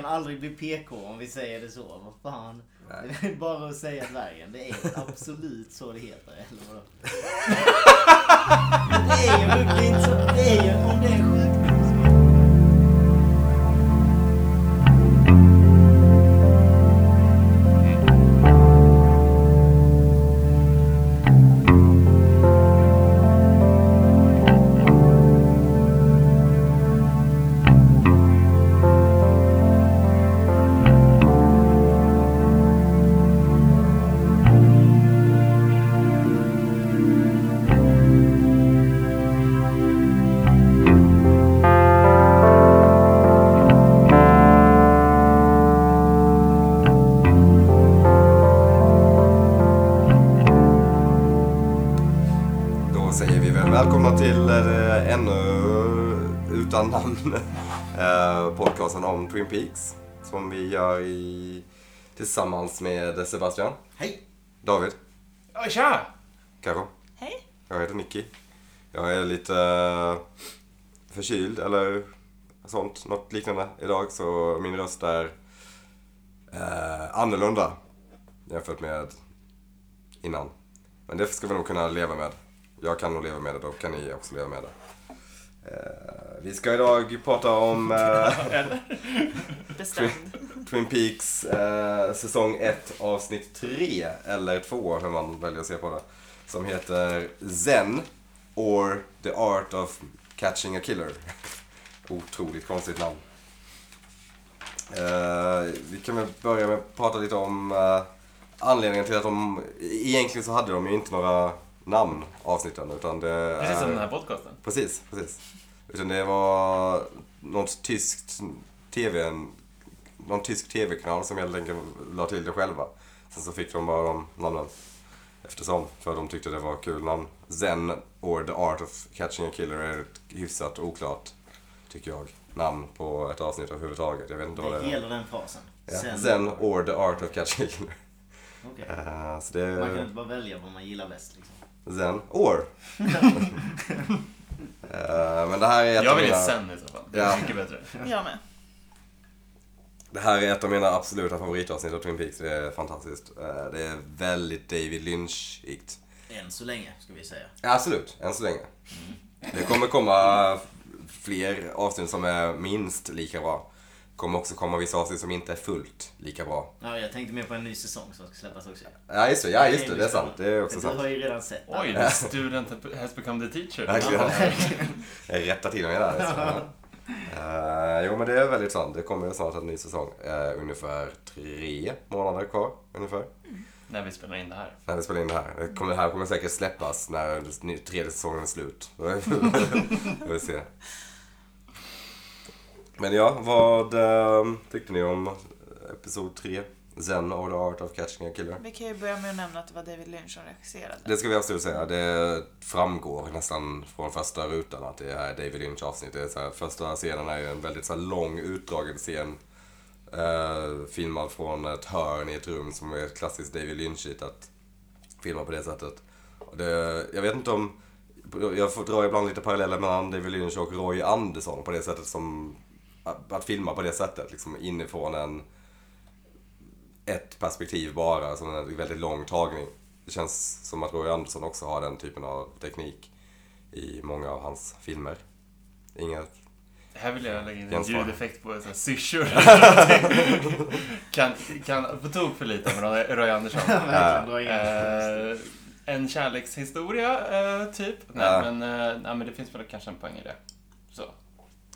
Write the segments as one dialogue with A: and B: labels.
A: kan aldrig bli PK om vi säger det så. Vad fan.
B: Nej.
A: Det är bara att säga dvärgen. Det är absolut så det heter. Eller vadå? det är ju sjukligt. så- Det är ju om det är sjukligt.
B: Då säger vi väl välkomna till eh, ännu utan namn eh, podcasten om Twin Peaks. Som vi gör i, tillsammans med Sebastian,
A: Hej!
B: David,
C: Ja, Tja!
B: Karo.
D: Hej.
B: Jag heter Nicky. Jag är lite eh, förkyld eller sånt, något liknande idag. Så min röst är eh, annorlunda jämfört med innan. Men det ska vi nog kunna leva med. Jag kan nog leva med det, då kan ni också leva med det. Eh, vi ska idag prata om eh,
D: Bestämd.
B: Twin Peaks eh, säsong 1 avsnitt 3 eller 2 hur man väljer att se på det. Som heter Zen or The Art of Catching a Killer. Otroligt konstigt namn. Eh, vi kan väl börja med att prata lite om eh, anledningen till att de... Egentligen så hade de ju inte några namn avsnitten utan det
C: Precis som
B: är-
C: den här podcasten.
B: Precis, precis. Utan det var något tyskt tv, någon tysk tv-kanal som helt enkelt la till det själva. Sen så fick de bara de namnen eftersom, för de tyckte det var kul namn. Zen or The Art of Catching a Killer är ett hyfsat oklart, tycker jag, namn på ett avsnitt överhuvudtaget. Jag vet inte vad det
A: Det
B: är.
A: gäller den frasen.
B: Ja. Zen or The Art of Catching a Killer.
A: Okej.
B: Eh, så
A: Man kan
B: det,
A: inte bara välja vad man gillar bäst liksom.
B: Zen or. Eh, men det här är ett
C: Jag
B: av
C: vill ju
B: mina-
C: sen i så fall. Det
B: Ja.
C: är mycket bättre.
D: Jag med.
B: Det här är ett av mina absoluta favoritavsnitt av Twin Peaks. Det är fantastiskt. Eh, Det är väldigt David Lynch-igt.
A: Än så länge ska vi säga.
B: Ja, Absolut, än så länge. Det kommer komma fler avsnitt som är minst lika bra. Det kommer också komma vissa avsnitt som inte är fullt lika bra.
A: Ja, jag tänkte mer på en ny säsong som ska släppas också.
B: Ja, just det. Ja, just det. Det är sant. Det är också
A: Du
B: sant.
A: har ju redan sett den.
C: Oj, the student has become the teacher.
B: Verkligen. Jag rättar till mig där. Så. Eh, jo, men det är väldigt sant. Det kommer snart en ny säsong. Eh, ungefär tre månader kvar, ungefär.
C: När vi spelar in det här.
B: när vi spelar in det här. Det kommer, det här kommer säkert släppas när ny- tredje säsongen är slut. Vi får se. Men ja, vad ehm, tyckte ni om episod 3? Zen och the art of catching a killer.
D: Vi kan ju börja med att nämna att det var David Lynch som regisserade.
B: Det ska vi absolut säga. Det framgår nästan från första rutan att det är David Lynch avsnitt. Det är så här, första scenen är ju en väldigt så här lång utdragen scen. Eh, filmad från ett hörn i ett rum som är ett klassiskt David Lynchigt att filma på det sättet. Och det, jag vet inte om... Jag får dra ibland lite paralleller mellan David Lynch och Roy Andersson på det sättet som... Att, att filma på det sättet, liksom inifrån en... Ett perspektiv bara, som en väldigt lång tagning. Det känns som att Roy Andersson också har den typen av teknik i många av hans filmer. Inget...
C: Här vill jag lägga in en
B: Jens Borg.
C: ljudeffekt på så här syrsor. eller någonting. kan, kan på tok för lite med Roy- Roy Andersson.
A: Verkligen, dra igen.
C: Eh, en kärlekshistoria, eh, typ. Nej,
B: Ja.
C: men, eh, nej, men det finns väl kanske en poäng i det. Så.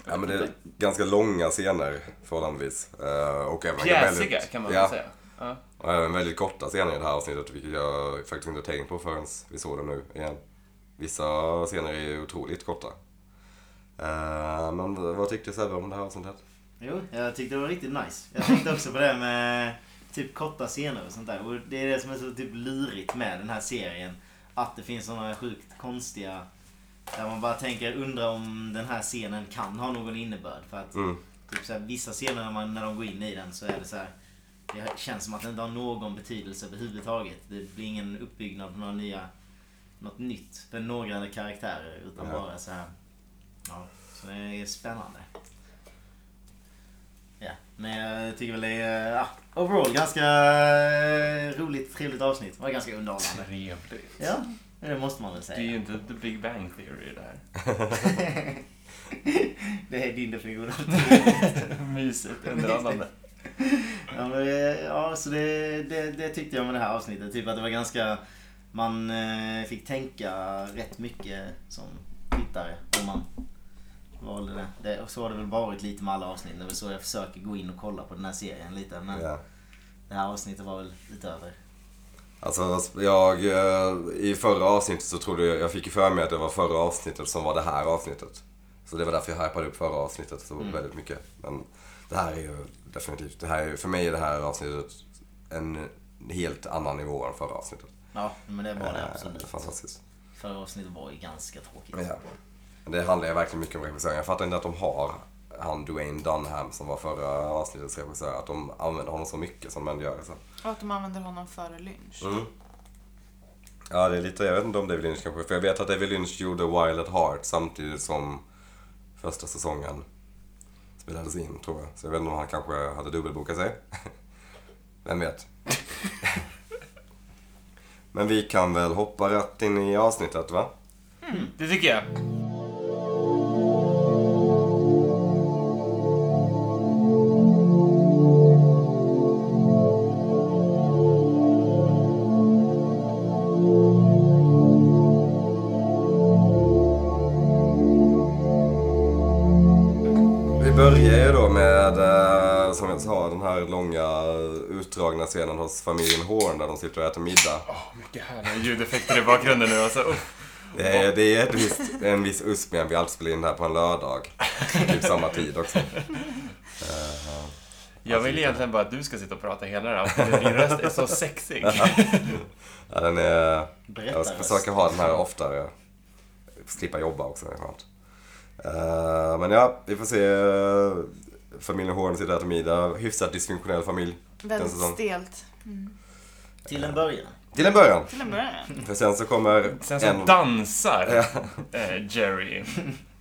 B: Ja, men det är ganska långa scener förhållandevis. Eh, Och även
C: Pjäsiga, kan man
B: ja,
C: väl säga. Ja.
B: Och även väldigt korta scener i det här avsnittet, vilket jag faktiskt inte tänkt på förrän vi såg dem nu igen. Vissa scener är ju otroligt korta. Eh, men vad tyckte Sebbe om det här avsnittet?
A: Jo, jag tyckte det var riktigt nice. Jag tänkte också på det med typ korta scener och sånt där. Och det är det som är så typ lurigt med den här serien. Att det finns såna sjukt konstiga... Där man bara tänker, undra om den här scenen kan ha någon innebörd. För att
B: Mm.
A: typ så här, vissa scener när, man, när de går in i den så är det så här... Det känns som att det inte har någon betydelse överhuvudtaget. Det blir ingen uppbyggnad på några nya... Något nytt för några karaktärer. Utan
B: Ja.
A: bara så här... Ja, så det är spännande. Ja, men jag tycker väl det är ja, overall ganska eh, roligt, trevligt avsnitt. Det var ganska underhållande.
C: Trevligt.
A: Ja, men det måste man väl
C: Det är ju
A: säga.
C: inte the big bang theory det här.
A: det är din definition.
C: Mysigt, underhållande.
A: Ja, men, eh, ja så det, det, det tyckte jag med det här avsnittet. Typ att det var ganska... Man eh, fick tänka rätt mycket som tittare om man valde det. det. Och så har det väl varit lite med alla avsnitt. Det är väl så jag försöker gå in och kolla på den här serien lite. Men
B: Ja.
A: det här avsnittet var väl lite över.
B: Alltså, jag... eh, I förra avsnittet så trodde jag... Jag fick ju för mig att det var förra avsnittet som var det här avsnittet. Så det var därför jag hypade upp förra avsnittet så
A: Mm.
B: väldigt mycket. Men det här är ju definitivt... Det här är, för mig är det här avsnittet en helt annan nivå än förra avsnittet.
A: Ja, men det var det
B: Eh,
A: absolut.
B: Fantastiskt.
A: Förra avsnittet var ju ganska tråkigt.
B: Ja. Men Det handlar ju verkligen mycket om regissören. Jag fattar inte att de har han Dwayne Dunham som var förra avsnittets regissör. Att de använder honom så mycket som de gör. Så.
D: Och att de använder honom före lynch.
B: Mm. Ja, det är lite, jag vet inte om David Lynch kanske, för jag vet att David Lynch gjorde Wild at Heart samtidigt som första säsongen spelades in, tror jag. Så jag vet inte om han kanske hade dubbelbokat sig. Vem vet? Men vi kan väl hoppa rätt in i avsnittet, va?
C: Det tycker jag.
B: Vi börjar ju då med, eh, som jag sa, den här långa utdragna scenen hos familjen Horn där de sitter och äter middag.
C: Åh, mycket härliga ljudeffekter i bakgrunden nu alltså. Uff.
B: Det är, det är ett visst, en viss USP med att vi alltid spelar in det här på en lördag. Typ samma tid också.
C: Jag vill egentligen bara att du ska sitta och prata hela det här avsnittet. Din röst är så sexig.
B: Ja, den är, jag ska
A: Berättarröst.
B: försöka ha den här oftare. Slippa jobba också, det är skönt. Eh, men ja, vi får se. Familjen Horn sitter och äter middag. Hyfsat dysfunktionell familj.
D: Väldigt
B: säsong.
D: stelt.
A: Till en början.
B: Till en början.
D: Till en början.
B: För sen så kommer
C: Sen så
B: en,
C: dansar eh, Jerry.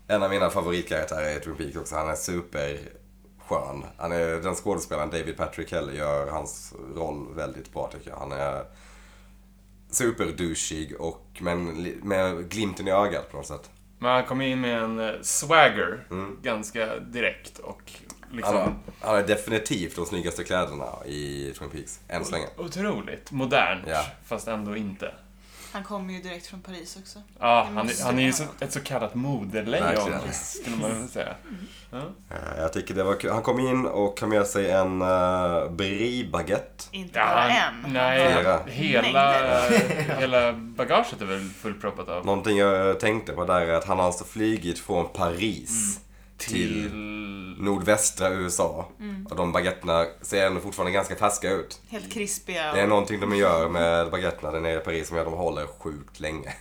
B: en av mina favoritkaraktärer i Twin Peaks också. Han är superskön. Han är, den skådespelaren David Patrick Kelly gör hans roll väldigt bra tycker jag. Han är superdouchig och men li- med glimten i ögat på något sätt.
C: Men han kom in med en eh, swagger
B: Mm.
C: ganska direkt och
B: Han har,
C: liksom
B: han har definitivt de snyggaste kläderna i Twin Peaks, än så länge.
C: otroligt modernt.
B: Ja.
C: Fast ändå inte.
D: Han kommer ju direkt från Paris också.
C: Ja,
D: Det
C: han,
D: måste
C: han är ju
D: vara
C: så,
D: något.
C: ett så kallat modelejon,
B: Verkligen.
C: skulle man väl säga.
B: Eh, Jag tycker det var kul. Han kom in och kan med sig en uh, brie-baguette.
D: Inte
C: Ja,
D: bara
C: han,
D: en.
C: nej,
D: Han
B: Flera.
D: har
C: hela,
D: mängder.
C: hela bagaget är väl fullproppat av.
B: Någonting jag eh, tänkte på där är att han har alltså flygit från Paris Mm. till Mm.
C: Till...
B: nordvästra USA. Och de baguetterna ser ändå fortfarande ganska färska ut.
D: Helt krispiga.
B: Det är någonting de gör med baguetterna där nere i Paris som gör att de håller sjukt länge.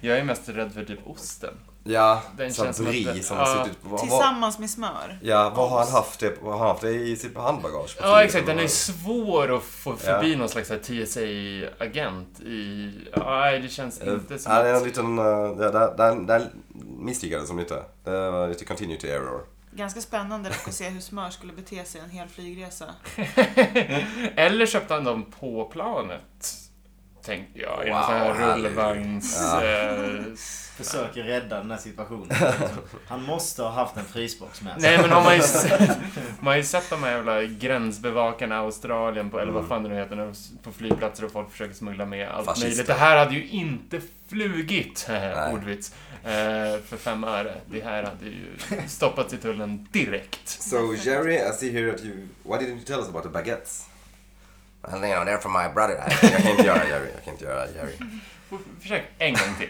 C: Jag är mest rädd för typ osten.
B: Ja,
C: Den
B: så
C: känns som att
B: brie
C: det-
B: som har
C: ja.
B: suttit på... vad- vad-
D: Tillsammans med smör.
B: Ja, vad har han haft det, vad har han haft det i sitt handbagage? på
C: Ja,
B: flyget?
C: exakt. Den är svår att få förbi
B: Ja.
C: någon slags så här TSA-agent i... Nej, det känns inte som
B: Ja, det är en
C: att...
B: liten... eh, ja, där, där, där misslyckades de lite. Det var lite continuity error.
D: Ganska spännande dock att se hur smör skulle bete sig en hel flygresa.
C: Eller köpte han dem på planet? Tänkte jag. I en
B: Wow,
C: sån här
B: härligt.
C: rullvagns...
B: Ja.
C: eh,
A: Försöker rädda den här situationen. Han måste ha haft en frysbox med sig.
C: Nej men har man ju sett, man har ju sett de här jävla gränsbevakarna i Australien på, eller vad fan det nu heter, när de- på flygplatser och folk försöker smuggla med allt
B: Mm. Fascister.
C: möjligt. Det här hade ju inte flugit,
B: Nej.
C: ordvits, eh, för fem öre. Det här hade ju stoppats i tullen direkt.
B: So Jerry, I see here that you... Why didn't you tell us about the baguettes? Well, you know, they're from my brother. I, jag kan inte göra Jerry. Jag kan inte göra Jerry.
C: Försök en gång till.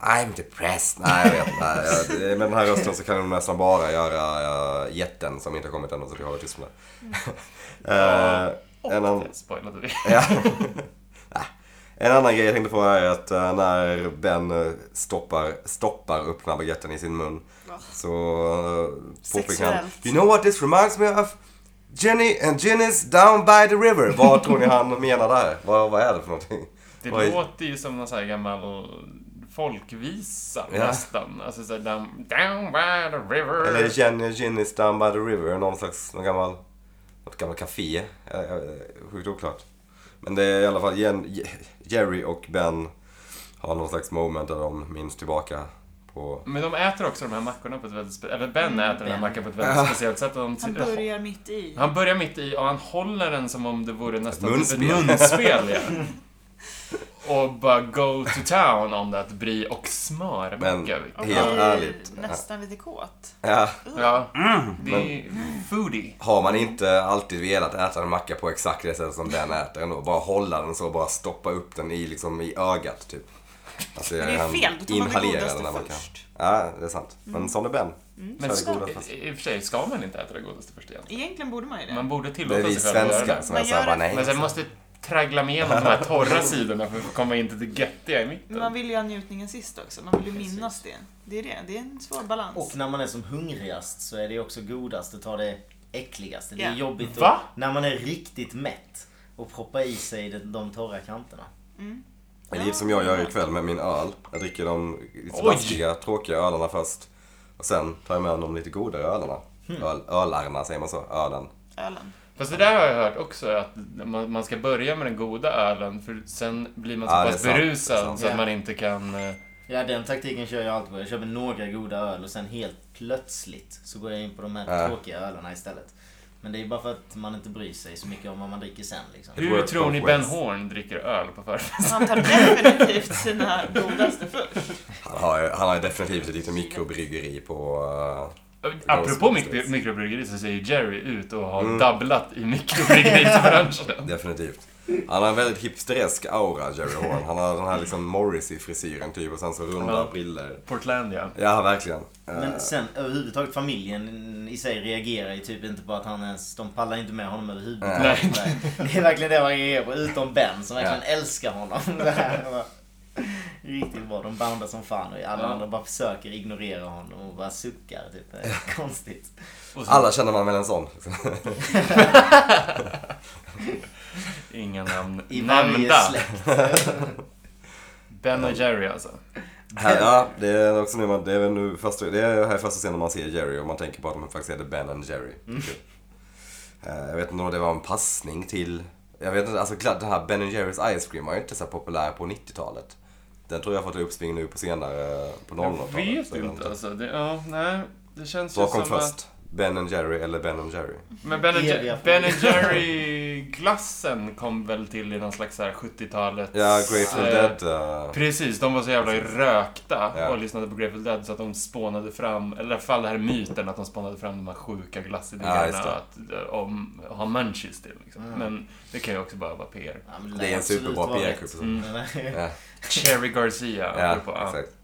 B: I'm depressed. Nej, jag vet inte. Nej, jag- det- Med den här rösten så kan de nästan bara göra uh, jätten som inte har kommit ännu så vi håller tyst med det. Eh, en annan-
C: Och det spoilade vi.
B: Ja. Nej. En annan grej jag tänkte på är att eh, när Ben eh, stoppar, stoppar öppna baguetten i sin mun
D: Ja.
B: så eh, påpekar han
D: Sexuellt.
B: You know what this reminds me of? Jenny and Jenny's down by the river. Vad tror ni han menar där? Vad, vad är det för någonting?
C: Det
B: Vad är-
C: låter ju som någon sån här gammal folkvisa
B: Ja.
C: nästan. Alltså såhär, down, down by the river.
B: Eller Jenny Ginny's Down by the River, någon slags, någon gammal, något gammalt café. Eh, eh, Sjukt oklart. Men det är i alla fall Jen, Je- Jerry och Ben har någon slags moment där de minns tillbaka på...
C: Men de äter också de här mackorna på ett väldigt speciellt... Eller Ben
A: Mm,
C: äter den
A: Ben.
C: här mackan på ett väldigt speciellt sätt. De
D: Han börjar mitt i.
C: han börjar mitt i och han håller den som om det vore nästan
B: Ett
C: typ ett
B: munspel.
C: munspel. Ja. Och bara go to town om det att bry och smörmacka.
B: Men-
D: Och
B: Helt
D: blir
B: ärligt.
D: nästan lite kåt.
B: Ja,
C: Ja, det är foodie.
B: har man inte alltid velat äta en macka på exakt det sätt som Ben äter ändå, bara hålla den så, bara stoppa upp den i, liksom, i ögat typ. Alltså,
D: Men det är fel, då tar man det godaste först. Mm.
B: Ja, det är sant. Men sån är Ben.
C: Men
B: Så är det
C: ska,
B: godast.
C: i och för sig ska man inte äta det godaste först igen.
D: Egentligen borde man ju det.
C: Man borde
B: Det är
C: tillåta
B: vi
C: sig själv att göra
B: svenskar
C: det.
B: som är
D: Man
B: såhär,
D: gör
B: bara
D: det.
B: nej.
C: Men sen måste traggla mig igenom de här torra sidorna för att komma in till det göttiga i
D: Men
C: mitten.
D: man vill ju ha njutningen sist också. Man vill ju minnas det. Det är det. Det är en svår balans.
A: Och när man är som hungrigast så är det också godast att ta det äckligaste. Det är
D: Ja.
A: jobbigt
C: Va?
A: att, när man är riktigt mätt och proppa i sig de, de torra kanterna.
B: Eller som jag gör ikväll med min öl. Jag dricker de lite
C: Oj!
B: smaskiga, tråkiga ölarna först. Och sen tar jag med de lite godare ölarna.
C: Hmm.
B: Öl, ölarna, säger man så? Ölen.
D: Ölen.
C: Fast det där har jag hört också, att man, man ska börja med den goda ölen för sen blir man så
B: Ja, det är
C: pass
B: sant, det är
C: berusad
B: sant.
C: så att
A: Ja.
C: man inte kan... eh,
A: Ja, den taktiken kör jag alltid på. Jag köper några goda öl och sen helt plötsligt så går jag in på de här
B: Ja.
A: tråkiga ölarna istället. Men det är bara för att man inte bryr sig så mycket om vad man dricker sen liksom.
B: It
C: Hur
B: works
C: tror
B: both
C: ni Ben
B: ways.
C: Horn dricker öl på förfesten?
D: Alltså, Han tar definitivt sina godaste först.
B: Han har, ju- han har ju definitivt ett litet mikrobryggeri på... eh,
C: Apropå
B: Ghost
C: mikro
B: Masters.
C: mikrobryggeri så ser ju Jerry ut och har
B: Mm.
C: dabblat i mikrobryggeribranschen.
B: definitivt. Han har en väldigt hipsteresk aura, Jerry Horn. Han har den här liksom Morrissey-frisyren typ och sen så runda
C: Ja.
B: briller.
C: Portlandia.
B: Ja, verkligen. Eh,
A: Men sen överhuvudtaget familjen i sig reagerar ju typ inte på att han ens, de pallar inte med honom överhuvudtaget.
C: Nej.
A: Nej. Det är verkligen det man reagerar på, utom Ben som verkligen älskar honom. Det här var Riktigt bra, de bandar som fan och alla
C: Ja.
A: andra bara försöker ignorera honom och bara suckar typ. Det är Konstigt.
C: Och så
B: Alla känner man väl en sån.
C: inga namn
A: I varje
C: nämnda.
A: släkt.
C: Ben och Jerry alltså.
B: Här, ja, det är också nu man, det är väl nu första, det är här första scenen man ser Jerry och man tänker på att de faktiskt heter Ben and Jerry.
C: Mm.
B: Typ. Eh, Jag vet inte om det var en passning till, jag vet inte, alltså klart, den här Ben and Jerrys Ice Cream var ju inte så populär på 90-talet. Den tror jag har fått uppsving nu på senare, på
C: Jag
B: 00-talet.
C: vet
B: så jag
C: inte alltså. Det, ja, nej. Det känns ju
B: Vad kom
C: som att...
B: först? Ben and Jerry eller Ben and Jerry?
C: Men Ben, and
A: Eviga
C: Jer-
A: frågor.
C: ben and Jerry-glassen kom väl till i någon slags så här 70-talets...
B: Ja, Grateful
C: eh,
B: Dead. eh,
C: Precis, de var så jävla rökta
B: Ja.
C: och lyssnade på Grateful Dead så att de spånade fram, eller i alla fall den här myten att de spånade fram de här sjuka
B: Ja,
C: glassidéerna
B: just det.
C: att eh, om, ha munchies till. Liksom. Men det kan ju också bara vara PR.
A: Ja, men
B: Det är en
A: absolut
B: superbra
A: vara rätt.
B: PR-kupp.
A: Men-
B: Ja.
C: Cherry Garcia.
B: Alltså. Ja,
C: apropå, ja.
B: exakt.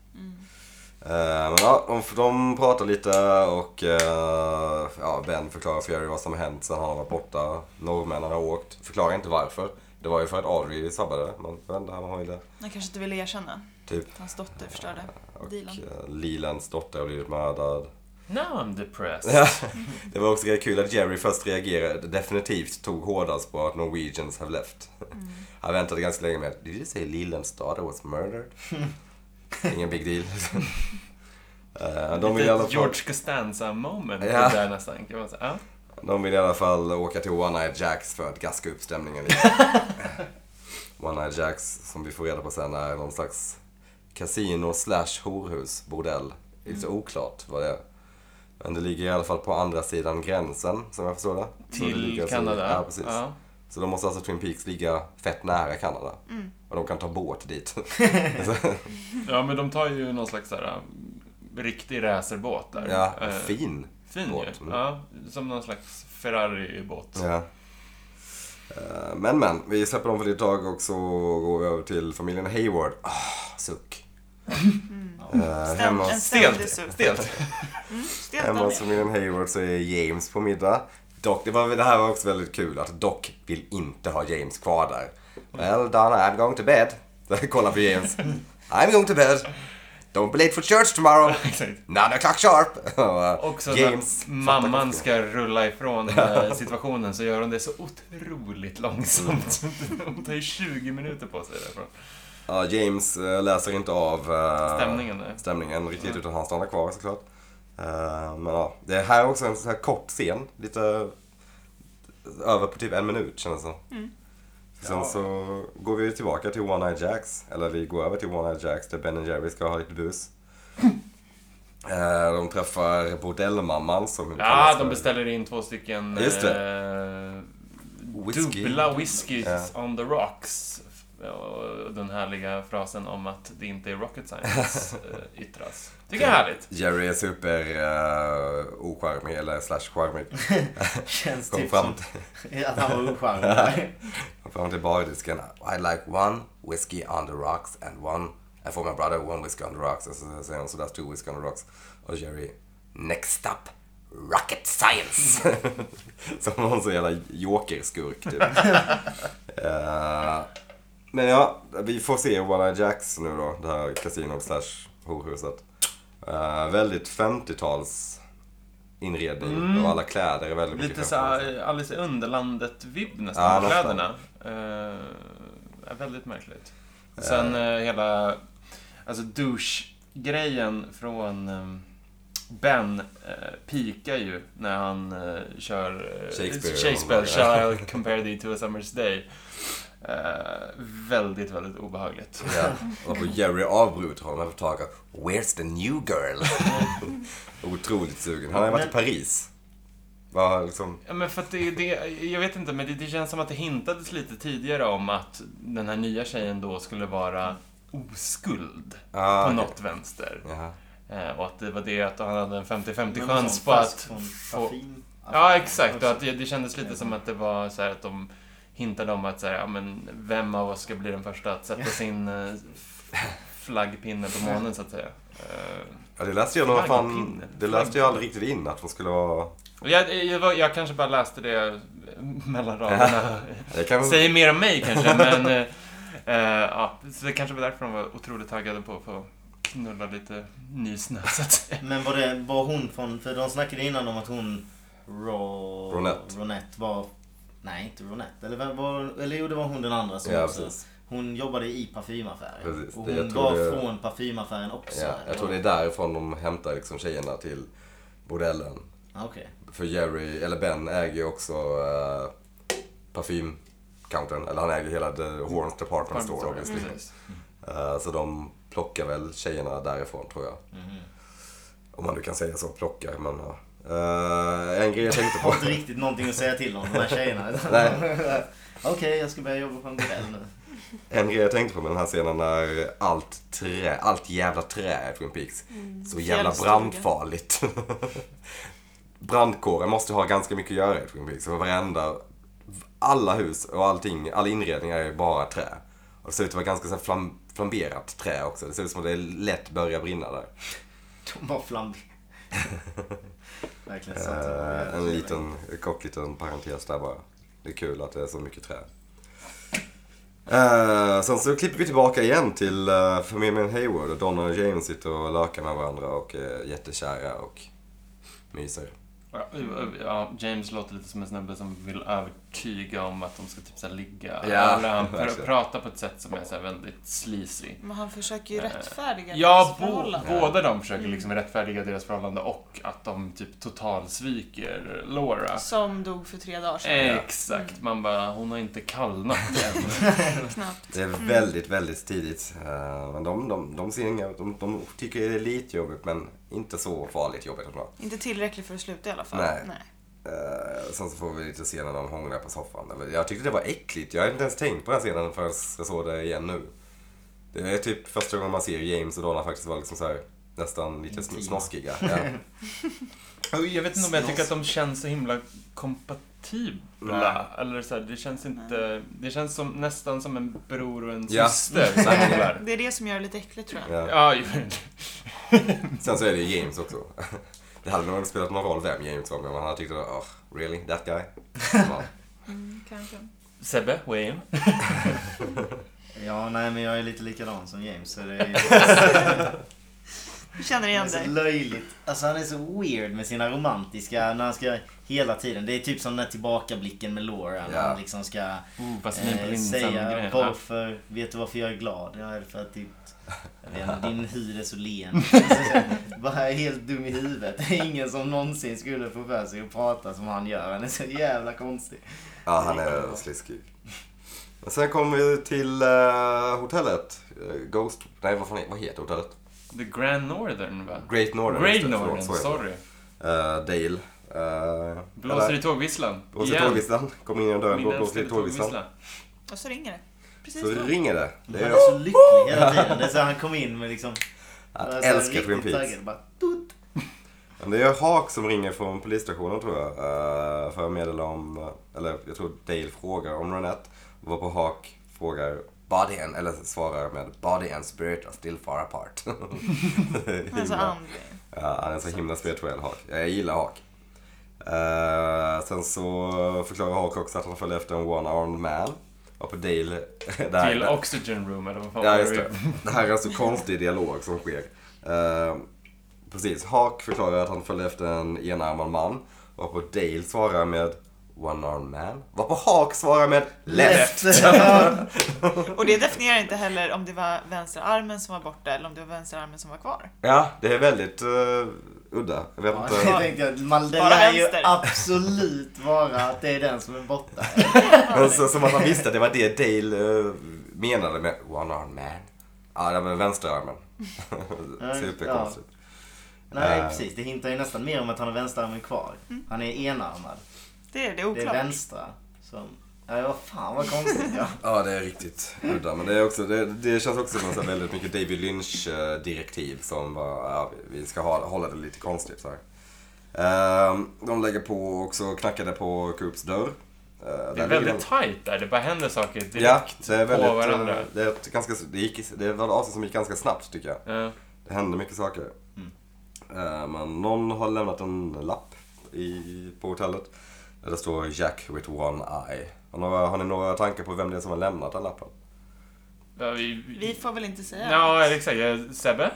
B: Eh, men ja, de, de pratar lite och eh, ja, Ben förklarar för Jerry vad som har hänt sen han var borta. Norrmännen har åkt. Förklarar inte varför. Det var ju för att Audrey sabbade. Man vände han ville.
D: Han kanske inte ville erkänna
B: Typ.
D: att hans dotter förstörde
B: Och
D: dealen.
B: eh, Lilans dotter har blivit mördad.
C: Now I'm depressed.
B: Ja, det var också kul att Jerry först reagerade, definitivt tog hårdast på att Norwegians have left. Han väntade ganska länge med Did you say Leland's daughter was murdered? Ingen big deal. Eh, de, vill i alla
C: Lite
B: fall,
C: George Costanza moment
B: Ja.
C: där nästan. Kan man säga. Ja.
B: de vill i alla fall åka till One Night Jacks för att gaska upp stämningen lite. One Night Jacks, som vi får reda på sen, är någon slags kasino slash horhus, bordell. Det är
C: Mm.
B: lite oklart vad det är. Men det ligger i alla fall på andra sidan gränsen, som jag förstår det. Så det ligger
C: Till
B: alltså-
C: Kanada.
B: Ja, precis.
C: Ja.
B: Så då måste alltså Twin Peaks ligga fett nära Kanada.
C: Mm.
B: Och de kan ta båt dit.
C: Ja, men de tar ju någon slags så här, um, riktig racerbåt där.
B: ja,
C: Eh,
B: fin.
C: fin
B: båt.
C: ju.
B: Mm.
C: Ja, som någon slags Ferrari-båt.
B: Ja. Eh, Men men, vi släpper dem för det ett tag och så går vi över till familjen Hayward. Ah, suck. Eh, hemma
D: en
B: hos,
D: ständig suck.
C: Stelt.
D: Stelt
B: hemma
D: han
B: hos
D: är.
B: familjen Hayward så är James på middag. Doc, det, var, det här var också väldigt kul att Doc vill inte ha James kvar där. Well Donna, I'm going to bed. Kolla på James. I'm going to bed. Don't be late for church tomorrow.
C: Exakt.
B: Nine o'clock sharp!
C: Och så
B: James.
C: när mamman ska rulla ifrån eh, situationen så gör hon det så otroligt långsamt. Hon tar ju 20 minuter på sig därifrån.
B: Ja, James eh, läser inte av eh,
C: Stämningen där.
B: stämningen riktigt utan han stannar kvar såklart. Eh, men ja, det här är också en sån här kort scen. Lite över på typ en minut känns det som. Sen
E: Ja.
B: så går vi tillbaka till One Eye Jacks. Eller vi går över till One Eye Jacks där Ben och Jerry ska ha lite bus. Eh, de träffar bordellmamman som kallas
C: Ja, de
B: för-
C: beställer in två stycken
B: Just
C: Eh,
B: Whisky.
C: dubbla whiskys
B: Ja.
C: on the rocks. Och den härliga frasen om att det inte är rocket science eh, yttras. Tycker jag är härligt.
B: Jerry är super uh, ocharmig, eller slash charmig.
A: Känns
B: Kom
A: typ
B: fram
A: som att han var ocharmig.
B: Och fram till bardisken. I like one whiskey on the rocks and one... And for my brother one whiskey on the rocks. Och så säger hon så that's two whiskey on the rocks. Och Jerry, next up, rocket science. Som någon sån jävla jokerskurk typ. Eh, men ja, vi får se One Eye Jacks nu då. Det här kasinot slash horhuset. Eh, väldigt 50-tals inredning och alla kläder är väldigt mycket
C: Mm. Lite
B: 50-tals.
C: så här eh, Alice i Underlandet-vibb
B: Ja,
C: nästan på
B: nästan.
C: kläderna. Eh, är väldigt märkligt. Och Sen eh, hela alltså douche-grejen från eh, Ben eh, pikar ju när han eh, kör eh,
B: Shakespeare.
C: Shakespeare Shall I compare thee to a summer's day? Eh, väldigt, väldigt obehagligt.
B: Ja, och på Jerry avbryter honom och frågar Where's the new girl? Otroligt sugen. Han har ju varit i
A: Men-
B: Paris. Var liksom...
C: Ja, men för att det, det, jag vet inte, men det, det känns som att det hintades lite tidigare om att den här nya tjejen då skulle vara oskuld
B: Ah,
C: på
B: okej.
C: något vänster.
B: Jaha.
C: Eh, och att det var det att han hade en 50-50
A: Men
C: chans
A: sån
C: på
A: fast Mm. från
C: att få...
A: parfym.
C: Ja, exakt. Och
A: Också.
C: att det, det kändes lite som att det var så här att de hintade om att så här, ja, men vem av oss ska bli den första att sätta sin eh, f- flaggpinne på månen, så att säga. Eh,
B: Ja, det läste jag nog fan...
C: Flaggpinne.
B: Det läste jag aldrig riktigt in att hon skulle vara...
C: jag, jag, var, jag kanske bara läste det mellan raderna.
B: Det kan...
C: Säger mer om mig kanske, men... eh, eh, ja, så det kanske var därför de var otroligt taggade på att få knulla lite ny snö, så att säga.
A: Men var, det, var hon från... För de snackade innan om att hon... Ro,
B: Ronette.
A: Ronette var... Nej, inte Ronette. Eller, vem var, eller jo, det var hon den andra som
B: Ja,
A: också...
B: precis.
A: Hon jobbade i parfymaffären.
B: Precis.
A: Och
B: Det-
A: hon
B: jag tror
A: var
B: det-
A: från parfymaffären också.
B: Ja, jag tror det är därifrån de hämtar liksom tjejerna till bordellen.
A: Ah, Okej.
B: För Jerry, eller Ben, äger ju också eh, parfymcountern. Eller han äger hela The Horns Department Store obviously.
C: Precis.
B: Eh, Så de plockar väl tjejerna därifrån tror jag.
A: Mhm.
B: Om man nu kan säga så, plockar. Men, ja. Eh, en grej jag tänkte
A: Jag
B: på.
A: har inte riktigt någonting att säga till om de här tjejerna.
B: Nej.
A: Okej, jag ska börja jobba på en bordell nu.
B: En grej jag tänkte på med den här scenen när allt trä, allt jävla trä i Twin Peaks. Så jävla
D: Fjällstuga.
B: brandfarligt. Brandkåren måste ha ganska mycket att göra i Twin Peaks. För varenda, alla hus och allting, all inredning är ju bara trä. Och det ser ut att vara ganska så här flam, flamberat trä också. Det ser ut som att det lätt börjar brinna där.
A: De var flambiga. Verkligen sant.
B: Eh, en liten, kort liten parentes där bara. Det är kul att det är så mycket trä. Eh, sen så klipper vi tillbaka igen till eh, familjen Hayward och Donna och James sitter och lökar med varandra och är jättekära och myser.
C: Ja, ja, James låter lite som en snubbe som vill övertyga om att de ska typ så här ligga.
B: Ja,
C: Eller han pr-
B: verkligen.
C: pratar på ett sätt som är så här väldigt sleazy.
D: Men han försöker ju rättfärdiga
C: Ja,
D: deras
C: bo,
D: förhållande.
C: båda de försöker liksom rättfärdiga deras förhållande och att de typ totalsviker Laura.
D: Som dog för tre dagar sedan.
C: Exakt, man bara, hon har inte kallnat än.
D: Knappt.
B: Det är väldigt, väldigt tidigt. Eh, men de, de, de ser inga, de, de tycker det är lite jobbigt men inte så farligt jobbigt ändå.
D: Inte tillräckligt för att sluta i alla fall.
B: Nej. Eh, sen så får vi lite scenen när de hånglar på soffan. Eller, Jag tyckte det var äckligt. Jag har inte ens tänkt på den scenen förrän jag såg det igen nu. Det är typ första gången man ser James och Donna faktiskt vara liksom så här, nästan lite sn-
A: Intima.
B: snoskiga. Ja.
C: Oj, Jag vet inte om jag tycker att de känns så himla kompatibla. Eller så här, det känns inte... Det känns som, nästan som en bror och en
B: Ja.
C: syster. som gillar.
D: Det är det som gör det lite äckligt tror jag.
B: Ja.
C: Ja, ju-
B: Sen så är det ju James också. Det hade nog inte spelat någon roll vem James var men man hade tyckt att oh, really, that guy? Ja.
D: Mm, kanske.
C: Sebbe, Wayne.
A: Ja, nej men jag är lite likadan som James. Så det är ju...
D: Jag känner igen
A: Han är så
D: dig.
A: löjligt. Alltså han är så weird med sina romantiska, när han ska hela tiden. Det är typ som den här tillbakablicken med Laura. När
B: Ja.
A: han liksom ska
C: Oh, vaselin på
A: eh, säga
C: linsen-grejen. Ja.
A: varför, vet du varför jag är glad? Ja, det är för att ditt, jag vet inte, din hud är så len. Alltså, så här, Bara är helt dum i huvudet. Det är ingen som någonsin skulle få för sig att prata som han gör. Han är så jävla konstig.
B: Ja, han är sliskig. Men sen kommer vi till eh, hotellet. Eh, Ghost... Nej, vad, fan, vad heter hotellet?
C: The Grand Northern, va?
B: Great Northern. just
C: Great
B: det, förlåt,
C: Northern,
B: så heter det. Eh,
C: sorry.
B: Dale. Uh,
C: Blåser i tågvisslan.
B: Blåser i
C: Igen.
B: tågvisslan. Kommer in genom dörren,
C: Min
B: blåser i
C: älskade
B: tågvisslan.
C: tågvissla.
D: Och så ringer det. Precis
B: Så
D: då.
B: ringer det. det
A: Han
B: är,
A: är så lycklig hela tiden. Det är så här, han kom in med liksom...
B: jag
A: bara så här
B: älskar Twin
A: riktigt
B: Peaks.
A: taggad. Bara, tut.
B: Men Det är Hawk som ringer från polisstationen tror jag. eh, För att meddela om, eller jag tror Dale frågar om Renette. Varpå Hawk frågar body and, eller svarar med body and spirit are still far apart.
D: Han är
A: Alltså,
D: så
B: Himla-
D: andlig.
B: Ja, han är så himla spirituell Hawk. Jag gillar Hawk. Eh, sen så förklarar Hawk också att han följer efter en one-armed man. Och på Dale... det här-
C: Till Oxygen Room, eller vad fan
B: Ja,
C: var
B: just det. Det här är alltså konstig dialog som sker. Eh, precis, Hawk förklarar att han följer efter en enarmad man. Varpå Dale svarar med One armed man. Varpå Hawk svarar med Left.
D: Och det definierar inte heller om det var vänsterarmen som var borta eller om det var vänsterarmen som var kvar.
B: Ja, det är väldigt eh, udda. Jag vet
A: Ja, det
B: inte.
A: tänkte jag. Man, det
D: Bara
A: lär ju
D: vänster.
A: absolut vara att det är den som är borta.
B: Men så, som att han visste att det var det Dale eh, menade med One armed man. Ja, det var vänsterarmen. Superkonstigt.
A: Nej
B: Eh.
A: precis, det hintar ju nästan mer om att han har vänsterarmen kvar. Han är enarmad.
D: Det är
A: Det
D: det är
A: är
D: Mm. oklart.
A: vänstra som... Ja, vad fan vad konstigt. Ja.
B: Ja, det är riktigt udda. Men det, är också, det, det känns också som så här väldigt mycket David Lynch-direktiv som var, ja, vi ska ha, hålla det lite konstigt så här. Ehm, de lägger på också knackade på Coops dörr. Eh, där
C: Det är
B: ligger de-
C: väldigt tight där. Det bara händer saker direkt
B: ja, det är väldigt,
C: på varandra.
B: eh, Det, är ett ganska, det, gick, det var ett avsnitt som gick ganska snabbt tycker jag.
C: Ja.
B: Det hände mycket saker.
A: Mm.
B: Eh, men någon har lämnat en lapp i, på hotellet. Där det står Jack with one eye. Har, några, har ni några tankar på vem det är som har lämnat den lappen?
C: Ja, vi...
D: Vi får väl inte säga.
C: Ja, exakt. Eh, Sebbe?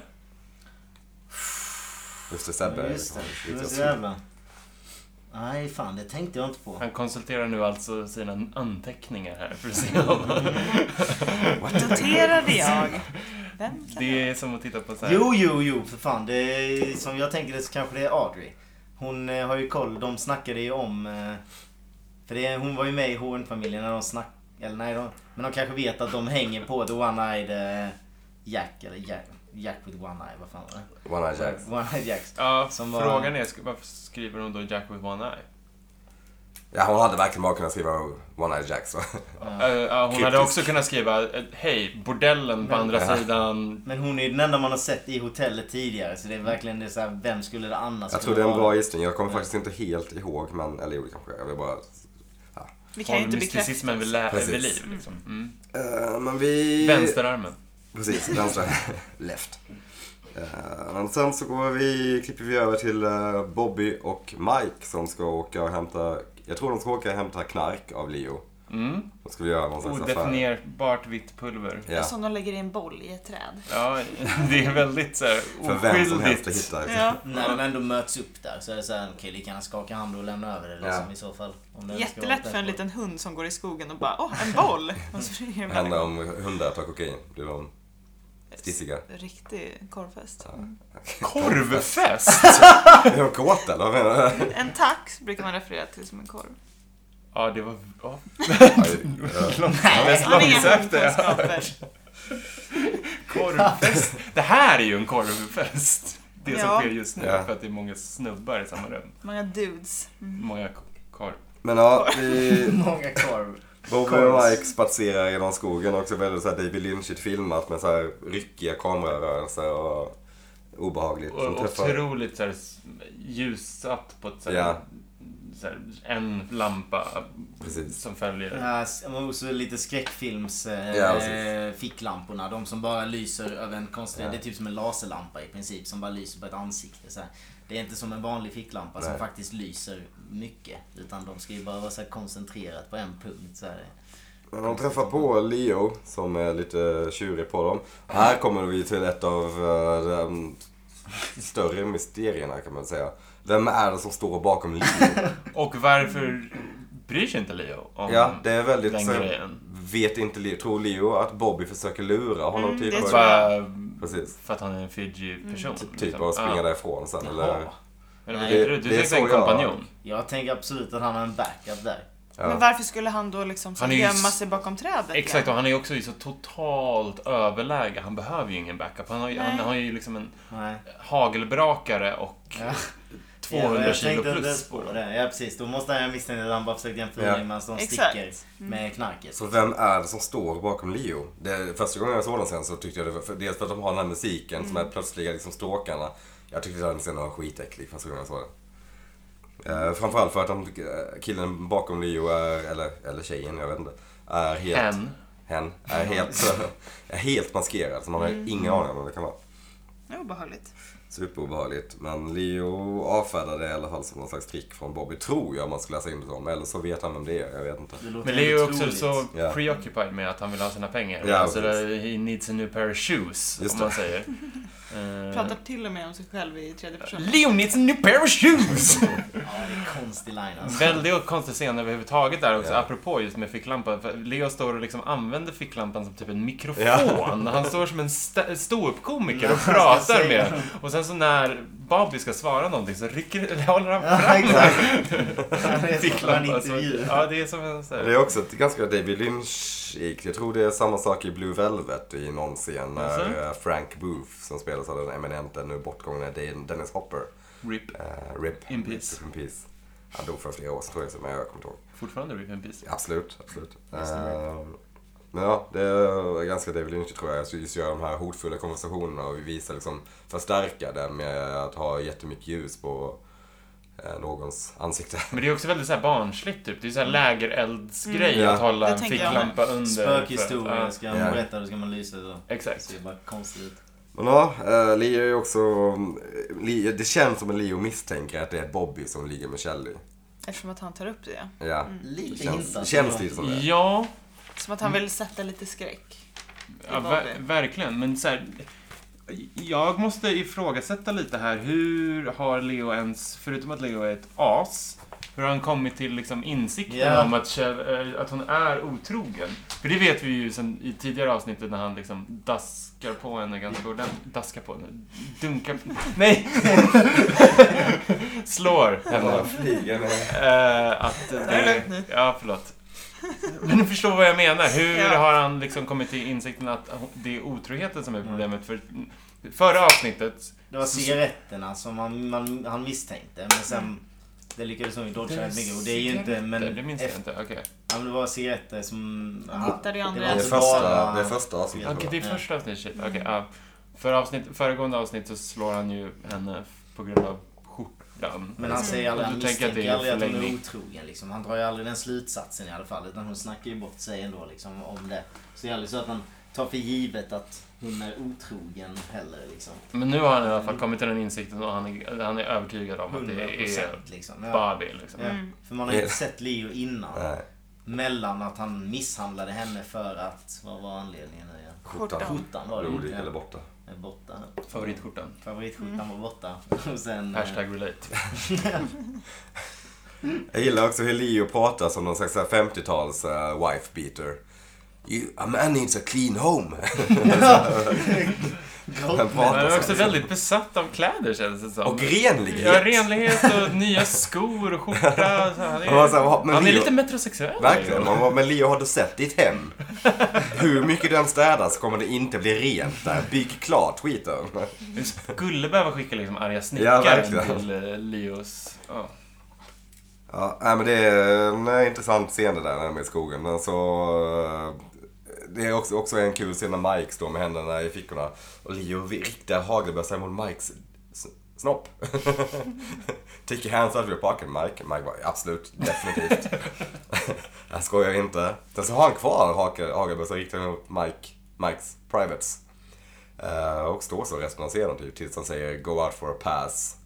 B: Just det, Sebbe.
A: Just det, det var så jävla... Nej fan, det tänkte jag inte på.
C: Han konsulterar nu alltså sina anteckningar här för att se om...
D: Noterade jag. Vem kan
C: Det är som att titta på så här...
B: eh,
A: Jo, jo, jo för fan. Det är, som jag tänker det så kanske det är Audrey. Hon eh, har ju koll. De snackade ju om... eh, För det, hon var ju med i Horn-familjen när de snackade... Eller nej, de, men de kanske vet att de hänger på The One-Eyed eh, Jack. Eller Jack, Jack with One Eye, vad fan var det?
B: One Eye Jack.
A: One-Eyed Jack.
C: Ja,
A: Som var-
C: frågan är sk- varför skriver hon då Jack with one eye?
B: Ja, hon hade verkligen bara kunnat skriva One Eye Jack så.
C: Eh, ja, hon hade
B: Kryptisk.
C: också kunnat skriva eh, Hej, bordellen på andra sidan...
A: Men hon är ju den enda man har sett i hotellet tidigare. Så det är verkligen det är så här, vem skulle det annars
B: Mm. Jag tror
A: kunna
B: det är en
A: vara?
B: bra gissning. Jag kommer faktiskt inte helt ihåg, men, eller jo, det kanske jag. Jag vill bara...
D: Vi kan ju
C: Håll
D: inte bekräfta.
C: mysticismen vid, lä-
B: Precis.
C: vid liv. Liksom. Mm.
B: Eh, men vi...
C: Vänsterarmen.
B: Precis, vänstra. Left. Eh, men sen så går vi, klipper vi över till eh, Bobby och Mike som ska åka och hämta... Jag tror de ska åka och hämta knark av Leo.
C: Mm.
B: De ska väl göra någon slags affär.
C: Odefinierbart vitt pulver.
B: Ja.
D: Som de lägger i en boll i ett träd.
C: Ja, det är väldigt så här
B: För vem som helst att
C: oskyldigt.
B: hitta.
D: Ja.
A: När de ändå möts upp där så är det så här, okej lika gärna skaka hand och lämna över det liksom,
B: Ja.
A: i så fall. Om det ska vara
D: Jättelätt för en
A: därför.
D: liten hund som går i skogen och bara åh, en boll! Och så ringer det
B: Det handlar
D: bara-
B: om hundar tar kokain. Blir de stissiga?
D: Riktig korvfest. Mm.
C: Korvfest!
B: Är de kåta eller vad menar du?
D: En tax brukar man referera till som en korv.
C: Ja, det var... ja.
B: Ja,
C: Mest
D: Han har inga
C: långsökta jag har hört.
D: hundkunskaper.
C: Korvfest. Det här är ju en korvfest. Det
D: Ja.
C: som sker just nu.
B: Ja.
C: För att det är många snubbar i samma rum.
D: Många dudes. Mm.
C: Många k- korv.
B: Men ja, vi...
A: Många korv.
B: Bobby och
A: Korvs.
B: Mike spatserar genom skogen också väldigt så här David Lynchigt filmat med så här ryckiga kamerarörelser och obehagligt.
C: Och
B: De träffar,
C: otroligt så här, s- ljussatt på ett så här,
B: Ja.
C: så här, en lampa
B: precis.
C: som följer.
A: Ja, s- men också Eh, lite skräckfilms eh,
B: Ja, precis.
A: eh, ficklamporna. De som bara lyser över en konstig...
B: Ja.
A: Det är typ som en laserlampa i princip som bara lyser på ett ansikte. Så här. Det är inte som en vanlig ficklampa som
B: Nej.
A: faktiskt lyser mycket. Utan de ska ju bara vara så här koncentrerat på en punkt. Så här.
B: Men de träffar på Leo som är lite tjurig på dem. Här kommer vi till ett av eh, de större mysterierna kan man säga. Vem är det som står bakom Leo?
C: Och varför bryr sig inte Leo om
B: Ja, det är väldigt
C: den
B: så
C: grejen?
B: Vet inte Leo, tror Leo att Bobby försöker lura honom
D: Mm,
B: typ?
D: det
B: och-
D: tror Mm. jag.
C: Bara
B: Precis.
C: för att han är en Fiji-person.
B: Typ
C: liksom.
B: bara springa
C: Ja.
B: därifrån sen eller...
C: Jaha. Eller vad
A: Nej,
C: tänkte du?
B: det
C: Du
B: är
C: tänkte en
B: så jag-
C: kompanjon.
A: Jag tänker absolut att han har en backup där.
D: Men varför skulle han då liksom så
C: Han är ju
D: gömma
C: s-
D: sig bakom trädet?
C: Exakt,
D: igen?
C: och han är ju också i så totalt överläge. Han behöver ju ingen backup. Han har ju, han
D: Nej.
C: har ju liksom en
A: Nej.
C: hagelbrakare och
A: Ja.
C: 200
A: jag
C: kilo
A: tänkte inte ens
C: plus på
A: på
C: den.
A: det. Ja precis, då måste han jag misstänka att han bara försökte jämföra
B: Ja.
A: ja. medan de
D: Exakt.
A: sticker med knarket.
B: Så vem är det som står bakom Leo? Det, första gången jag såg den sen så tyckte jag det var, för, dels för att de har den här musiken som är plötsliga liksom stråkarna. Jag tyckte den scenen var skitäcklig första gången jag såg den. Eh, framförallt för att han, eh, killen bakom Leo är, eller, eller tjejen, jag vet inte. Är helt,
C: Hen.
B: hen är helt, är helt maskerad så man har ingen aning om vem det kan vara.
D: Det är obehagligt.
B: Superobehagligt. Men Leo avfärdar det i alla fall som någon slags trick från Bobby, tror jag om man skulle läsa in det som. Eller så vet han vem det är, jag vet inte.
A: Det låter
C: Men Leo
A: ändå
C: är också
A: troligt.
C: så
B: Ja.
C: preoccupied med att han vill ha sina pengar.
B: Ja,
C: alltså,
B: precis.
C: he needs a new pair of
B: Just
C: shoes, om
B: det.
C: man säger.
D: Pratar till och med om sig själv i tredje person.
C: Eh, Leo needs a new pair of shoes!
A: Ja, det är konstig line alltså.
C: Väldigt konstig scen överhuvudtaget där också,
B: Ja.
C: apropå just med ficklampan. För Leo står och liksom använder ficklampan som typ en mikrofon.
B: Ja.
C: Han står som en st- ståuppkomiker
A: Ja,
C: och
A: ska
C: pratar
A: säga.
C: med. Och sen så när Bobby ska svara någonting så rycker, eller håller han
A: Ja,
C: fram
A: exakt. Det är som en
C: ficklampan. som-
A: intervju.
C: alltså. Ja, det är som en sån
B: Det
C: här...
B: är också ett ganska David Lynch-ikt. Jag tror det är samma sak i Blue Velvet i någon scen när
C: Jaså?
B: eh, Frank Booth som spelas av den eminente, nu bortgångne Dan- Dennis Hopper.
C: RIP.
B: eh, RIP.
C: In peace.
B: In peace. Han dog för flera år sedan tror jag, så- men jag kommer inte ihåg.
C: Fortfarande RIP in peace.
B: Absolut, absolut.
A: Just det.
B: Eh, men ja, det är ganska David Lynch tror jag. Just- Just göra de här hotfulla konversationerna och vi visar liksom, förstärka det med att ha jättemycket ljus på eh, någons ansikte.
C: Men det är också väldigt så här barnsligt typ. Det är så här lägereldsgrej
B: Mm.
C: att
B: Ja.
C: hålla
D: Det
C: en
D: tänker jag
C: ficklampa under. för
A: Spökhistoria
C: att-
A: ska man
B: Ja.
A: berätta, då ska man lysa. Så.
C: ja, Exakt.
A: Det ser bara konstigt ut.
B: Men ja, eh, Leo är också... eh, Leo, det känns som att Leo misstänker att det är Bobby som ligger med Shelly.
D: Eftersom att han tar upp det.
B: Ja.
A: Lite
B: Känns,
A: hintat.
B: känns det som det?
C: Ja,
D: Som att han vill sätta lite skräck.
C: Ja,
D: Bobby.
C: ver verkligen. Men så här, jag måste ifrågasätta lite här. Hur har Leo ens, förutom att Leo är ett as, hur har han kommit till liksom insikten
A: Ja.
C: om att, Kjell- eh, att hon är otrogen? För det vet vi ju sen i tidigare avsnittet när han liksom daskar på henne ganska ordentligt. Daskar på henne? Dunkar? Nej! Slår henne.
B: flyger med.
C: Eh, att det, ja, förlåt. Men du förstår vad jag menar. Hur
D: Ja.
C: har han liksom kommit till insikten att det är otroheten
A: Mm.
C: som är problemet? För förra avsnittet...
A: Det var cigaretterna som man, man, han misstänkte. Men sen, det lyckades hon ju dodga väldigt mycket. Och Mm. det är ju inte... Men
C: Det minns jag
A: efter-
C: inte. Okej,
A: Ja, men det var cigaretter som...
D: hittade ju
A: det
D: andra.
B: Det
A: var
B: är
A: inte
B: första,
A: bara-
B: det är första avsnittet.
C: Okej, det
A: Ja.
C: är första avsnittet. Shit. Okej, ja. För avsnitt, föregående avsnitt så slår han ju henne på grund av skjortan.
A: Men han säger aldrig, han
C: Du tänker att det
A: misstänker
C: är
A: aldrig att hon är
C: förlängning.
A: otrogen. Liksom. Han drar ju aldrig den slutsatsen i alla fall. Utan hon snackar ju bort sig ändå liksom, om det. Så det är aldrig så att han tar för givet att hon är otrogen heller. Liksom.
C: Men nu har han i alla fall kommit till den insikten och han är, han är övertygad om att det
A: 100
C: är
A: procent liksom. Ja.
C: Bobby. Liksom.
A: Ja. För man har ju inte sett Leo innan.
B: Nej,
A: Mellan att han misshandlade henne för att... Vad var anledningen nu igen?
D: Skjortan.
B: skjortan.
A: Skjortan var det
B: Blodig
A: ju.
B: eller
A: Ja,
B: borta.
A: är borta.
C: Favoritskjortan.
A: Favoritskjortan var borta. Och sen... eh,
C: Hashtag relate.
B: Jag gillar också hur Leo pratar som någon slags så här 50-tals eh, wife beater. You, a man needs a clean home. Han
A: Grottmän.
C: Han är
B: pratar
C: också
B: så.
C: väldigt besatt av kläder känns det som.
B: Och renlighet.
C: Ja, renlighet och nya skor och skjorta. och Så han är,
B: Han var så här, "Vad- men
C: han är
B: Leo-
C: lite metrosexuell.
B: Verkligen. Man bara, men Leo, har du sett ditt hem? Hur mycket du än städar så kommer det inte bli rent där. Bygg klart skiten.
C: Vi skulle behöva skicka liksom arga
B: Ja,
C: snickaren
B: verkligen.
C: till eh, Leos... ja.
B: Ja, nej, men det är en eh, intressant scen det där när de är i skogen. Men så, eh, det är också, också en kul scen när Mike står med händerna i fickorna och Leo riktar hagelbössan mot Mikes s- snopp. Take your hands out of your pocket Mike. Mike bara, absolut, definitivt. jag skojar inte. Sen så har han kvar hake- hagelbössan riktad mot Mike, Mikes privates. Eh, och står så resten av scenen typ tills han säger go out for a pass.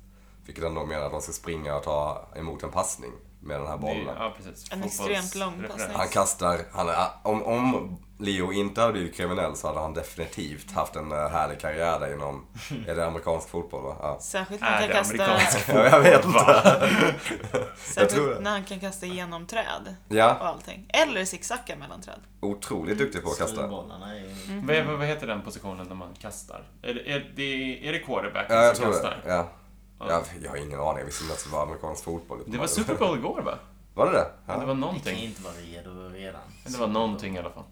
B: Vilket han då menar att de ska springa och ta emot en passning. med den här
C: Det är-
B: bollen.
C: Ja, precis.
D: En extremt lång
C: Fotbollsreferens.
D: passning.
B: Han kastar, han är, om, om Leo inte hade blivit kriminell så hade han definitivt haft en eh, härlig karriär där inom, är det amerikansk fotboll va? Ja.
D: Särskilt när
C: Är
D: han
C: Äh, det
D: kan kasta,
C: amerikansk
B: Ja, jag vet
C: fotboll?
B: inte. tror det.
D: särskilt när han kan kasta genom träd och
B: Ja,
D: allting. Eller zigzacka mellan träd.
B: otroligt duktig på att kasta.
A: Strulbollarna är ju...
D: Mm.
C: Vad, vad vad heter den positionen när man kastar? Är det, är det, är det quarterbacken
B: Ja, jag
C: som
B: tror
C: kastar?
B: det. Ja. Jag, jag har ingen aning, jag visste inte att det var amerikansk fotboll.
C: Det var Super Bowl igår va?
B: Var det det?
C: Ja. Det
B: Ja.
C: var
A: Ni kan ju
C: någonting.
A: inte vara redo redan.
C: Det var någonting i alla fall.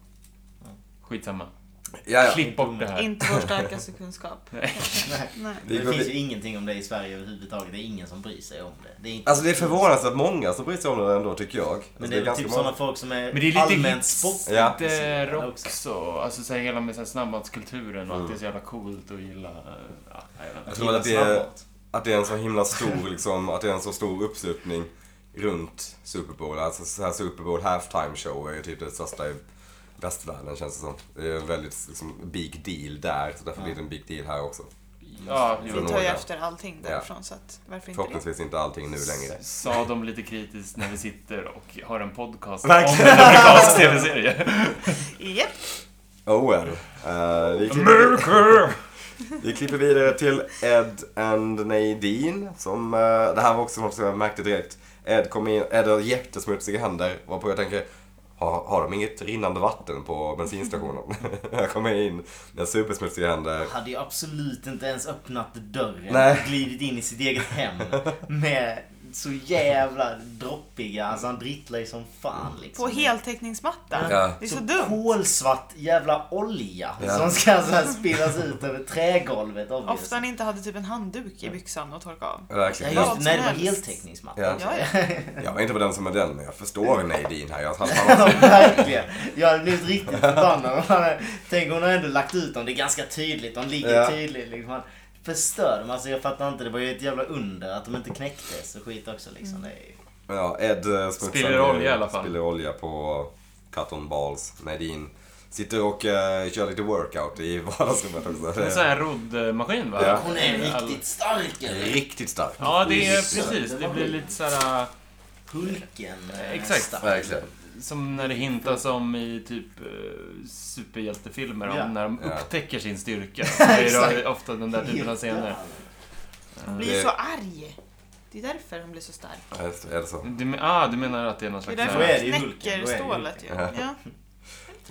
C: Skitsamma.
B: Ja, ja.
C: Klipp bort det här.
D: Inte vår starkaste kunskap.
C: Nej.
A: Nej.
D: Nej.
B: Vi
A: Det
B: går
A: finns
B: vid-
A: ju ingenting om det i Sverige överhuvudtaget. Det är ingen som bryr sig om det. det är inte...
B: Alltså det är förvånansvärt många som bryr sig om det ändå tycker jag. Alltså,
A: men det är, väl typ sådana folk som är,
C: Men det är lite
A: allmänt
C: hits.
A: sport.
B: Ja.
C: Lite rock
A: också.
C: också. Alltså så här, hela med så här, snabbmatskulturen och att det är så jävla coolt att gilla... Ja, jag vet inte.
B: Jag tror att det, är, att det är en så himla stor, liksom, att det är en så stor uppslutning runt Super Bowl. Alltså så här Super Bowl halftime show är ju typ det största i västvärlden känns det som. Det är en väldigt liksom, big deal där, så därför blir det en big deal här också.
C: Ja, jo.
D: Vi tar ju efter allting
B: Ja.
D: därifrån så att varför inte det?
B: Förhoppningsvis inte allting nu längre.
C: Sa de lite kritiskt när vi sitter och har en podcast om en
B: Verkligen.
C: amerikansk tv-serie.
D: Japp!
B: Oh well. Eh, vi, klipper,
C: America!
B: vi klipper vidare till Ed and Nadine. Som, eh, det här var också något som jag märkte direkt. Ed kom in, Ed har jättesmutsiga händer. Varpå jag tänker, har, har de inget rinnande vatten på bensinstationen? jag kommer in med supersmutsiga händer.
A: Hade ju absolut inte ens öppnat dörren.
B: Nej.
A: Glidit in i sitt eget hem. Med så jävla droppiga. Alltså han drittlar ju som fan liksom.
D: På heltäckningsmatta.
B: Ja.
D: Det är så dumt.
A: kolsvart jävla olja
B: Ja.
A: som ska så här spillas ut över trägolvet obviously.
D: Ofta ni inte hade typ en handduk i byxan att torka av.
A: Ja,
B: Verkligen.
A: just,
D: Vad
A: det.
D: som
A: nej, det var
D: helst.
A: heltäckningsmatta.
B: Ja.
D: Ja, ja.
B: Jag var inte på den som är den, men jag förstår
A: Mm.
B: Nadine här. Jag, han, han,
A: Alltså, Verkligen. Jag hade blivit riktigt förbannad. om han- Tänk hon har ändå lagt ut dem. Det är ganska tydligt. De ligger
B: Ja.
A: tydligt. Liksom. Han förstör dem. Alltså, jag fattar inte. Det var ju ett jävla under att de inte knäcktes och skit också. Liksom. Det är ju...
B: ja, Ed eh, smutsar
C: Spiller
B: ner-
C: olja i alla fall.
B: Spiller olja på Cotton Balls. Nadine sitter och eh, kör lite workout i vardagsrummet också.
C: Det är en
B: Det-
C: sån här roddmaskin va?
B: Ja.
A: Hon är
C: Mm. All-
A: riktigt stark. eller?
B: Riktigt stark.
C: Ja, det är
B: Riktigt stark.
C: precis. Det blir lite såhär...
A: Hulken. eh,
C: Exakt.
A: stark.
B: Verkligen.
C: Som när det hintas om i typ eh, superhjältefilmer,
A: Ja.
C: om när de
B: Ja.
C: upptäcker sin styrka. Det är
A: Exakt.
C: då ofta den där typen av scener.
D: Han blir
B: Det-
D: ju så arg. Det är därför han blir så stark.
B: Ja, just det. Är det så?
C: Du, men- ah, du menar att det är någon
D: Det är
C: slags...
D: därför
A: Så är
D: han
A: det ju Hulken,
D: knäcker
A: då är det
D: stålet ju.
B: Hulken.
D: Ja.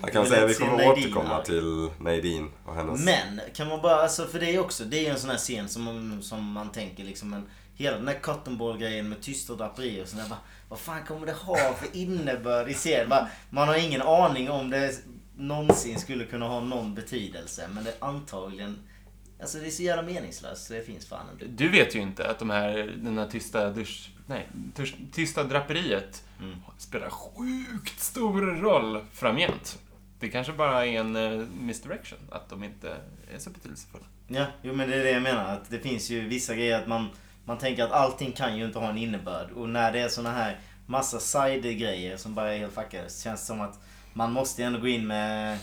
B: Jag kan
A: Vi
B: säga att vi
A: lät se
B: kommer
A: Nadine
B: återkomma
A: arg.
B: till Nadine och hennes...
A: Men kan man bara, alltså för det är också, det är ju en sån här scen som, som man tänker liksom en Hela den där cotton ball grejen med tyst och draperi och sådär. Bara, vad fan kommer det ha för innebörd i serien? Bara, man har ingen aning om det någonsin skulle kunna ha någon betydelse. Men det är antagligen... Alltså det är så jävla meningslöst så det finns fan inte.
C: Du vet ju inte att de här, den här tysta dusch... Nej, tyst, tysta draperiet spelar sjukt stor roll framgent. Det kanske bara är en eh, misdirection, att de inte är så betydelsefulla.
A: Ja, jo men det är det jag menar. Att det finns ju vissa grejer att man, man tänker att allting kan ju inte ha en innebörd. Och när det är såna här massa side-grejer som bara är helt fuckade så känns det som att man måste ju ändå gå in med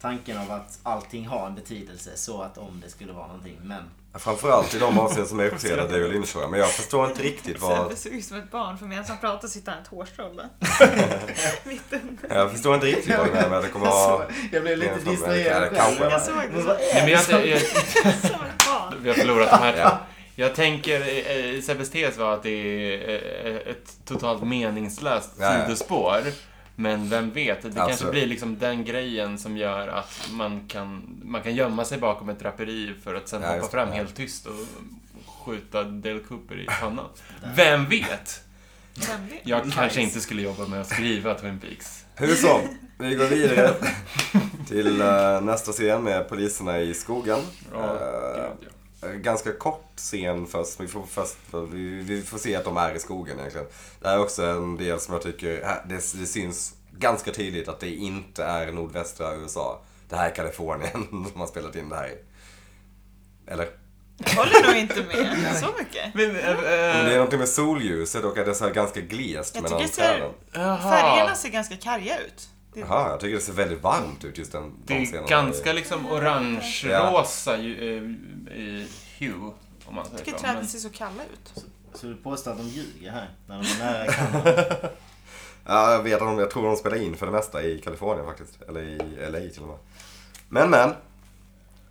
A: tanken av att allting har en betydelse. Så att om det skulle vara någonting. Men
B: Framförallt i de avsnitt som är uppdelade är väl införda, men jag förstår inte riktigt vad...
D: Sebbe såg ut som ett barn för medan han pratar sitter han i ett hårstrå där. Mitt under.
B: Jag förstår inte riktigt vad det är med att det kommer vara...
A: Så, Alltså, jag blev lite
B: det är som- ja,
A: distraherad
B: det
A: själv.
B: kanske
A: Jag
B: är.
A: såg
D: Jag såg det.
A: men vad
C: Nej,
A: är
C: men
A: det
C: jag,
A: som...
C: jag, jag,
D: Som ett barn.
C: vi har förlorat de här.
B: Ja.
C: Jag tänker, eh, Sebbes tes var att det är eh, ett totalt meningslöst
B: Ja, ja.
C: sidospår. Men vem vet, det kanske
B: Absolut.
C: blir liksom den grejen som gör att man kan, man kan gömma sig bakom ett draperi för att sen
B: Ja,
C: hoppa
B: just det.
C: fram helt tyst och skjuta Dale Cooper i pannan. Vem vet?
D: Vem vet?
C: Jag
A: Nice.
C: kanske inte skulle jobba med att skriva Twin Peaks.
B: Hur som, vi går vidare till eh, nästa scen med poliserna i skogen.
C: Ja,
B: Eh,
C: gud, ja.
B: ganska kort scen först. Vi får, först vi, vi får se att de är i skogen egentligen. Det här är också en del som jag tycker, här- det, det syns ganska tydligt att det inte är nordvästra USA. Det här är Kalifornien som har spelat in det här i. Eller?
D: Jag håller nog inte med så mycket.
C: Men,
B: Men det är
C: äh,
B: någonting med solljuset och att det är så här ganska glest
D: Eh. Jag
B: mellan
D: tycker det ser-
B: träden.
C: eh,
D: Färgerna ser ganska karga ut. Det är
B: Jaha, jag tycker det ser väldigt varmt ut just den
C: Det
B: de
C: är
B: scenerna.
C: ganska liksom orange-rosa ju- eh, i hue. Om man
D: Jag tycker
C: säger så.
D: träden
C: Men
D: ser så kalla ut.
A: Så du påstår att de ljuger här? När de är nära kameran?
B: Ja, jag vet att de, jag tror de spelar in för det mesta i Kalifornien faktiskt. Eller i LA till och med. Men men.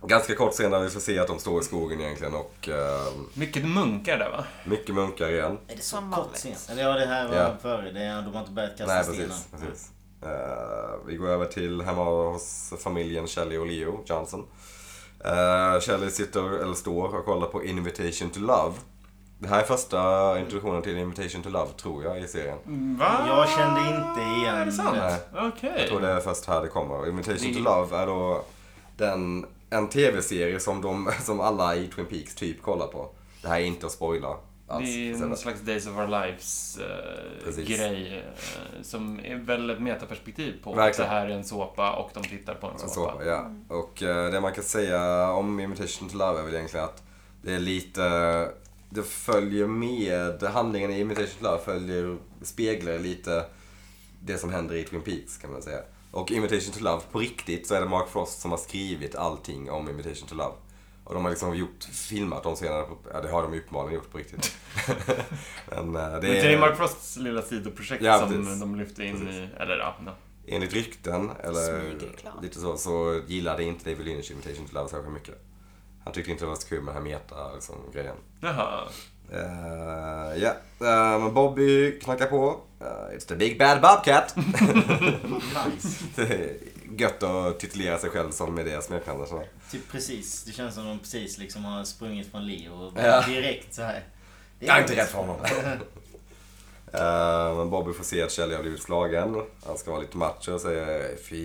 B: Ganska kort senare vi får se att de står i skogen egentligen och eh,
C: Mycket munkar där va?
B: mycket munkar igen.
A: Är det så
D: Som
A: kort
D: vanligt.
A: scen? Eller ja, det här var
B: Ja.
A: före. Det är, de har inte börjat kasta
B: Nej,
A: stenar.
B: precis. precis. Eh, vi går över till hemma hos familjen Shelley och Leo Johnson. Uh, Shelley sitter, eller står, och kollar på Invitation to Love. Det här är första introduktionen till Invitation to Love, tror jag, i serien.
C: Va?
A: Jag kände inte igen
C: Är det sant?
A: det.
C: Okej.
B: Jag tror det är först här det kommer. Invitation
C: Det-
B: to Love är då den, en tv-serie som, de, som alla i Twin Peaks typ kollar på. Det här är inte att spoila alls.
C: Det är
B: Så-
C: någon slags Days of Our Lives-grej
B: Alltså, Precis.
C: grej eh, som är väldigt metaperspektiv på att det
B: Verkligen.
C: här är en såpa och de tittar på en,
B: En
C: såpa.
B: såpa, ja. Och eh, det man kan säga om Imitation to Love är väl egentligen att det är lite... Det följer med... Handlingen i Imitation to Love följer, speglar lite det som händer i Twin Peaks kan man säga. Och Imitation to Love, på riktigt så är det Mark Frost som har skrivit allting om Imitation to Love. Och de har liksom gjort, filmat de scenerna, på, ja det har de ju uppenbarligen gjort på riktigt. Men eh,
C: Men
B: det
C: det är Mark
B: är
C: Frosts lilla sidoprojekt
B: Ja,
C: som
B: precis.
C: de lyfte in
B: Precis.
C: i... Eller ja, no.
B: enligt rykten, eller
D: Smygreklam.
B: lite så, så gillade inte David Lynch Imitation to Love särskilt mycket. Han tyckte inte det var så kul med den här meta liksom, grejen.
C: Jaha.
B: Eh, Ja, Eh, men Bobby knackar på. Eh, it's the big bad bobcat.
A: Nice.
B: Det är Gött att titulera sig själv som med det smeknamnet. så.
A: Typ precis. Det känns som de precis liksom har sprungit från Leo och
B: Ja.
A: direkt så här. Det
B: Jag är inte rädd för honom. Eh, Men Bobby får se att Shelly har blivit slagen. Han ska vara lite macho och säger if he,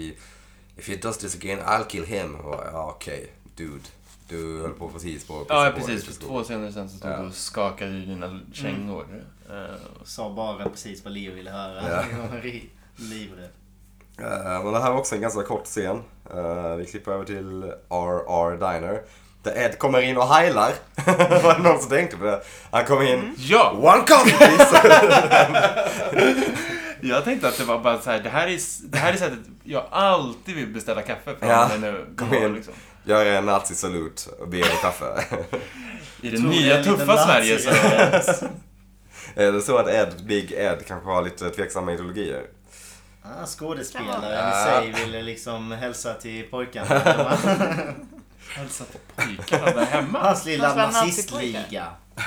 B: if he does this again I'll kill him. Och, bara, Ja, okej, dude. Du höll på precis på...
C: Ja,
B: på-
C: precis.
B: på-
C: För två scener sen så stod
B: Ja. Mm.
C: du och skakade i dina kängor. Eh,
A: Sa bara precis vad Leo ville höra.
B: Ja.
A: Jag var ri- Livrädd.
B: Eh, Men det här var också en ganska kort scen. Eh, Vi klipper över till RR Diner. Där Ed kommer in och heilar. Var det någon som tänkte på det? Han kommer in.
C: Mm. Ja!
B: One coffee please!
C: Jag tänkte att det var bara så här, det här är, s- det här är sättet jag alltid vill beställa kaffe från.
B: Ja.
C: Men nu,
B: Kom
C: går
B: igen.
C: Liksom.
B: Gör en nazisalut och ber om kaffe.
C: I det
A: Tror ni
C: nya
A: en liten
C: tuffa Sverige så...
A: nazireferens?
B: Är det så att Ed, Big Ed, kanske har lite tveksamma ideologier?
A: Ah,
D: Kan
A: skådespelaren i
B: vara.
A: sig ville liksom hälsa till pojkarna.
C: Hälsa på pojkarna där hemma.
A: Hans lilla
D: Fast vad
A: nazistliga.
B: Ah,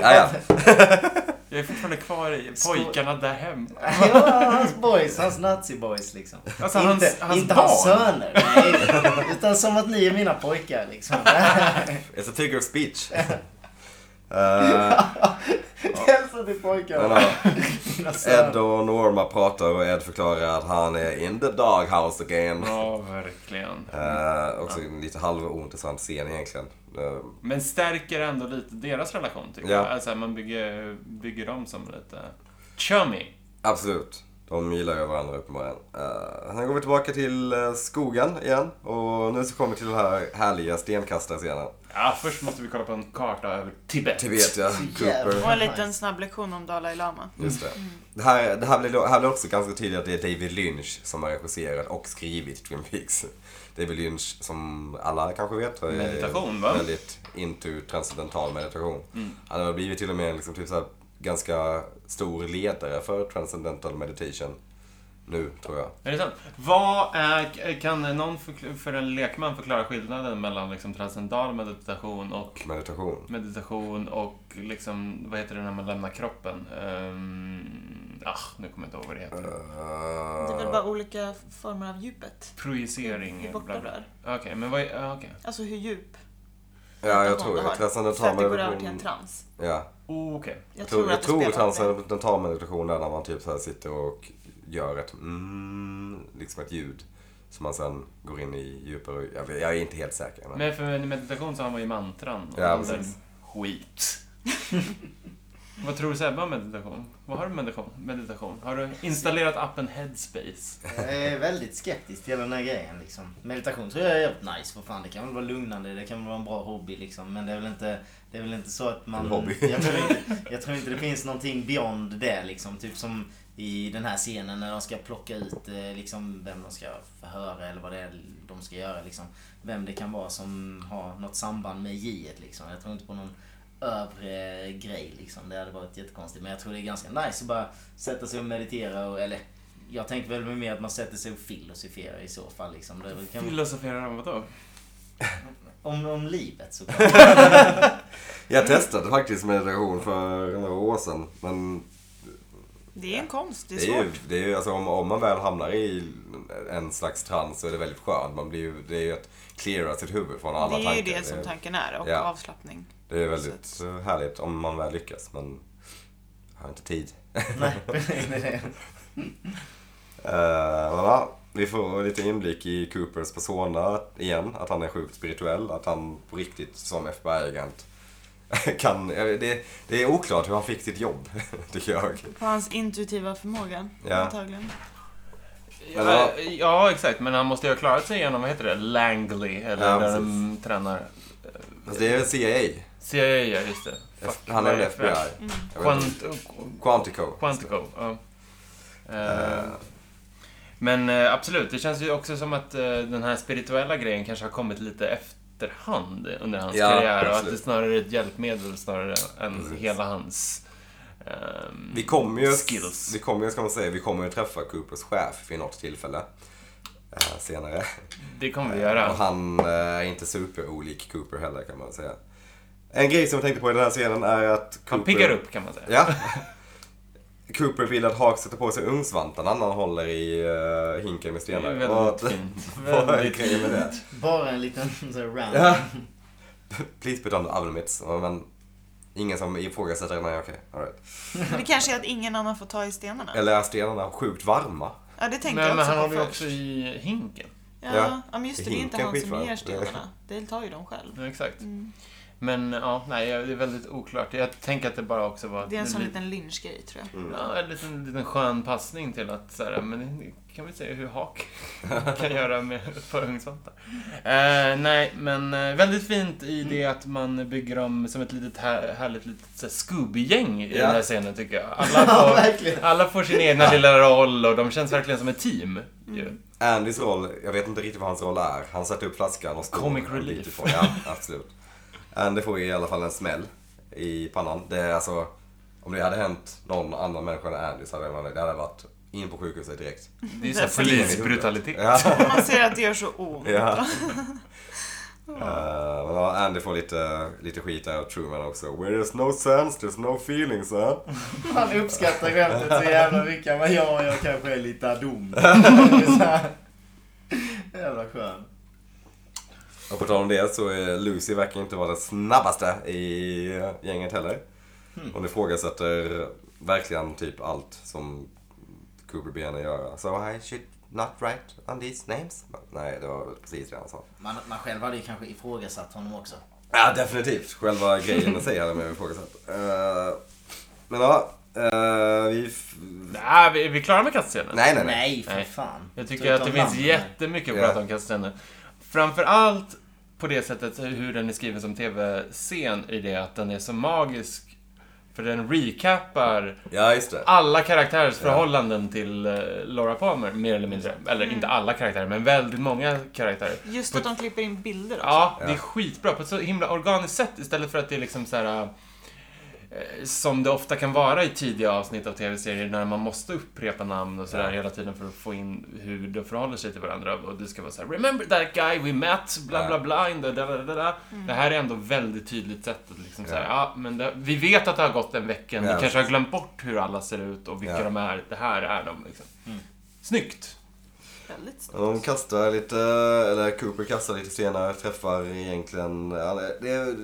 B: ja.
C: Jag är fortfarande kvar i pojkarna där hemma.
A: Ja, alltså- hans boys, hans nazi-boys liksom.
C: Alltså,
A: inte
C: hans- hans
A: inte
C: barn.
A: hans söner. Nej, utan som att ni är mina pojkar liksom.
B: It's a figure of speech. Eh,
A: Hälsa till
B: men,
A: pojkarna.
B: ja,
A: Mina
B: Ed
A: söner.
B: och Norma pratar och Ed förklarar att han är in the doghouse again.
C: Ja, verkligen.
B: Eh, också en lite halvointressant scen egentligen. Eh,
C: Men stärker ändå lite deras relation, tycker
B: Ja.
C: jag. Alltså, man bygger, bygger dem som lite... Chummy!
B: absolut. De gillar ju varandra uppenbarligen. Uh, sen går vi tillbaka till eh, skogen igen. Och nu så kommer vi till den här härliga stenkastarscenen.
C: Ja, först måste vi kolla på en karta över Tibet.
B: Tibet ja, Cooper.
D: Och en liten snabb lektion om Dalai Lama.
B: Just det.
D: Mm.
B: Det här, det här, blir, då- här blir också ganska tydligt att det är David Lynch som har regisserat och skrivit Twin Peaks. David Lynch, som alla kanske vet, är
C: Meditation, va? Mm.
B: väldigt into transcendental meditation. Han har blivit till och med liksom typ så här, ganska stor ledare för transcendental meditation nu, tror jag.
C: Är det sant? Vad är, kan någon förkl- för en lekman förklara skillnaden mellan liksom transcendental meditation och
B: Meditation.
C: meditation och liksom, vad heter det när man lämnar kroppen? Ehm, ah, nu kommer jag inte ihåg vad det heter.
D: Det är väl
B: Uh,
D: bara olika former av djupet.
C: Projicering.
B: Mm,
D: Hur borta
C: bla,
D: du
C: bla.
D: är.
C: Okej, men vad är, ja, okej.
D: Alltså hur djup
B: Eh, ja, jag
D: meditation
B: tror
D: du har.
B: det.
D: För
B: Transcendental
D: att det går över till en
B: meditation.
D: trans.
B: Ja,
C: Oh, okej.
D: Jag,
B: Jag tror, jag tror
D: det spelar med.
B: transcendental meditation är när man typ så här sitter och gör ett mm, liksom ett ljud. Som man sen går in i djupare, jag, vet, jag är inte helt säker. Men,
C: Men för meditation så har man ju mantran och
B: Ja,
C: sån där
B: precis.
C: skit. Vad tror du Sebbe om meditation? Vad har du med meditation? meditation? Har du installerat appen Headspace?
A: Jag är väldigt skeptisk till hela den här grejen. Liksom. Meditation tror jag är jävligt nice. För fan, det kan väl vara lugnande, det kan väl vara en bra hobby. Liksom. Men det är, väl inte, det är väl inte så att man...
B: En hobby.
A: Jag, tror inte, jag tror inte det finns någonting beyond det. Liksom. Typ som i den här scenen när de ska plocka ut eh, liksom, vem de ska förhöra eller vad det är de ska göra. Liksom. Vem det kan vara som har något samband med J. Liksom. Jag tror inte på någon övre grej. Liksom. Det hade varit jättekonstigt. Men jag tror det är ganska nice att bara sätta sig och meditera. Och, eller jag tänker väl mer att man sätter sig och filosoferar i så fall. Liksom. Det kan,
C: Filosoferar om vadå?
A: om, om livet såklart.
B: Jag testade faktiskt meditation för några år sedan. Men
D: Det är en konst, det är
B: det är ju,
D: svårt.
B: det är ju alltså om, om man väl hamnar i en slags trans så är det väldigt skönt. Man blir ju, det är ju att cleara sitt huvud från alla
D: Det är ju
B: tankar.
D: det som tanken är och
B: ja.
D: avslappning.
B: det är väldigt eh, härligt om man väl lyckas. Men jag har inte tid.
A: Nej, precis, det är det.
B: Eh, men ja, vi får lite inblick i Coopers persona igen. Att han är sjukt spirituell. Att han på riktigt som FBI-agent kan... jag vet, Det, det är oklart hur han fick sitt jobb, tycker jag.
D: På hans intuitiva förmåga,
B: Ja.
D: antagligen.
B: Eller
C: Ja,
B: vad?
C: ja, exakt. Men han måste ju ha klarat sig igenom, vad heter det, Langley? Eller
B: Ja,
C: där
B: precis.
C: de tränar.
B: Fast Alltså, det är väl CIA.
C: CIA, ja just det. Fuck,
B: Han är
C: vad
B: väl
C: det för-
B: FBI.
D: Mm.
B: Jag vet inte.
C: Quant- oh,
B: Quantico.
C: Quantico, ja. Eh,
B: Eh.
C: Men eh, absolut, det känns ju också som att eh, den här spirituella grejen kanske har kommit lite efterhand under hans
B: Ja,
C: karriär och att
B: absolut.
C: det snarare är ett hjälpmedel snarare än
B: Precis.
C: hela hans... ehm,
B: Vi kommer ju,
C: Skills.
B: vi kommer ju, ska man säga, vi kommer ju träffa Coopers chef vid något tillfälle. eh, senare.
C: Det kommer vi
B: Och
C: göra.
B: han eh, är inte superolik Cooper heller kan man säga. En grej som jag tänkte på i den här scenen är att Cooper...
C: Han piggar upp kan man säga.
B: Ja. Cooper vill att Hawk sätter på sig ugnsvantarna när han håller i eh, hinken med
C: Det är
B: stenar.
C: väldigt
B: Vad-
C: fint.
B: Vad är
C: Väldigt
B: grejen med det?
A: Bara en liten så här rant.
B: Ja. Please put on the oven mitts. Men ingen som ifrågasätter det. Nej, okej. all right.
D: Men det kanske är att ingen annan får ta i stenarna.
B: Eller är stenarna sjukt varma?
D: Ja, det tänkte
C: Men,
D: jag
C: men han
D: också på
C: håller ju
D: först.
C: också i hinken.
D: Ja,
B: Ja.
D: ja. men just det, det är inte
B: Hinken
D: han som
B: skitvar.
D: ger stenarna. Det tar ju de själv.
C: Ja, exakt.
D: Mm.
C: Men ja, nej, det är väldigt oklart. Jag tänker att det bara också var...
D: Det är en sån
C: li-
D: liten lynchgrej tror jag.
C: Ja, en liten, liten skön passning till att så här, men det kan vi se hur hak kan göra med ett par ugnsvantar. Eh, nej, men eh, väldigt fint i det att man bygger dem som ett litet här, härligt litet så här, Scooby-gäng i
B: Ja.
C: den här scenen tycker jag. Alla
A: Ja,
C: får,
A: verkligen.
C: alla får sin egna lilla roll och de känns verkligen som ett team. ju.
D: Mm.
B: Andys roll, jag vet inte riktigt vad hans roll är. Han sätter upp flaskan och står
C: Comic
B: en bit
C: relief.
B: ifrån. Ja, absolut. Andy får i alla fall en smäll i pannan. Det är alltså, om det hade hänt någon annan människa än Andy så hade man- det hade varit in på sjukhuset direkt.
C: Det är ju så här polisbrutalitet.
B: Ja.
D: Man ser att det gör så ont.
B: Ja. Eh, men ja, Andy får lite, lite skit där och Truman också. Where there's no sense, there's no feeling, sir.
A: Han uppskattar skämtet så jävla mycket. Men jag, jag kanske är lite dum. Det är så här. Jävla skön.
B: Och på tal om det så är Lucy verkar inte vara den snabbaste i gänget heller. Hon ifrågasätter verkligen typ allt som Cooper ber henne göra. So I should not write on these names? Nej, det var väl precis det han sa.
A: Man, man själv hade ju kanske ifrågasatt honom också.
B: Ja, definitivt. Själva grejen i sig hade man ju ifrågasatt. Eh, men ja, eh, vi... F-
C: Nej, vi, vi klarar med kastscenen.
B: nej, nej, nej.
A: Nej, för
C: Nej.
A: fan.
C: Jag
A: Ta
C: tycker
A: ut
C: att det
A: de
C: finns
A: namnen.
C: jättemycket att
B: Ja.
C: prata om Castellano. Framförallt på det sättet hur den är skriven som tv-scen i det att den är så magisk. För den recapar
B: Ja, just det.
C: alla karaktärers förhållanden till eh, Laura Palmer, mer eller mindre. Eller inte alla karaktärer, men väldigt många karaktärer.
D: Just att de klipper in bilder också.
C: Ja, det är
B: Alltså, Ja.
C: skitbra på ett så himla organiskt sätt istället för att det är liksom så här eh, som det ofta kan vara i tidiga avsnitt av tv-serier när man måste upprepa namn och sådär
B: Ja.
C: hela tiden för att få in hur de förhåller sig till varandra och det ska vara så här: Remember that guy we met, bla bla bla, in the, da, da, da, da. Det här är ändå väldigt tydligt sätt att liksom så här,
B: Ja.
C: ja men det, vi vet att det har gått en vecka,
B: Ja.
C: vi kanske har glömt bort hur alla ser ut och vilka
B: Ja. Mm.
C: de är, det här är de liksom. Snyggt!
D: Väldigt snyggt.
B: De kastar lite, eller Cooper kastar lite stenar, träffar egentligen... Det är,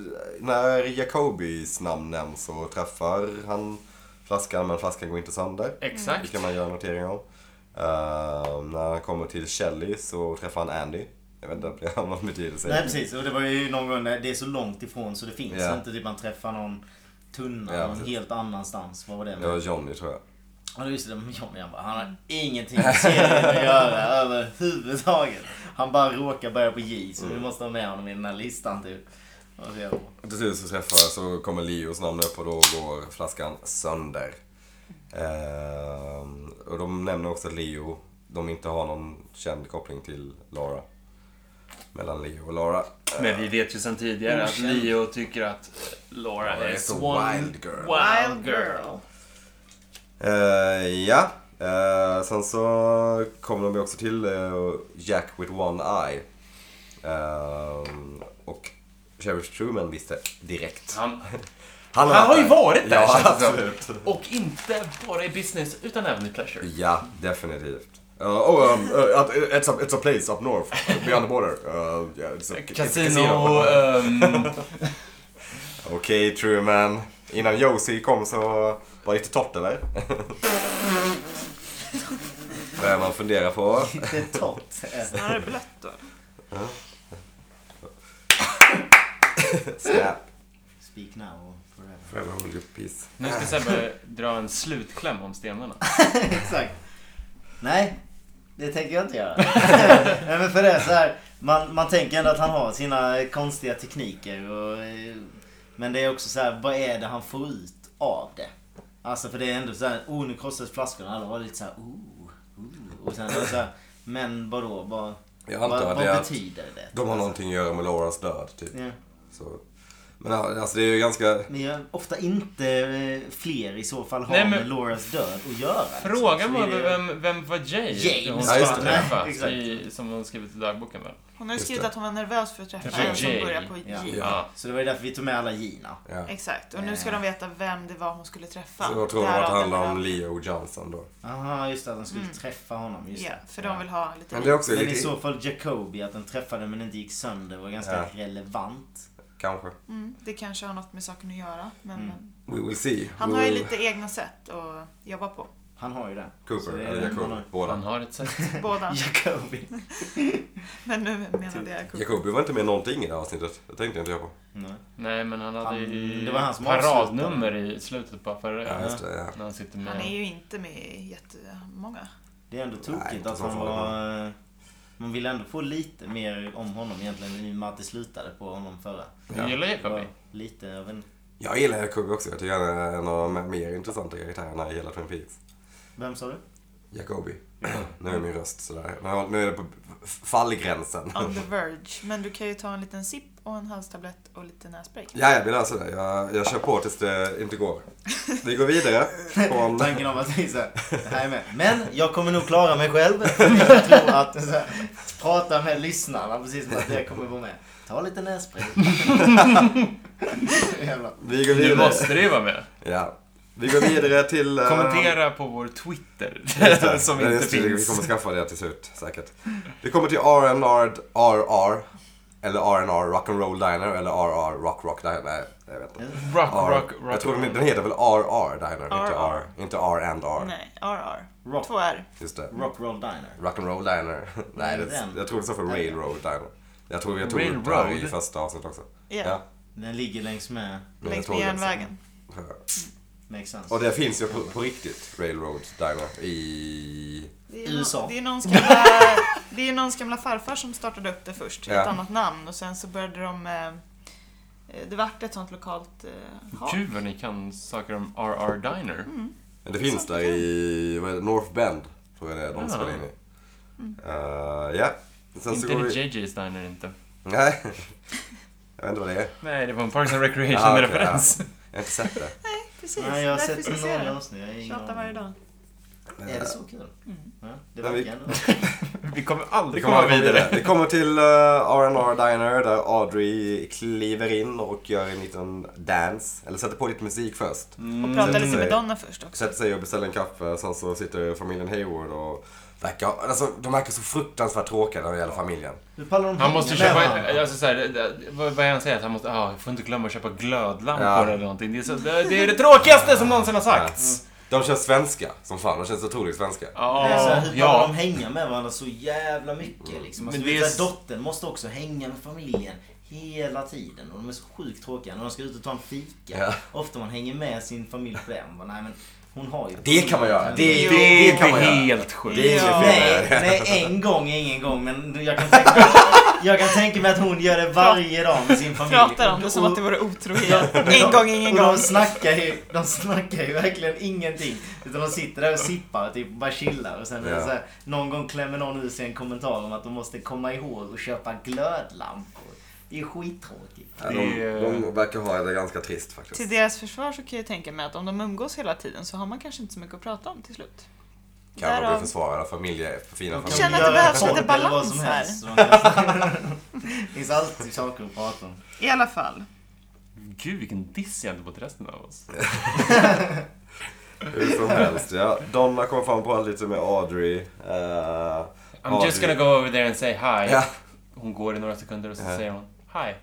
B: när Jacobis namn nämns så träffar han flaskan, men flaskan går inte sönder. Det
C: Exakt.
B: kan man göra en notering om. Eh, när han kommer till Shelly så träffar han Andy. Jag vet inte om det har någon betydelse.
A: Nej precis, och det var ju någon gång när det är så långt ifrån så det finns
B: Ja.
A: inte. Typ man träffar någon tunna
B: Ja,
A: någon
B: precis.
A: helt annanstans. Vad var det?
B: Det var
A: Med?
B: Johnny tror jag.
A: Ja, just det. det var Johnny, han bara, han har ingenting med serien att göra överhuvudtaget. Han bara råkar börja på J, så vi måste ha med honom i den här listan typ. Och så jävla-
B: Och Till slut så träffar så kommer Leos namn upp och då går flaskan sönder. Ehm, och de nämner också att Leo, de inte har någon känd koppling till Lara. Mellan Leo och Lara.
C: Men vi vet ju sedan tidigare att
A: Okänd.
C: Leo tycker att eh, Laura
B: Laura
C: är
B: är så
C: Swan...
B: wild girl.
C: Wild girl.
B: Eh, ja, Eh, sen så kommer de ju också till eh, Jack with one eye. Ehm, och Sheriff Truman visste direkt.
C: Han,
B: varit
C: han har ju
B: där.
C: varit där
B: Ja,
C: känns det som.
B: absolut.
C: Och inte bara i business, utan även i pleasure.
B: Ja, definitivt. Uh, oh, um, uh, at- it's, a, it's a place up north, uh, beyond the border. Uh, yeah, it's a, it's a
C: Casino... ehm,
B: Okej Truman, innan Josie kom så var det lite torrt eller? Börjar man fundera på.
A: Inte torrt. Eh,
D: Snarare blött då.
B: Snap.
A: Speak now och forever.
B: Forever hold your peace.
C: nu ska Sebbe dra en slutkläm om stenarna.
A: Exakt. Nej, det tänker jag inte göra. Nej, men för det är så här, man, man tänker ändå att han har sina konstiga tekniker. Och, eh, men det är också så här, vad är det han får ut av det? Alltså för det är ändå så här, oh nu krossas flaskorna. Alla var lite så här, oh, oh. Och sen är det så här, men vadå? Vad,
B: Jag
A: vad,
B: antar
A: vad
B: att det är att
A: betyder det?
B: de har någonting att göra med Lauras död typ.
A: Ja.
B: Så. Men ja, alltså det är ju ganska...
A: Men jag, ofta inte eh, fler i så fall har
C: Nej, men-
A: med Lauras död att göra.
C: Frågan
A: Så
C: var
A: det är-
C: väl vem, vem var Jay?
A: James.
C: Hon
B: Ja, just
C: skulle
B: det.
C: träffa,
A: Nej, exakt.
C: i, som hon skrivit i dagboken väl?
D: Hon har ju
B: Just
D: skrivit
B: det.
D: att hon var nervös för att träffa
C: Träffa
D: en som
C: J.
D: börjar på
A: Ja.
D: J.
B: Ja.
C: Ja.
A: Så det var ju därför vi tog med alla Gina.
B: Ja.
D: Exakt, och nu ska de veta vem det var hon skulle träffa.
B: Så jag tror att det
D: Därav
B: handlar
D: den
B: om
D: här-
B: Leo Johnson då.
A: Aha, just det, att de skulle träffa honom. Just
D: Mm. Ja,
A: det.
D: för de vill ha lite...
B: Men det är också
A: Men i
B: lite...
A: så fall Jacobi, att den träffade men inte gick sönder var ganska
B: Ja.
A: relevant.
B: Kanske.
D: Mm, det kanske har något med saken att göra. Men
B: We will see.
D: han
B: We
D: har ju
B: will-
D: lite egna sätt att jobba på.
A: Han har ju det. Så
B: Cooper
A: det är
B: eller
A: den
B: Jacob,
A: man har.
B: båda.
C: Han har ett sätt.
D: Båda.
A: Jacobi.
D: Men nu menade jag Cooper.
B: Jacobi var inte med någonting i det här avsnittet. Det tänkte inte jag på.
A: Nej.
C: Nej, men han hade
A: Han-
C: ju
A: det var han som
C: paradnummer i slutet på förra
B: Ja, just det. Ja.
C: När han sitter
D: Han är
C: med...
D: ju inte med i jättemånga.
A: Det är ändå
B: Nej,
A: tokigt
B: inte
A: att
B: så
A: han
B: farligt.
A: var... eh, Man ville ändå få lite mer om honom egentligen i och med att det slutade på honom förra.
C: Du gillar
A: Det var
C: Jacobi?
A: lite av en...
B: Jag gillar Jacobi också. Jag tycker han är en av de mer intressanta karaktärerna i hela Twin Peaks.
A: Vem sa du?
B: Jacobi. nu är min röst sådär. Nu- Nu är det på f- fallgränsen.
D: On the verge. Men du kan ju ta en liten sipp och en halstablett och lite nässpray.
B: Ja, jag vill alltså det. Jag, jag kör på tills det inte går. Vi går vidare. Från...
A: Tanken om att det är så här, det här är med. Men jag kommer nog klara mig själv. Jag tror att så här, prata med lyssnarna precis som att det kommer vara med. Ta lite nässpray. Jävlar.
B: Vi går
C: Nu
B: vidare.
C: måste det ju vara med.
B: Ja. Vi går vidare till... eh,
C: Kommentera på vår Twitter
B: just det.
C: som
B: Nej,
C: inte
B: just det. Vi
C: finns.
B: kommer skaffa det till slut, säkert. Vi kommer till R&R RR. Eller R&R Rock'n'Roll Diner eller RR Rock Rock Diner. Nej, jag vet inte.
C: Rock,
B: R.
C: rock, rock.
B: jag tror den, den heter väl RR Diner, inte
D: RR.
B: R. Inte R and R.
D: Nej, RR.
A: Rock,
D: Två R.
B: Just det.
A: rock Roll Diner.
B: Rock'n'Roll Diner. Nej, det,
A: Den.
B: jag tror det står för
A: Nej.
B: Railroad Diner. Jag tror jag tog upp det här i
C: Railroad?
B: första avsnittet också.
D: Yeah.
A: Den ligger längs med...
B: men jag
D: Längs
B: tror
D: med
B: det.
D: järnvägen.
A: Makes sense.
B: Och det finns ju på, på riktigt, Railroad Diner, i...
D: Det är nå-
A: USA.
D: Det är, någons gamla, det är någons gamla farfar som startade upp det först,
B: Ja.
D: ett annat namn. Och sen så började de... eh, eh, Det vart ett sånt lokalt eh, hav.
C: Gud vad ni kan saker om RR Diner.
A: Mm.
B: Men det finns där i vad är det, North Bend, tror jag det är de
C: Ja.
B: spelar in i. Eh, ja. Sen så
C: Inte
B: går
C: det
B: vi...
C: JJ's Diner inte.
B: Nej. Jag vet inte vad det är.
C: Nej, det var en Parks and
B: Ja, okej,
C: Recreation-referens.
B: Jag har inte sett det.
D: Precis,
A: Nej, jag har
D: därför
A: sett
D: ska
A: det
D: jag se
A: några
D: det.
A: avsnitt. Jag har ingen
D: Tjatar varje
A: aning.
D: dag.
A: Är det så kul? Ja, det
B: Mm. Men vi-
A: verkar ändå.
C: Vi kommer aldrig
B: Vi
C: komma
B: kommer,
C: vidare.
B: vidare. vi kommer till eh, R&R Diner där Audrey kliver in och gör en liten dance. Eller sätter på lite musik först.
D: Och prata
B: Mm.
D: lite med Donna först också.
B: Sätter sig och beställer en kaffe. Sen så sitter familjen Hayward och verkar, alltså, de verkar så fruktansvärt tråkiga när det gäller familjen.
A: Hur pallar de
C: Han måste
A: hänga
C: köpa...
A: med varandra?
C: Alltså så här, det- det- vad vad är han säger? Att Han måste... Ah, jag får inte glömma att köpa glödlampor
B: Ja.
C: eller någonting. Det är, så, det, det är det tråkigaste som någonsin har sagts.
B: Eh, De känns svenska som fan. De känns otroligt svenska.
C: Ja.
A: Nej, så här, hur kan
C: ja.
B: Mm.
A: de hänga med varandra så jävla mycket? Liksom? Alltså,
C: Men
A: du
C: det
A: vet,
C: är
A: så här, Dottern måste också hänga med familjen. hela tiden. Och de är så sjukt tråkiga. När de ska ut och ta en fika.
B: Ja.
A: Ofta man hänger med sin familj på det. Man bara, nej men hon har ju...
B: Det kan man göra. Det,
D: Jo.
B: det kan man göra.
E: helt sjukt.
B: Det är
D: Ja.
B: inget fel
A: Nej,
B: med det.
A: nej, en gång är ingen gång. Men jag kan tänka mig, jag kan tänka mig att hon gör det varje dag med sin familj.
D: Pratar om det som att det vore otrohet. En gång, ingen
A: och
D: gång.
A: de snackar, ju, de snackar ju verkligen ingenting. Utan de sitter där och sippar typ, bara chillar. Och sen är det
B: Ja.
A: så här, någon gång klämmer någon ur sig en kommentar om att de måste komma ihåg och köpa glödlampor. Det är ju skittråkigt.
B: Ja, de, de verkar ha det ganska trist faktiskt.
D: Till deras försvar så kan jag tänka mig att om de umgås hela tiden så har man kanske inte så mycket att prata om till slut.
B: Kan man
D: Därav-
B: bli försvarad familje, för fina
A: De
D: Jag
A: kan
D: känner att
B: familjer.
D: det
A: göra
D: behövs
A: torp
D: lite
A: eller vad
D: balans
A: som
D: här.
A: helst. Så de kan- Det finns alltid saker att prata om.
D: I alla fall.
C: Gud, vilken diss gentemot resten av oss.
B: Hur som helst, ja. Donna kom fram och pratade lite med Audrey. Eh,
C: I'm just gonna go over there and say hi.
B: Ja,
C: Hon går i några sekunder och så
B: Ja.
C: säger hon hi.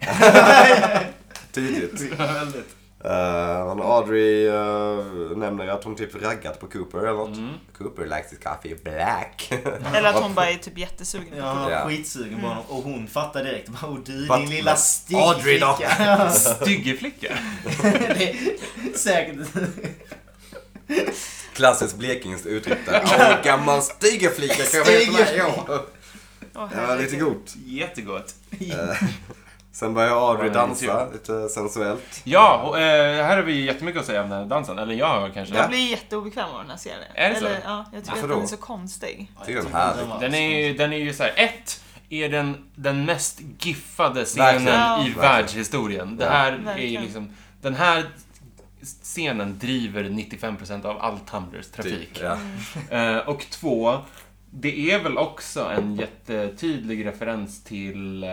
B: tidigt.
A: Väldigt.
B: Eh, men Audrey eh, nämner att hon typ raggat på Cooper eller något.
C: Mm.
B: Cooper likes his coffee black.
D: Eller att hon bara är typ jättesugen på
A: Ja, han
B: Ja.
A: var skitsugen på honom och hon fattar direkt. Bara, Åh du
B: But-
A: din lilla stygg
B: Audrey då?
A: flicka."
C: Styggeflicka.
A: Det är Säkert.
B: Klassiskt blekingskt uttryck där. Åh, gammal stigerflicka kan jag heta mig. Ja.
D: Åh,
B: Det var lite
D: herregud.
B: gott.
C: Jättegott.
B: Sen börjar Audrey
C: Ja, det är
B: dansa lite sensuellt.
C: Ja, och, eh, här har vi jättemycket att säga om den här dansen. Eller jag har kanske.
D: Jag blir jätteobekväm av den här serien.
C: Är det så?
D: Eller, ja, jag tycker
B: Varför
D: att den
B: då?
D: är så konstig.
B: Det är liksom- den härlig.
A: var-
C: Den är ju, den är ju så här, ett, är den, den mest giffade scenen
B: Verkligen.
D: Ja.
C: i
B: Verkligen.
C: världshistorien. Det
B: Ja.
C: här är ju
D: Verkligen.
C: liksom, den här scenen driver 95% av all Tumblrs trafik.
B: Typ, ja.
D: Mm.
C: Eh, och två, det är väl också en jättetydlig referens till, eh,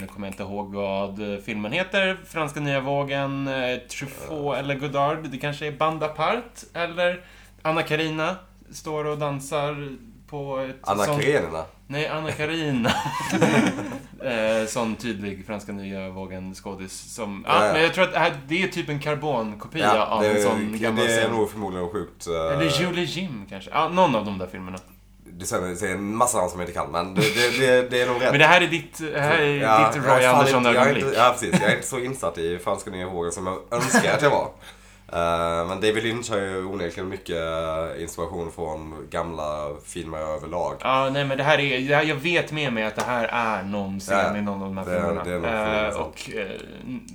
C: nu kommer jag inte ihåg vad eh, filmen heter, franska nya vågen, eh, Truffaut eller Godard. Det kanske är Band Apart eller Anna Karina står och dansar på ett
B: Anna
C: sånt-
B: Karenina.
C: Nej, Anna Karina. eh, sån tydlig franska nya vågen skådis som...
B: Ja,
C: Ja,
B: ja.
C: Men jag tror att det, här, det är typ en karbonkopia av
B: det,
C: en sån
B: är-
C: gammal
B: det är
C: scen.
B: nog förmodligen sjukt... eh,
C: Eller Julie Jim kanske. Ja, någon av de där filmerna.
B: Det säger säger en massa namn som jag inte kan, men det, det, det, det är nog rätt.
C: Men det här är ditt, det här är
B: Ja,
C: ditt
B: jag är fan
C: Roy
B: inte- jag är
C: Andersson-ögonblick.
B: inte- Ja, precis. Jag är inte så insatt i franska nya vågen som jag önskar att jag var. Eh, men David Lynch har ju onekligen mycket eh, inspiration från gamla filmer överlag.
C: Ja, nej men det här är, det här, jag vet med mig att det här är någon scen
B: Ja,
C: i någon av de här
B: det är-
C: filmerna.
B: det är nog alltså.
C: Eh,
B: förmodligen
C: och eh, n-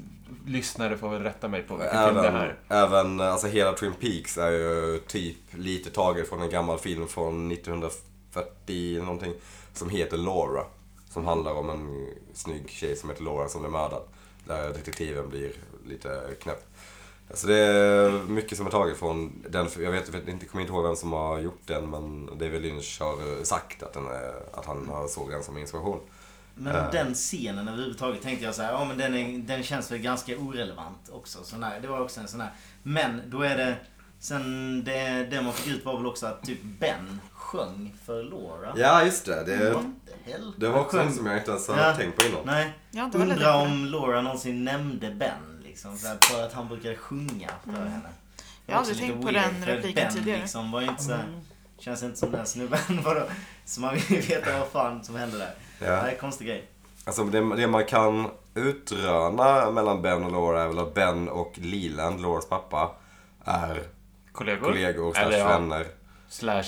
C: lyssnare får väl rätta mig på vilken film det
B: Även,
C: här
B: även alltså hela Twin Peaks är ju typ lite taget från en gammal film från 1940 någonting som heter Laura. Som handlar om en snygg tjej som heter Laura som blir mördad. Där detektiven blir lite knäpp. Alltså det är mycket som är taget från den, jag vet, vet inte, kommer inte ihåg vem som har gjort den men David Lynch har sagt att, den är, att han har såg den som inspiration.
A: Men den scenen överhuvudtaget tänkte jag så här, ja men den, är, den känns väl ganska orelevant också. Sån här, det var också en sån här. Men då är det, sen det, det man fick ut var väl också att typ Ben sjöng för Laura.
B: Ja just det, det,
A: The hell?
B: det var
A: Han
B: också
A: sjöng-
B: något som jag inte ens hade
A: Mm. Ja.
B: tänkt på innan.
A: Nej.
D: Jag har inte heller
A: Undra
D: tänkt på det.
A: om Laura någonsin nämnde Ben. Liksom, så här, för att han brukade sjunga för henne. Det
D: Mm.
A: var
D: Jag har
A: också
D: aldrig
A: lite
D: tänkt på
A: weird,
D: den
A: för
D: repliken
A: ben,
D: tidigare. Mm.
A: Liksom, var ju inte så här, Känns inte som den snubben. Vadå? Så man vill ju veta vad fan som hände där.
B: Ja.
A: Det här är en konstig grej.
B: Alltså det, det man kan utröna mellan Ben och Laura är väl att Ben och Leland, Lauras pappa, är
C: Kollegor?
B: kollegor slash
C: Eller ja,
B: vänner.
C: slash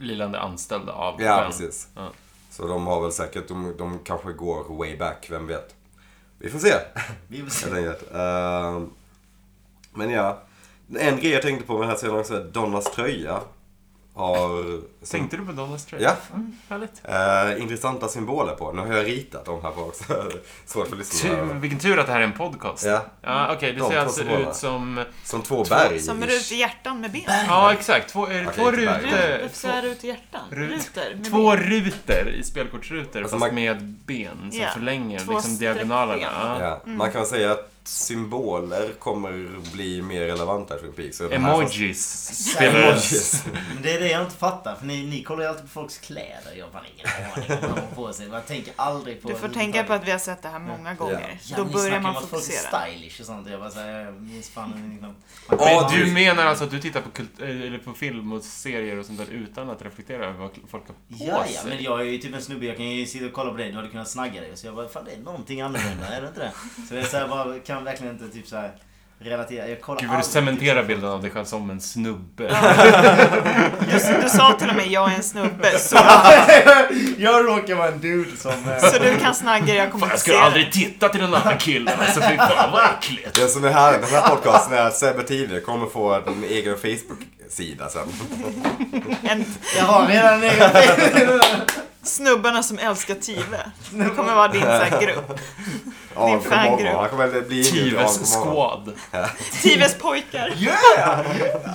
C: lilande anställda av
B: Ja,
C: Ben.
B: precis.
C: Ja.
B: Så de har väl säkert, de, de kanske går way back, vem vet. Vi får se,
A: Vi får se.
B: helt enkelt. Ehm, men ja, en grej jag tänkte på med den här scenen också är att Donnas tröja har...
C: Tänkte du på Dollar Strait?
B: Ja.
C: Mm, härligt.
B: Eh, intressanta symboler på. Nu har jag ritat dem här bak, så det är svårt för
C: Tur,
B: lyssnarna.
C: vilken tur att det här är en podcast.
B: Ja,
C: Ja, okej, det
B: De
C: ser
B: två
C: alltså
B: symbolerna.
C: ut som...
B: som två berg.
D: Som rut i hjärtan med ben.
C: Ja, exakt. Två, är det
B: Okej,
C: två
B: inte berg.
C: rutor?
D: Varför ska jag rut i hjärtan?
C: Rut.
D: Ruter med
C: Två
D: ben.
C: rutor i spelkortsrutor,
B: Alltså
C: fast
B: man-
C: med ben som
D: Ja,
C: förlänger
D: två
C: liksom diagonalerna.
D: streckben.
C: Ja.
B: Ja, Man kan väl säga att symboler kommer bli mer relevanta i Twin Peaks. Så de här
C: Emojis
B: Emojis.
C: spelades.
A: Men det är det jag inte fattar, för ni, ni kollar ju alltid på folks kläder. Jag har fan ingen aning om vad de har på sig. Man tänker aldrig på...
D: Du får tänka på att vi har sett det här många gånger.
A: Ja,
D: Då
A: ni
D: börjar
A: snackar om
D: man
A: att folk är
D: fokusera.
A: stylish och sånt. Jag bara såhär, jag minns fan liksom." ingenting om-
B: Ja,
C: du menar alltså att du tittar på, kult- eh, eller på film och serier och sånt där utan att reflektera över vad folk har på
A: Ja, ja, men
C: sig?
A: jag är ju typ en snubbe. Jag kan ju sitta och kolla på dig. Du hade kunnat snagga dig. Så jag bara, fan det är någonting annorlunda, är det inte det? Så jag är så här, bara, kan verkligen inte typ så här relatera. Jag kollar
C: Gud vad du
A: aldrig,
C: cementerar
A: typ,
C: bilden av dig själv som en snubbe.
D: Du, du sa till och med jag är en snubbe, så,
A: jag råkar vara en dude som... eh,
D: så du kan snagga jag kommer
C: Fan,
D: inte
C: jag
D: se
C: skulle
D: det.
C: aldrig titta till den andra killen. Alltså fy fan vad äckligt.
B: Det som är härligt med den här podcasten är att Sebbe TV kommer få en egen Facebook-sida sen.
D: En,
A: Jag har redan en egen
D: snubbarna som älskar Tive. Det kommer vara din så här grupp.
B: Ja, han
D: Din
B: kommer
D: fangrupp.
B: morgon. Han kommer bli inbjuden av
C: Tives
B: på morgon.
C: squad.
D: Tives pojkar.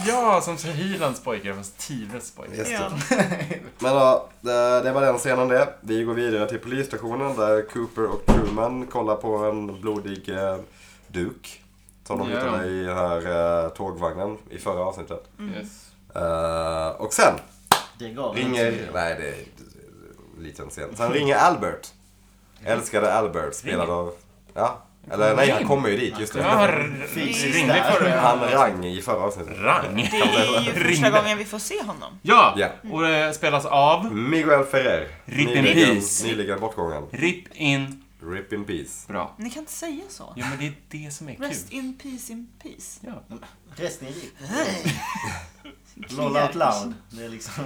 C: Ja, som Hylands pojkar fast Tives pojkar.
B: Just det.
D: Ja.
B: Men ja, det det var den scenen det. Vi går vidare till polisstationen där Cooper och Truman kollar på en blodig eh, duk. Som de
C: Ja.
B: hittade i den här eh, tågvagnen i förra avsnittet.
A: Mm.
C: Yes.
B: Eh, och sen
A: Det gav
B: ringer... Nej, det är lite sent. Sen ringer Albert. Älskade Albert, spelad av... Ja. Eller nej, han kommer ju dit, just
C: Jag har
B: det.
A: Fysiskt
C: ringde
A: där.
C: förra
B: Han rang i förra avsnittet.
C: Rang.
D: Det är ju första
C: Ringde.
D: gången vi får se honom.
C: Ja,
B: Ja.
C: Mm. och det spelas av
B: Miguel Ferrer.
C: Rip in
B: nyligen,
C: peace.
B: nyligen bortgången.
C: Rip In.
B: Rip in peace.
C: Bra.
D: Ni kan inte säga så.
C: Jo, men det är det som är kul.
D: Rest in peace in peace.
C: Ja.
A: Resten är rik. Roll out loud. Det är liksom...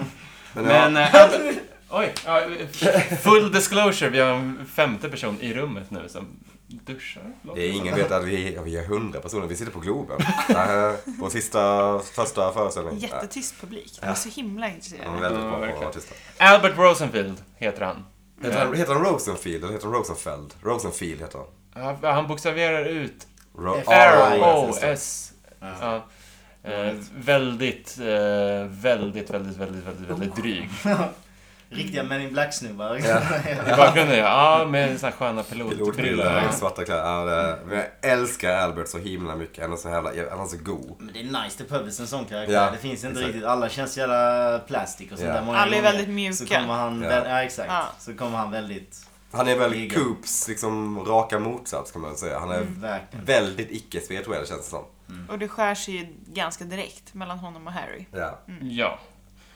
B: Men, ja,
C: Men... eh, Albert- Oj! ja, eh, Full disclosure, vi har en femte person i rummet nu som duschar.
B: det är ingen vet att vi, vi är hundra personer. Vi sitter på Globen. Det här är Vår sista, första föreställning.
D: Jättetyst publik. De är så himla
B: Ja, de är
D: intresserade.
B: väldigt
C: Ja,
B: bra
C: verkligen.
B: artister.
C: Albert Rosenfield heter han.
B: Heter han, heter han Rosenfield eller heter han Rosenfeld? Rosenfield heter han.
C: Han- Han bokstaverar ut
B: Ro- ja, just det.
C: R-O-S. Ja. Eh, väldigt, eh, väldigt, väldigt, väldigt, väldigt, väldigt dryg.
A: Riktiga Men in Black-snubbar.
C: I bakgrunden, ja. ja, Med såna här sköna
B: Pilotbrillor,
C: pilotbrillor.
B: ja. eh, svarta kläder. Ja, det, men jag älskar Albert så himla mycket. Han är så jävla, han är så go.
A: Men det är nice till Pubbles en sån karaktär.
B: Ja,
A: det finns inte
B: exakt.
A: riktigt. Alla känns så jävla plastic och sånt
B: Ja.
A: där. Många
D: Alla är
A: gånger.
D: väldigt mjuka.
A: Så kommer han...
B: Ja.
A: Ja, ja exakt.
D: Ja.
A: Så kommer han väldigt...
B: Han är väl
A: Egen.
B: Coops liksom raka motsats kan man säga. Han är
A: Mm. Verkligen.
B: väldigt icke spirituell känns det som.
D: Och det skär sig ju ganska direkt mellan honom och Harry.
B: Ja.
C: Ja.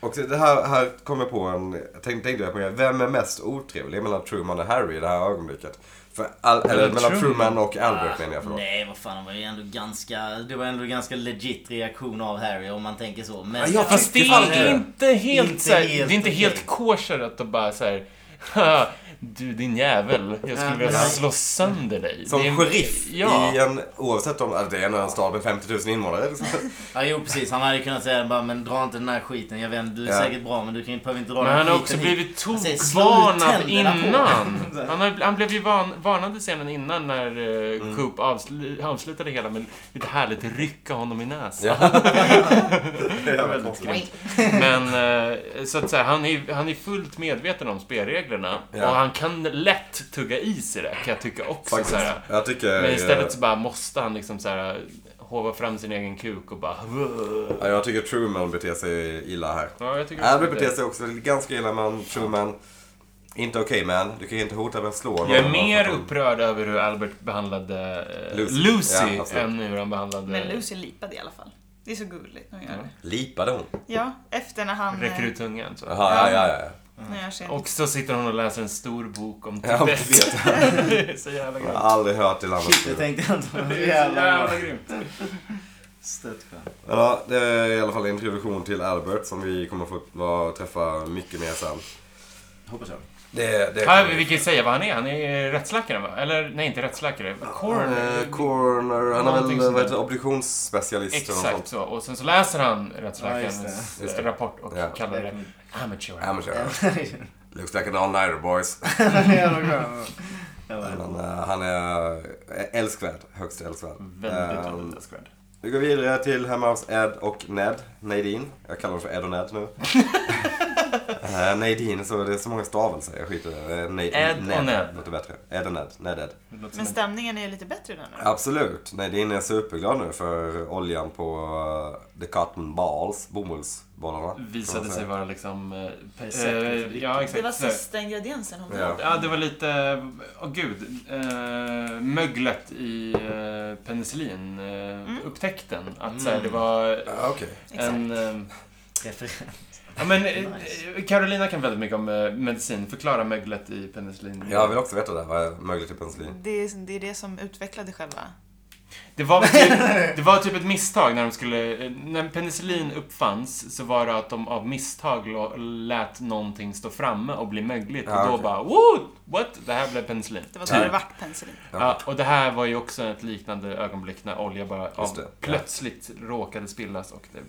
B: Och så det här, här kommer jag på en, jag tänkte, tänkte jag på en, vem är mest otrevlig mellan Truman och Harry i det här ögonblicket? För al, eller
C: Mellan
B: mellan
C: Truman? Ah,
B: Truman och Albert menar jag förlåt.
A: Nej, vad fan. Det var ju ändå ganska... Det var ändå ganska legit reaktion av Harry om man tänker så. Men...
B: Ja, jag
C: Fast det
B: Fy fan, det
C: är
B: är
C: inte helt
A: inte
C: så här,
A: helt
C: Det är inte helt
A: okej.
C: kosher att bara så här. "Haha, Du din jävel, jag skulle
A: Ja,
C: vilja
A: men-
C: slå sönder dig.
B: Som
C: Det är-
B: sheriff
C: ja.
B: i en, oavsett om, alltså, det är ändå en stad med 50 000 invånare. Liksom.
A: Ja, jo precis. Han hade kunnat säga bara, men dra inte den här skiten. Jag vet inte, du är
B: Ja.
A: säkert bra men du kan, behöver inte dra
C: Men
A: den
C: han
A: här
C: har också
A: skiten
C: blivit
A: Han säger, Alltså, "Slå ut
C: tokvarnad
A: tänderna på."
C: innan. Han, har, han blev ju van, varnad i scenen innan när eh,
A: Mm.
C: Coop avslu, avslutade hela med lite härligt rycka honom i näsan.
B: Ja. Det är jävligt konstigt.
A: hit.
C: Men eh, så att säga, han är, han är fullt medveten om spelreglerna.
B: Ja.
C: Och han kan lätt tugga i sig det, kan jag tycka också.
B: Faktiskt.
C: Så här,
B: Jag tycker...
C: Men istället så bara måste han liksom så här hova fram sin egen kuk och bara...
B: Ja, jag tycker Truman beter sig illa här.
C: Ja, jag tycker
B: Albert
C: också det.
B: beter sig också ganska illa men Truman, inte okej man. Du kan ju inte hota med att slå
C: Jag är
B: någon.
C: mer upprörd över hur Albert behandlade eh,
B: Lucy.
C: Lucy,
B: Ja, absolut.
C: än hur han behandlade...
D: Men Lucy lipade i alla fall. Det är så gulligt när hon gör det.
B: Lipade hon?
D: Ja, efter när han... eh,
C: Räcker ut tungan så.
B: Jaha, ja, ja, ja.
D: När jag ser
C: Och så sitter hon och läser en stor bok om
B: Ja,
C: Tibet. det är så jävla
B: Jag
C: grymt.
B: har aldrig hört till annat.
A: Shit, det tänkte jag inte.
C: Det är så
A: Jävlar.
C: jävla grymt.
A: Störtskön.
B: Ja, det är i alla fall en introduktion till Albert som vi kommer få vara- träffa mycket mer sen.
A: Hoppas jag.
B: Det, det
C: Här, vi kan ju säga vad han är. Han är rättsläkare va? Eller nej, inte rättsläkare. Coroner.
B: Eh, corner, han är
C: Någonting
B: väl vad
C: sånt där.
B: heter, det, obduktionsspecialist eller något
C: Exakt
B: sånt.
C: så. Och sen så läser han
A: Ja, just
C: rättsläkarens
B: Just det.
C: rapport och
B: Ja.
C: kallar det amateur.
B: Amateur. Looks like an all-nighter boys.
A: Jävla skön. Jag bara,
B: Men, eh, han är eh, älskvärd, högst älskvärd.
C: Väldigt,
B: Eh,
C: väldigt älskvärd.
B: Vi går vidare till hemma hos Ed och Ned, Nadine. Jag kallar dem för Ed och Ned nu. Eh, Nadine, så det är så många stavelser. Jag skiter i det. Eh, Nadine,
C: Ed och Ned.
B: Låter bättre. Ed och Ned. Ned Ed.
C: Det låter
D: Men
C: som en-
D: stämningen är ju lite bättre nu. nu.
B: Absolut. Nadine är superglad nu för oljan på eh, The Cotton Balls, bomullsbollarna. kan man
C: visade sig
B: säga.
C: vara liksom... eh,
A: Perfekt
C: eh, ja, exakt. Eh,
D: Det var sista ingrediensen hon
B: Ja.
D: ja.
C: Ja, det var lite... Åh gud. Eh, möglet i eh, penicillin. Eh,
D: Mm.
C: Upptäckten. Att så här, det var
B: Ja, Okej.
C: en... Eh,
A: Referens.
C: ja, men, eh,
A: Nice.
C: Carolina kan väldigt mycket om eh, medicin. Förklara möglet i penicillin.
B: Jag vill också veta det. här. Vad är mögligt i penicillin?
D: Det är, det är det som utvecklade själva.
C: Det var, väl typ, det var typ ett misstag när de skulle... eh, När penicillin uppfanns så var det att de av misstag lo- lät någonting stå framme och bli mögligt.
B: Ja,
C: och då
B: okej.
C: bara Woo! What? Det här blev penicillin.
D: Det var så
B: Ja.
D: det vart penicillin.
B: Ja.
C: Ja, och det här var ju också ett liknande ögonblick när olja bara ja,
B: Just det.
C: plötsligt råkade spillas och det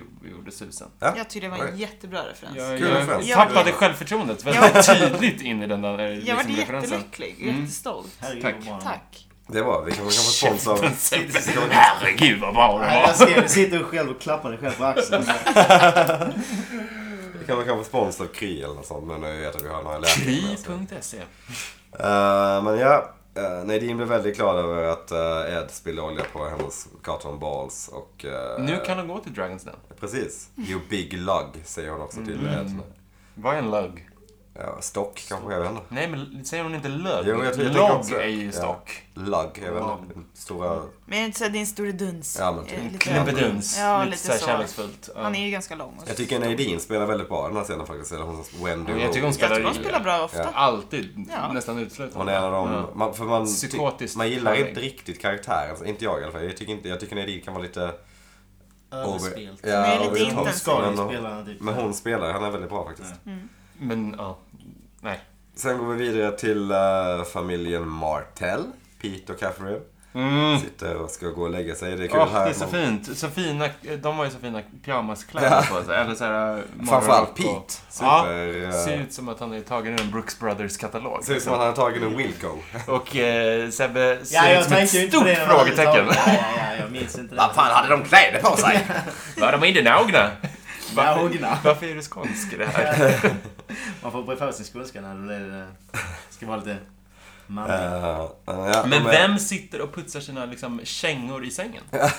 C: gjo- gjorde susen.
B: Ja.
D: Jag tyckte det var en
B: Right.
D: jättebra referens.
C: Jag,
B: Kul
C: jag
B: referens.
C: tappade
D: Ja.
C: självförtroendet väldigt tydligt in i den där eh,
D: Jag
C: liksom,
D: vart
C: referensen.
D: jättelycklig,
A: Mm.
D: jättestolt.
A: Herregud,
C: Tack.
A: vad bra den var.
D: Tack.
B: Det är bra. Vi kan kan få spons av...
C: Herregud vad bra det
A: Nej, Jag
B: alltså.
C: var!
A: ser, du sitter själv och klappar dig själv på axeln.
B: Vi kan kanske få spons av Kry eller något sånt. Men jag vet att vi har några läkare med oss.
C: Kry.se
B: Eh, men ja, eh, Nadine blev väldigt glad över att eh, Ed spillde olja på hennes Cotton Balls och... eh,
C: Nu kan de gå till Dragons Den.
B: Precis. You big lug, säger hon också till
C: Mm.
B: Ed. nu.
C: Vad är en lugg?
B: Ja, stock kanske, jag vet inte.
C: Nej men säger hon inte lugg?
B: Jo, jag tror- jag tänker
C: Logg
B: också-
C: är ju
B: ja.
C: stock.
B: Lug, jag vet inte. Stora...
D: Men jag är inte så din store duns.
B: Ja, men
D: Eh,
B: typ.
D: lite-
C: Knubbeduns.
D: Ja,
C: lite
D: lite
C: såhär
D: så.
C: kärleksfullt. Ja.
D: Han är ju ganska lång. Och
B: Jag tycker Nadine spelar väldigt bra i den här scenen faktiskt. Eller hon som Wendy
C: Ja, jag tycker hon
B: Rhodes.
D: jag tror
C: spelar
D: de
C: in.
D: spelar bra ofta.
C: Alltid.
D: Ja.
C: Nästan uteslutande.
B: Hon är en av dem,
C: Ja.
B: man, för man, ty-
C: Psykotiskt
B: man gillar
C: charmig.
B: inte riktigt karaktären, alltså, inte jag i alla fall. Jag tycker, inte, jag tycker Nadine kan vara lite...
A: Överspelt.
B: ja,
D: Nej, lite
B: over the top.
D: intensiv.
B: Men
A: Skadis
B: hon-
A: spelar han typ.
B: Men hon spelar, han är väldigt bra faktiskt.
C: Men ja. Nej.
B: Sen går vi vidare till eh, familjen Martell. Pete och Catherine sitter och ska gå och lägga sig. Det är kul här.
C: Åh, Mm. Ah, det är så
B: man-
C: fint. Så fina, de har ju så fina pyjamaskläder på sig. Eller så här,
B: Framförallt
C: morgonrock och-
B: Pete.
C: Ja,
B: Super... eh,
C: Ah, ser ut som att han är tagen ur en Brooks Brothers-katalog.
B: ser ut som att han har tagit en Wilco.
C: Och eh, Sebbe ser
A: Ja,
C: ut
A: jag
C: som ett
A: tänkte ju inte på
C: stort
A: det. när man hade
C: frågetecken.
A: tagit- Ja, ja, ja, jag minns inte det.
B: de kläder på sig?
C: Var de inte nagna?
A: Nagna.
C: Varför, varför är du skånsk i det här?
A: Man får bre för sin skånska när det är- ska vara lite manlig.
B: Eh, eh, ja,
C: Men
B: de är-
C: vem sitter och putsar sina liksom, kängor i sängen?
D: Ja,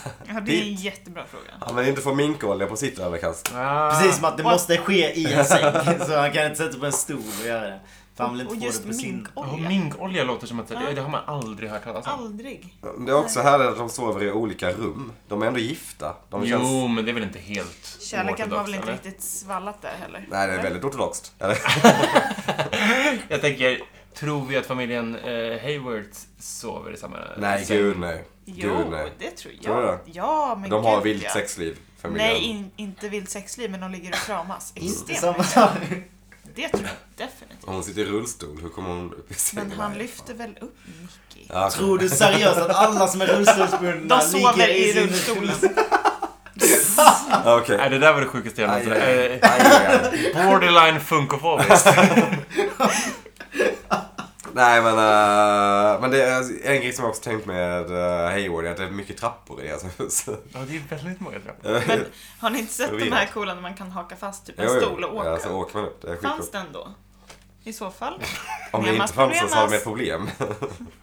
D: det är en jättebra fråga.
B: Han vill inte få minkolja på sitt överkast.
C: Ah.
A: Precis som att det måste ske i en säng. Så han kan inte sätta på en stol och göra det. För han vill
D: Och
A: inte få
D: just
A: det på sin...
C: Ja,
D: minkolja.
C: minkolja låter som att... Det, det har man aldrig hört talas om.
D: Ah. Aldrig.
B: Det är också härligt att de sover i olika rum. De är ändå gifta. De känns...
C: Jo, men det är väl inte helt
D: Kärleken var
C: oortodox,
D: väl inte
C: eller?
D: riktigt svallat där heller?
B: Nej, det är väldigt ortodoxt. Eller?
C: Jag tänker, tror vi att familjen eh, Hayward sover i samma
B: Nej,
C: säng?
B: gud nej.
D: Jo,
B: Gud nej.
D: det tror jag.
B: Tror du det?
D: Ja, men
B: De har
D: gud,
B: vilt
D: ja.
B: sexliv, familjen.
D: Nej, in, inte vilt sexliv, men de ligger och kramas.
A: Inte
D: Extremt.
A: samma sak.
D: Det tror jag definitivt.
B: Hon sitter i rullstol, hur kommer hon upp i sängen?
D: Men han
B: Nej.
D: lyfter väl upp Nicky?
B: Ja,
A: Tror du seriöst att alla som är rullstolsbundna
D: De sover
A: ligger
D: i
A: sin-
D: rullstolen.
B: Okej.
C: Nej, det där var det sjukaste jag
B: Aj,
C: någonsin...
B: aj, aj.
C: Eh,
B: Aj, aj.
C: Borderline funkofobiskt.
B: Nej men, eh, men det är en grej som jag också tänkt med uh, Hayward är att det är mycket trappor i alltså. deras hus.
C: Ja, det är väldigt många trappor.
B: Eh.
D: Men har ni inte sett de här
B: Förvirrat.
D: coola när man kan haka fast typ
B: Jo,
D: en
B: jo.
D: stol och åka?
B: Ja, alltså, så åker man upp. Det är skitbra.
D: Fanns den då? I så fall.
B: Om det
D: Nej,
B: inte
D: man
B: fanns så
D: problemas.
B: har de ett problem.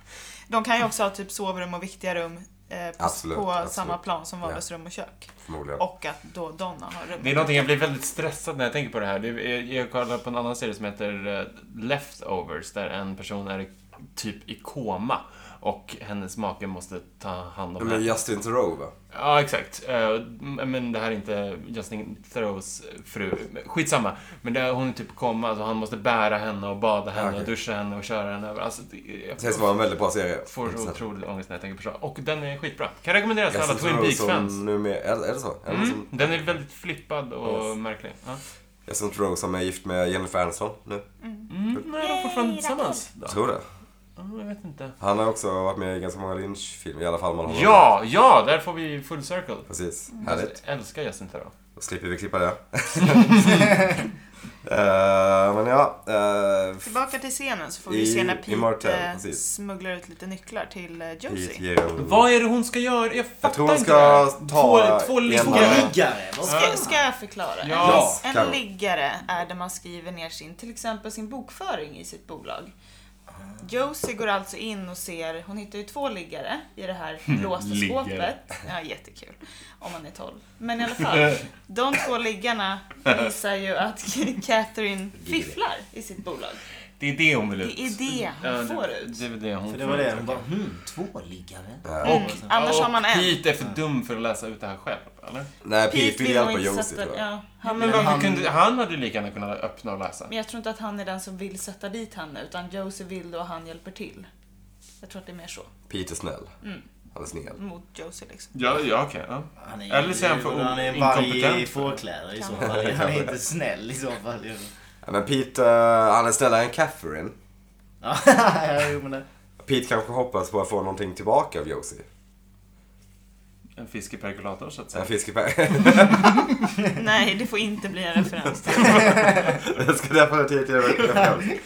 D: De kan ju också ha typ sovrum och viktiga rum eh, på,
B: Absolut,
D: på
B: absolut.
D: samma plan som vardagsrum och kök.
B: Förmodligen.
D: Och att då Donna har rum.
C: Det är någonting jag blir väldigt stressad när jag tänker på det här. Det är, jag kollar på en annan serie som heter eh, Leftovers där en person är i- typ i koma och hennes make måste ta hand om
B: Men
C: henne.
B: Justin Theroux va?
C: Ja, exakt. Eh, Men det här är inte Justin Theroux fru. Skitsamma. Men det, hon är typ i koma, alltså han måste bära henne och bada henne och
B: Okej.
C: duscha henne och köra henne över. Alltså, det- jag
B: Det sägs vara en väldigt bra serie.
C: får så
B: Inte
C: otrolig ångest när jag tänker på det. Och den är skitbra. Kan rekommenderas till alla
B: Justin
C: Twin
B: Theroux
C: Peaks-fans.
B: som numera... Är, är det så? Är det
C: Mm,
B: som,
C: den är väldigt flippad och märklig. Ja.
B: Justin Theroux som är gift med Jennifer Aniston nu.
C: Mm, nej, de är fortfarande tillsammans. Då.
B: Jag tror det.
C: Ja, jag vet inte.
B: Han har också varit med i ganska många Lynch-filmer. I alla fall man har
C: Ja, ja, där får vi full circle.
B: Precis.
C: Jag
B: Härligt.
C: älskar Justin Theroux.
B: Då slipper vi klippa det. Eh, men ja. eh,
D: Tillbaka till scenen så får
B: I-
D: vi se när
B: i Martell,
D: Pete eh,
B: precis.
D: smugglar ut lite nycklar till eh,
B: Pete
D: Josie.
B: ger en-
C: Vad är det hon ska göra? Jag fattar
B: tror hon
C: inte
B: ska
C: det.
B: ta
C: Två, två
B: en-
C: liggare.
A: Liggare! vad fan?
D: Ska, ska jag förklara?
C: Ja.
D: En
B: Karo.
D: liggare är där man skriver ner sin, till exempel sin bokföring i sitt bolag. Josie går alltså in och ser, hon hittar ju två liggare i det här låsta
C: liggare.
D: skåpet. Ja, jättekul. Om man är 12. Men i alla fall, de två liggarna visar ju att Catherine fifflar i sitt bolag.
C: Det är det hon vill ut.
D: Det är det
C: Ja,
D: hon får ut.
C: Det är väl det hon
A: För det
C: får
A: var det,
C: ut.
A: hon bara hmm, två liggare.
B: Eh,
D: Mm. Annars
C: och
D: har man en.
C: Pete är för dum för att läsa ut det här själv, eller?
B: Nej, Pete vill hjälpa
D: nog inte
B: Josie
D: sätta-
B: tror jag.
D: Ja, han
C: Men
D: vill-
C: varför kunde, han hade ju lika gärna kunnat öppna och läsa.
D: Men jag tror inte att han är den som vill sätta dit henne, utan Josie vill det och han hjälper till. Jag tror att det är mer så.
B: Pete är snäll. Han är snäll.
D: Mot Josie liksom.
C: Ja, ja okej. Ja.
A: Han är,
C: Eller så är han för
A: han är en
C: inkompetent
A: varg i
C: för det.
A: fårkläder i så fall. Han är inte snäll i så fall.
B: Ja, Men Pete, eh, han är snällare än Catherine.
A: Ja, jo, men det.
B: Pete kanske hoppas på att få någonting tillbaka av Josie.
C: En fiskeperkulator så att
B: En
C: säga.
B: fiskepär.
D: Nej, det får inte bli en referens. till-
B: Jag ska definitivt göra det.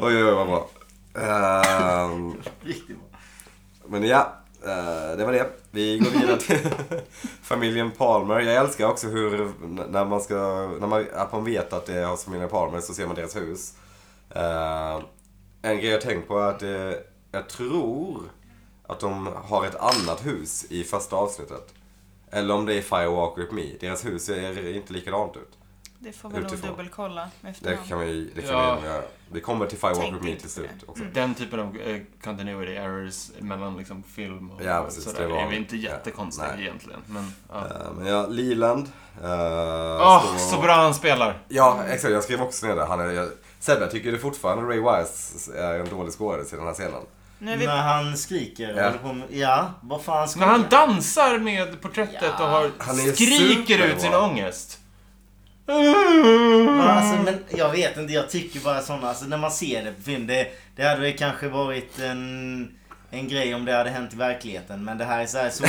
B: Oj, oj, oj, vad bra. Ehm,
A: Riktigt bra.
B: men ja, eh, det var det. Vi går vidare till familjen Palmer. Jag älskar också hur, n- när man ska, när man, att man vet att det är hos familjen Palmer så ser man deras hus. Eh, en grej jag tänkt på är att eh, jag tror att de har ett annat hus i första avsnittet. Eller om det är Firewalk With Me. Deras hus ser inte likadant ut.
D: Det får väl nog
B: Utifrån.
D: dubbelkolla
B: Det
D: efterhand.
B: kan vi, det kan
C: Ja.
B: vi göra. Vi kommer till Firewalk
D: Tänk
B: With Me
D: inte
B: till
D: Mm. på det.
B: slut också.
C: Den typen av eh, continuity errors mellan liksom film och
B: Ja, precis,
C: sådär.
B: det
C: Det,
B: var-
C: är väl inte
B: ja,
C: jättekonstigt
B: nej.
C: egentligen. Men, ja.
B: Eh, Men ja, Liland. eh,
C: Åh,
B: står-
C: så bra han spelar!
B: Ja, exakt. Jag skrev också ner det. Han är, jag, Sebbe, tycker du fortfarande Ray Wise är en dålig skådis i den här scenen?
D: Nu är vi...
A: När han skriker
B: Ja.
A: ja. på med, Ja, vad fan ska
C: När han dansar med porträttet och har,
B: Han är
C: skriker
B: super,
C: ut sin
B: va?
C: ångest.
A: Men Alltså, men jag vet inte, jag tycker bara sådana, alltså när man ser det på film, det, det hade väl kanske varit en, en grej om det hade hänt i verkligheten. Men det här är så här så,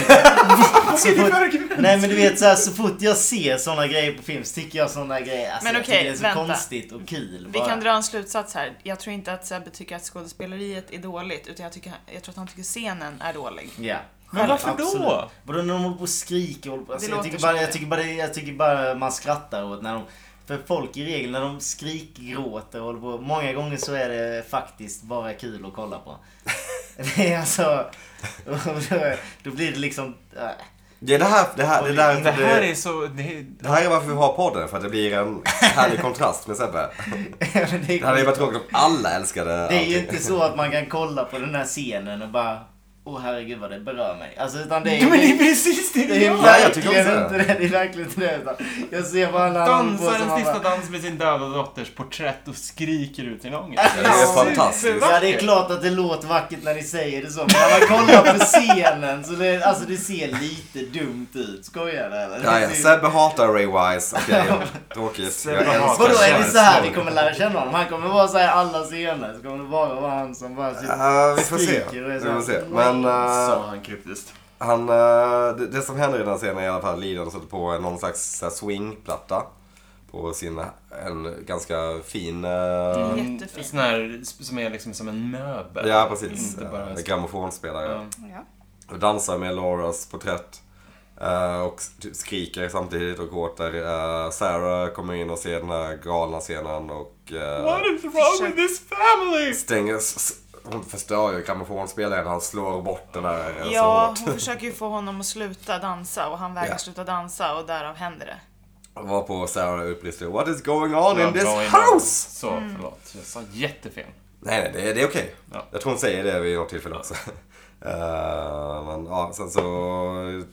A: så fort, Nej men du vet så här, så fort jag ser sådana grejer på film så tycker jag sådana grejer, alltså,
D: Men
A: jag
D: okej,
A: tycker det är så
D: vänta.
A: konstigt och kul.
D: Vi
A: bara.
D: kan dra en slutsats här. Jag tror inte att Sebbe tycker att skådespeleriet är dåligt, utan jag, tycker, jag tror att han tycker scenen är dålig.
A: Ja.
C: Men varför då?
A: Absolut. Både när de håller på och skriker och håller på- alltså,
D: Det
A: jag,
D: låter
A: tycker
D: som
A: bara, jag,
D: det.
A: tycker bara, det- jag tycker bara man skrattar åt när de För folk i regel när de skrikgråter och håller på Många gånger så är det faktiskt bara kul att kolla på Det är alltså då- Då blir det liksom äh,
B: Det är det här, det här, det där,
C: Det här är så... Det är,
B: det här är varför vi har podden, för att det blir en härlig kontrast med Sebbe.
A: men det,
B: Det hade ju
A: är,
B: varit tråkigt om alla älskade
A: det är ju
B: allting.
A: inte så att man kan kolla på den här scenen och bara Åh herregud vad det berör mig Alltså utan det är
C: Ja, men det är precis det
A: Det
C: jag
A: är
B: Ja, jag tycker
A: verkligen
B: också det.
A: inte det. Det är verkligen inte det. utan Jag ser bara alla
C: Dansar
A: som
C: en
A: bara-
C: sista dans med sin döda dotters porträtt och skriker ut sin ångest.
B: Ja, det är fantastiskt.
A: Ja, det är klart att det låter vackert när ni säger det så. Men när man kollar på scenen så det, alltså, det ser lite dumt ut. Skojar du eller?
B: Ja, ja.
A: Det ser-
B: Sebbe hatar Ray Wise. Okej, tråkigt. Jag
C: Sebbe hatar-
B: älskar
A: Vadå är det
B: Wise.
A: så här vi kommer lära känna honom? Han kommer vara så här i alla scener. Så kommer det bara vara han som bara sitter
B: Ja, vi får se.
A: skriker och är
B: Vi
A: så här,
B: får se. Men... eh,
C: Sa han kryptiskt.
B: Han, eh, det, det som händer i den här scenen är i alla fall att Lidan sätter på någon slags så här, swingplatta. På sin, en ganska fin...
C: Mm.
B: eh,
D: Jättefin.
C: Sån här som är liksom som en möbel.
B: Ja, precis.
C: Inte bara... Mm.
B: Eh, Grammofonspelare.
C: Ja.
D: Ja.
B: Och dansar med Lauras porträtt. eh, och s- typ skriker samtidigt och gråter. Eh, Sarah kommer in och ser den här galna scenen och... eh,
C: What is wrong with this family?
B: stänger... s- s- Hon förstör ju grammofonspelaren. Han slår bort den där eh, så
D: Ja,
B: hårt.
D: hon försöker ju få honom att sluta dansa och han
B: Ja.
D: vägrar sluta dansa och därav händer det.
B: Var på Sarah utbrister What is going on in this
C: Bra innan.
B: house?
C: Så, förlåt. Jag sa jättefel.
B: Nej, nej, det, det är okej.
C: Ja.
B: Jag tror hon säger det vid något tillfälle också. Eh, men ja, sen så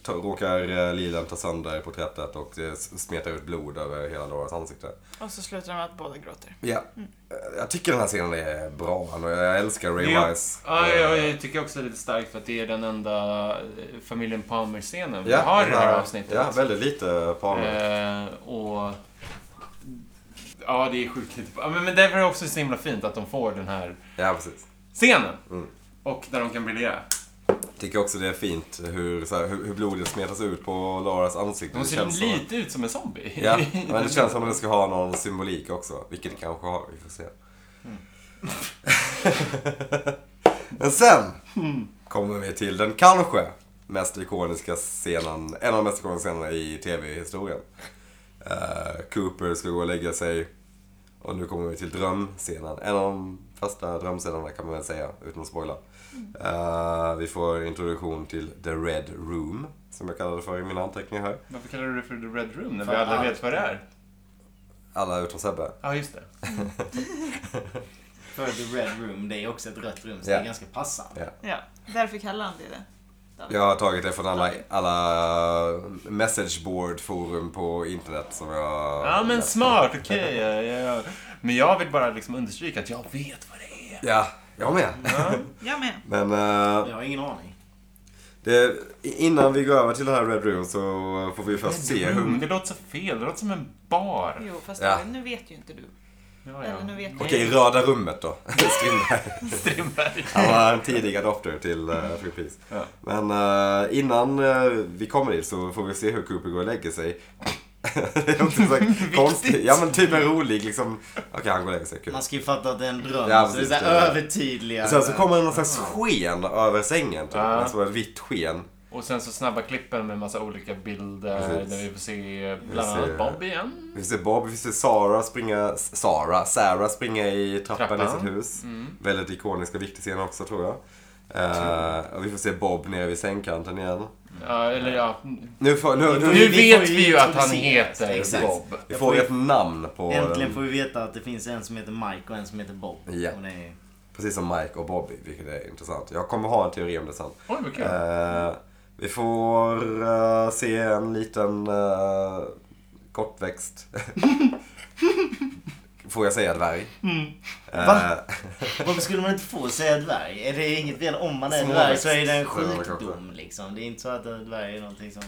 B: ta, råkar eh, Lilan ta sönder porträttet och det s- smetar ut blod över hela Lauras ansikte.
D: Och så slutar de med att båda gråter.
B: Ja, Eh, jag tycker den här scenen är bra. och Jag älskar Ray
C: Ja.
B: Wise.
C: Ja,
B: Eh,
C: ja, jag tycker också det är lite starkt för att det är den enda eh, familjen Palmer-scenen vi
B: ja,
C: har i det här
B: ja,
C: avsnittet.
B: eh, Ja, väldigt lite Palmer.
C: Eh, och... Ja, det är sjukt lite. Ja, Men, men därför är det också så himla fint att de får den här
B: Ja, precis.
C: scenen.
B: Mm.
C: Och där de kan briljera.
B: Tycker också det är fint hur, så här, hur, hur blodet smetas ut på Laras ansikte.
C: De
B: Det
C: ser
B: känns som-
C: lite ut som en zombie.
B: Ja, men det känns som att det ska ha någon symbolik också. Vilket det kanske har, vi får se. men sen kommer vi till den kanske mest ikoniska scenen, en av de mest ikoniska scenerna i tv-historien. Eh, Cooper ska gå och lägga sig och nu kommer vi till drömscenen. En av de första drömscenerna kan man väl säga, utan att spoila. Eh, vi får introduktion till The Red Room, som jag kallade det för i mina anteckningar här.
C: Varför kallar du det för The Red Room när vi
A: Fan,
C: alla
A: allt.
C: vet vad det är?
B: Alla utom Sebbe.
C: Ja, just det.
A: För the red room, det är också ett rött rum så det
B: Ja.
A: är ganska passande.
B: Ja.
D: Ja, därför kallar han det det.
B: Jag har tagit det från alla, alla messageboard-forum på internet som jag...
C: Ja, men smart. Okej. ja, ja, ja. Men jag vill bara liksom understryka att jag vet vad det är.
B: Ja, jag med.
D: Jag med.
B: Men eh,
A: Jag har ingen aning.
B: det, innan vi går över till den här Red Room så får vi först se
C: Red Room,
B: hur...
C: Mm. det låter så fel. Det låter som en bar.
D: Jo, fast
B: Ja. Mm.
D: det- nu vet ju inte du.
C: Ja,
D: Eller nu vet jag.
B: Okej, röda rummet då. Strindberg.
C: Strindberg.
B: Han var en tidig adopter till uh, Free Peace.
C: Ja.
B: Men eh, innan eh, vi kommer dit så får vi se hur Cooper går och lägger sig. det är också så här konstigt. Ja men typ en rolig liksom. Okej han går och lägger sig. Kul.
A: Man ska ju fatta att det är en dröm.
B: Ja,
A: så det är
B: precis,
A: så här
B: det är det.
A: övertydliga.
B: Sen så kommer det någon slags sken över sängen typ.
C: Ja.
B: Alltså ett vitt sken.
C: Och sen så snabba klippen med massa olika bilder
B: Precis.
C: där vi får se bland
B: Vi ser-
C: annat Bob igen.
B: Vi ser Bob, vi ser Sara springa, Sara, Sarah springa i trappan, i
C: Trappan.
B: sitt hus. Väldigt ikonisk och viktig scen också tror jag. Eh, och vi får se Bob nere vid sängkanten igen.
C: Ja, eller ja.
B: Nu, får, nu,
C: Nu
B: nu,
A: vi får
C: vet
A: ju
C: vi ju att han
A: introduceras.
C: heter
A: Exakt.
C: Bob.
B: vi får ett namn på...
A: Äntligen får vi veta att det finns en som heter Mike och en som heter Bob.
B: Ja.
A: Och det är...
B: Precis som Mike och Bobby, vilket är intressant. Jag kommer ha en teori om det sen.
C: Oj, vad kul.
B: Eh, vi får eh, se en liten eh, kortväxt. får jag säga dvärg?
C: Mm.
A: Va?
B: Eh,
A: Varför skulle man inte få säga dvärg? Är det inget fel om man är
B: Små
A: dvärg
B: växt.
A: så är det en
B: Så är det kanske.
A: sjukdom liksom. Det är inte så att en dvärg är någonting som...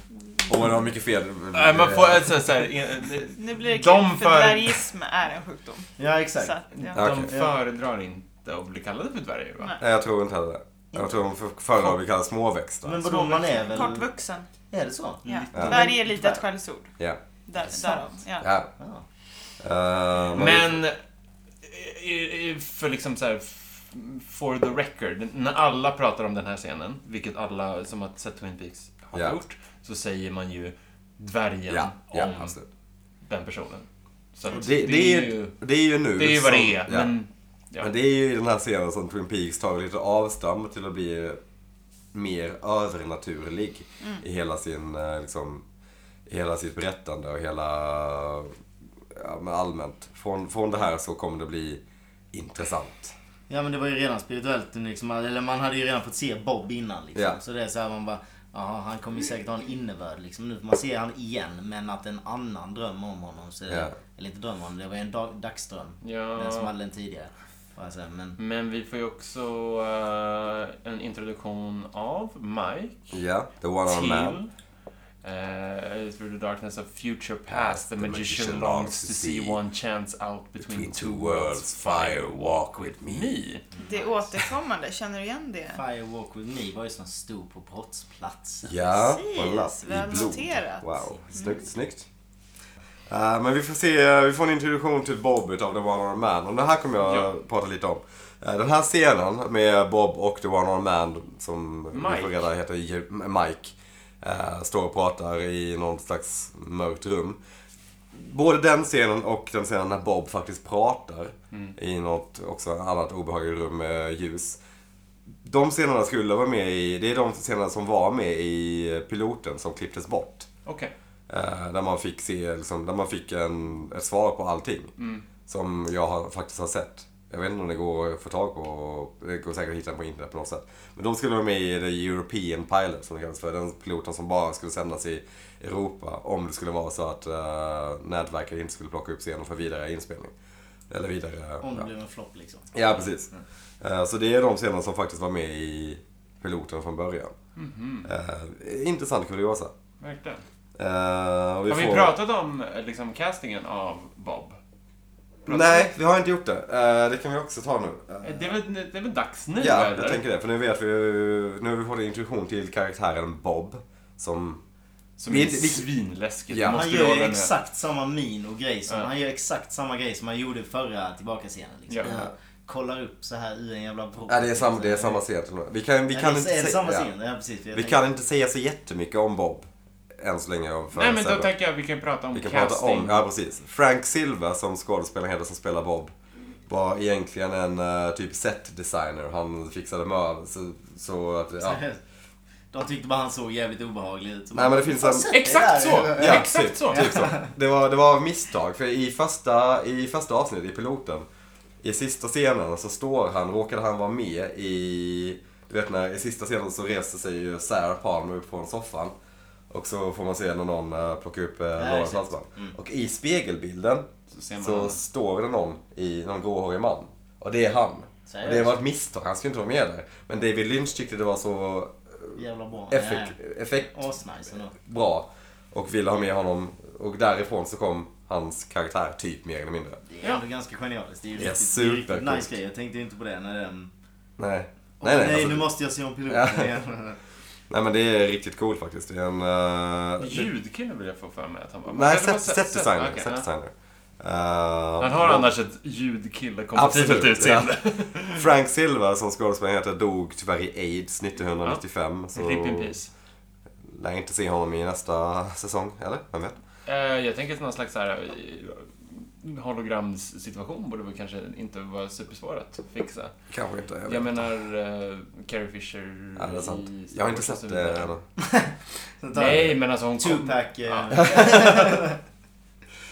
B: Åh, det var mycket fel.
C: Nej, man får alltså så här, eh,
D: Nu blir det
C: De
D: kul, för
C: för-
D: dvärgism är en sjukdom.
A: Ja
D: Så,
A: exakt.
D: att, ja.
B: Ja.
C: de
B: Okej.
C: föredrar inte att bli kallade för dvärgar va?
D: Nej.
B: Nej, jag tror inte heller det. Jag tror de för- föredrar vi kallar småväxt.
A: Men
B: va?
A: vadå, man är väl...
D: Kortvuxen.
A: Är det så?
D: Ja.
B: Ja.
D: Dvärg är lite ett skällsord.
B: Ja.
D: Där,
A: Sant.
D: därav. Ja.
B: ja.
A: Ja.
B: Eh,
C: Men, eh, eh, för liksom så här, f- for the record, när alla pratar om den här scenen, vilket alla som har sett Twin Peaks har
B: Ja.
C: gjort, så säger man ju dvärgen
B: Ja, ja
C: om
B: absolut.
C: den personen. Så att
B: Det, det, är ju, det är ju nu.
C: det är ju vad det är,
B: som- ja.
C: men... Ja.
B: Men det är ju i den här scenen som Twin Peaks tar lite avstamp till att bli mer övernaturlig
D: Mm.
B: i hela sin, eh, liksom, i hela sitt berättande och hela, ja men allmänt. Från, från det här så kommer det bli intressant.
A: Ja men det var ju redan spirituellt liksom. Eller man hade ju redan fått se Bob innan liksom.
B: Ja.
A: Så det är så här man bara... Jaha, han kommer ju säkert ha en innebörd liksom. Nu får man se han igen men att en annan dröm om honom. Så
B: Ja.
A: Eller inte dröm om honom, det var ju en dag, dagsdröm. Den som
C: Ja,
A: hade den tidigare. Och jag säger, men...
C: men vi får ju också eh, en introduktion av Mike.
B: Ja, The One Armed Man.
C: till uh, Through the darkness of future past the, magician, longs to see one chance out between, two worlds fire walk with me.
D: Det är återkommande, känner du igen det?
A: Fire Walk With Me var ju som stod på brottsplatsen.
B: Ja,
D: Precis,
B: voilà,
D: väl
B: i blod.
D: noterat. Mm.
B: Wow, snyggt, snyggt. Eh, men vi får se, vi får en introduktion till Bob utav The One Armed Man. Och det här kommer jag
C: Ja.
B: prata lite om. Eh, Den här scenen med Bob och The One Armed Man som vi
C: Mike.
B: får reda heter Ju- Mike. eh, står och pratar i någon slags mörkt rum. Både den scenen och den scenen när Bob faktiskt pratar
C: Mm.
B: i något också annat obehagligt rum med ljus. De scenerna skulle vara med i, det är de scenerna som var med i piloten som klipptes bort.
C: Okej.
B: Eh, där man fick se, liksom, där man fick en, ett svar på allting.
A: Mm.
B: Som jag har, faktiskt har sett. Jag vet inte om det går att få tag på, det går säkert att hitta på internet på något sätt. Men de skulle vara med i The European Pilot som det kallas för. Den piloten som bara skulle sändas i Europa. Om det skulle vara så att eh, nätverket inte skulle plocka upp scenen för vidare inspelning. Eller vidare...
A: Om det Mm.
B: ja.
A: blev en flopp liksom.
B: Ja, precis. Eh, Så det är de scener som faktiskt var med i piloten från början.
A: Mhm.
B: Eh, Intressant kuriosa.
C: Verkligen.
B: Eh, och
C: Har vi
B: får-
C: pratat om eh, liksom, castingen av Bob?
B: Nej, vi har inte gjort det. Eh, det kan vi också ta nu. Eh,
C: Det är väl, det är väl dags nu?
B: Ja,
C: eller?
B: jag tänker det. För nu vet vi ju- Nu har vi fått en introduktion till karaktären Bob. Som...
C: Som är
B: Vi- vi-
C: svinläskigt.
B: Ja.
C: det måste
A: Han
C: vi
A: gör ju
C: hålla med.
A: exakt samma min och grej som,
C: Ja.
A: han gör exakt samma grej som han gjorde i förra tillbaka-scenen. Liksom.
C: Ja.
A: Han Kollar upp så här i en jävla bro.
B: Ja, det är samma, det är samma scen. Vi kan, vi
A: Ja,
B: kan
A: det är-
B: inte
A: är det
B: se-
A: samma
B: ja.
A: scen? Ja, precis. för jag
B: Vi
A: tänker-
B: kan inte säga så jättemycket om Bob. Än så länge. om
C: Nej men då
B: förutsättningar.
C: tänker jag att vi kan prata om
B: Vi kan prata
C: casting.
B: om, ja precis. Frank Silva som skådespelaren heter som spelar Bob var egentligen en eh, typ set designer. Han fixade möbler så, så att, ja.
A: De tyckte bara han såg jävligt obehaglig ut. Så
B: Nej men det finns en...
C: Exakt så!
B: Ja,
C: exakt
B: typ,
C: så!
B: Typ så. Det var, det var av misstag, för i första, i första avsnittet, i piloten, i sista scenen så står han, råkade han vara med i... Du vet när, i sista scenen så reser sig ju Sarah Palmer upp från soffan. Och så får man se när någon uh, plockar upp uh, Lauras
A: exakt.
B: halsband. Och i spegelbilden
C: Mm. Så ser man
B: så
C: honom.
B: står det någon, i, någon gråhårig man. Och det är han.
A: Seriöst?
B: Och det var ett misstag, han skulle inte vara med där. Men David Lynch tyckte det var så
A: Jävla bra.
B: effekt, effekt
A: Nej. Asnice ändå.
B: bra och ville ha med honom och därifrån så kom hans karaktär typ mer eller mindre.
A: Det är
C: Ja.
A: ändå ganska genialiskt. Det är ju
B: Det är
A: riktigt, det är riktigt
B: supercoolt.
A: nice grej. Jag tänkte ju inte på det när den...
B: Nej,
A: Åh,
B: nej, nej,
A: nu
B: alltså,
A: måste jag se om
B: Ja.
A: piloten igen.
B: nej men det är riktigt coolt faktiskt. Det är en... eh,
C: Ljudkille vill jag få för mig att han var.
B: nej,
C: Eller var
B: set,
C: set-
B: set designer.
C: okej,
B: set
C: ja.
B: designer. Eh,
C: Han har annars ett ljudkille kompatibelt
B: Absolut,
C: utseende.
B: Frank Silva som skådespelaren heter dog tyvärr i aids 1995. Så
C: Rip in peace.
B: lär inte se honom i nästa säsong, eller? Vem vet?
C: Eh, jag tänker att någon slags så här, eh, hologramsituation borde väl kanske inte vara supersvår att fixa.
B: Kanske inte. Jag, vet.
C: Jag menar eh, Carrie Fisher
B: ja, det är sant.
C: i Star
B: Jag har inte
C: Wars och
B: sett eh,
C: så
B: det
C: vidare.
B: ännu.
A: Så tar
C: Nej, men alltså hon
A: vi Tupac. eh,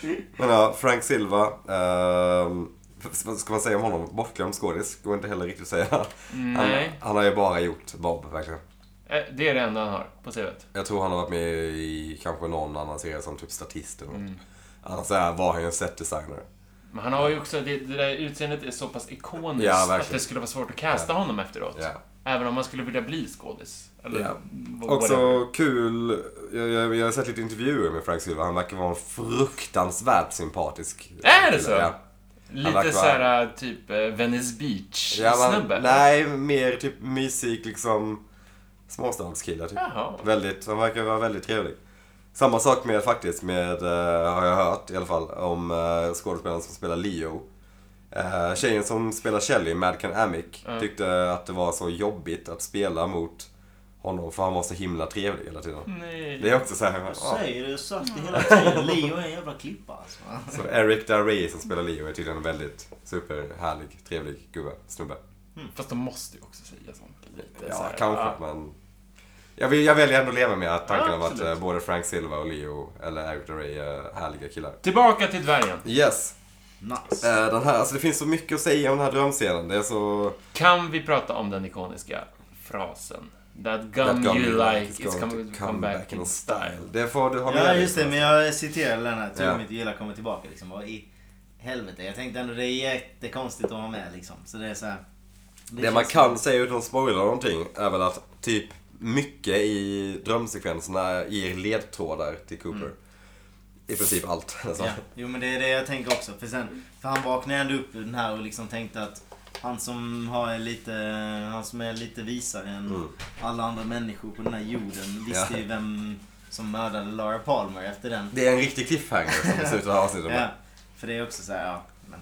C: Ja.
B: Men ja, Frank Silva. ehm, vad ska man säga om honom? Bortglömd skådis. Går inte heller riktigt att säga.
C: Mm, Nej.
B: Han, han har ju bara gjort Bob, verkligen.
C: Eh, Det är det enda han har på CVt.
B: Jag tror han har varit med i kanske någon annan serie som typ statist eller något.
C: Mm.
B: Annars är, var han ju en setdesigner.
C: Men han har ju också, det, det där utseendet är så pass ikoniskt
B: Ja, verkligen.
C: att det skulle vara svårt att casta honom efteråt.
B: Ja.
C: Även om man skulle vilja bli skådis. Eller
B: Ja.
C: vad- whatever.
B: Också kul, jag, jag, jag har sett lite intervjuer med Frank Silva. Han verkar vara en fruktansvärt sympatisk
C: Är det
B: kille.
C: så?
B: Ja. verkar
C: Lite
B: vara-
C: såhär typ eh, Venice
B: Ja, man-
C: Beach-snubbe.
B: nej, mer typ mysig liksom småstadskille typ.
C: Jaha.
B: Väldigt, han verkar vara väldigt trevlig. Samma sak med faktiskt med, eh, har jag hört i alla fall, om eh, skådespelaren som spelar Leo. Eh, tjejen som spelar Shelly, Madcan Amick,
C: Mm.
B: tyckte att det var så jobbigt att spela mot honom för han var så himla trevlig hela tiden.
C: Nej.
B: Det är också så här,
A: Jag
B: ja.
A: säger det, jag har sagt det hela tiden. Leo är en jävla klippa alltså.
B: Så Eric Darray som spelar Leo är tydligen en väldigt superhärlig, trevlig gubbe, snubbe.
C: Fast de måste ju också säga sånt lite.
B: Ja,
C: så här,
B: kanske.
C: ja.
B: Men jag, vill, jag väljer ändå att leva med att tanken
C: Ja,
B: om att
C: absolut.
B: eh, både Frank Silva och Leo, eller Eric Duray, är härliga killar.
C: Tillbaka till dvärgen.
B: Yes.
A: Nice.
B: Eh, Den här, alltså det finns så mycket att säga om den här drömscenen. Det är så...
C: Kan vi prata om den ikoniska frasen? That gum,
B: That gum
C: you like is
B: going
C: come,
B: to
C: come, back, in style.
B: Det får du ha med
A: Ja
B: dig.
A: just det, men jag citerade den här. Tur
B: Ja.
A: om inte gillar kommer tillbaka liksom. Vad i helvete. Jag tänkte ändå det är jättekonstigt att ha med liksom. Så det är så här,
B: Det man
A: känns-
B: kan säga utan att spoila någonting är väl att typ mycket i drömsekvenserna ger ledtrådar till Cooper. I princip allt. nästan.
A: Mm. Ja. Jo men det är det jag tänker också. För, sen, för han vaknade ändå upp ur den här och liksom tänkte att han som, har lite, han som är lite visare än
B: Mm.
A: alla andra människor på den här jorden visste
B: Ja.
A: ju vem som mördade Laura Palmer efter den.
B: Det är en riktig cliffhanger som vi slutar avsnittet med.
A: Ja, för det är också så här, ja. Men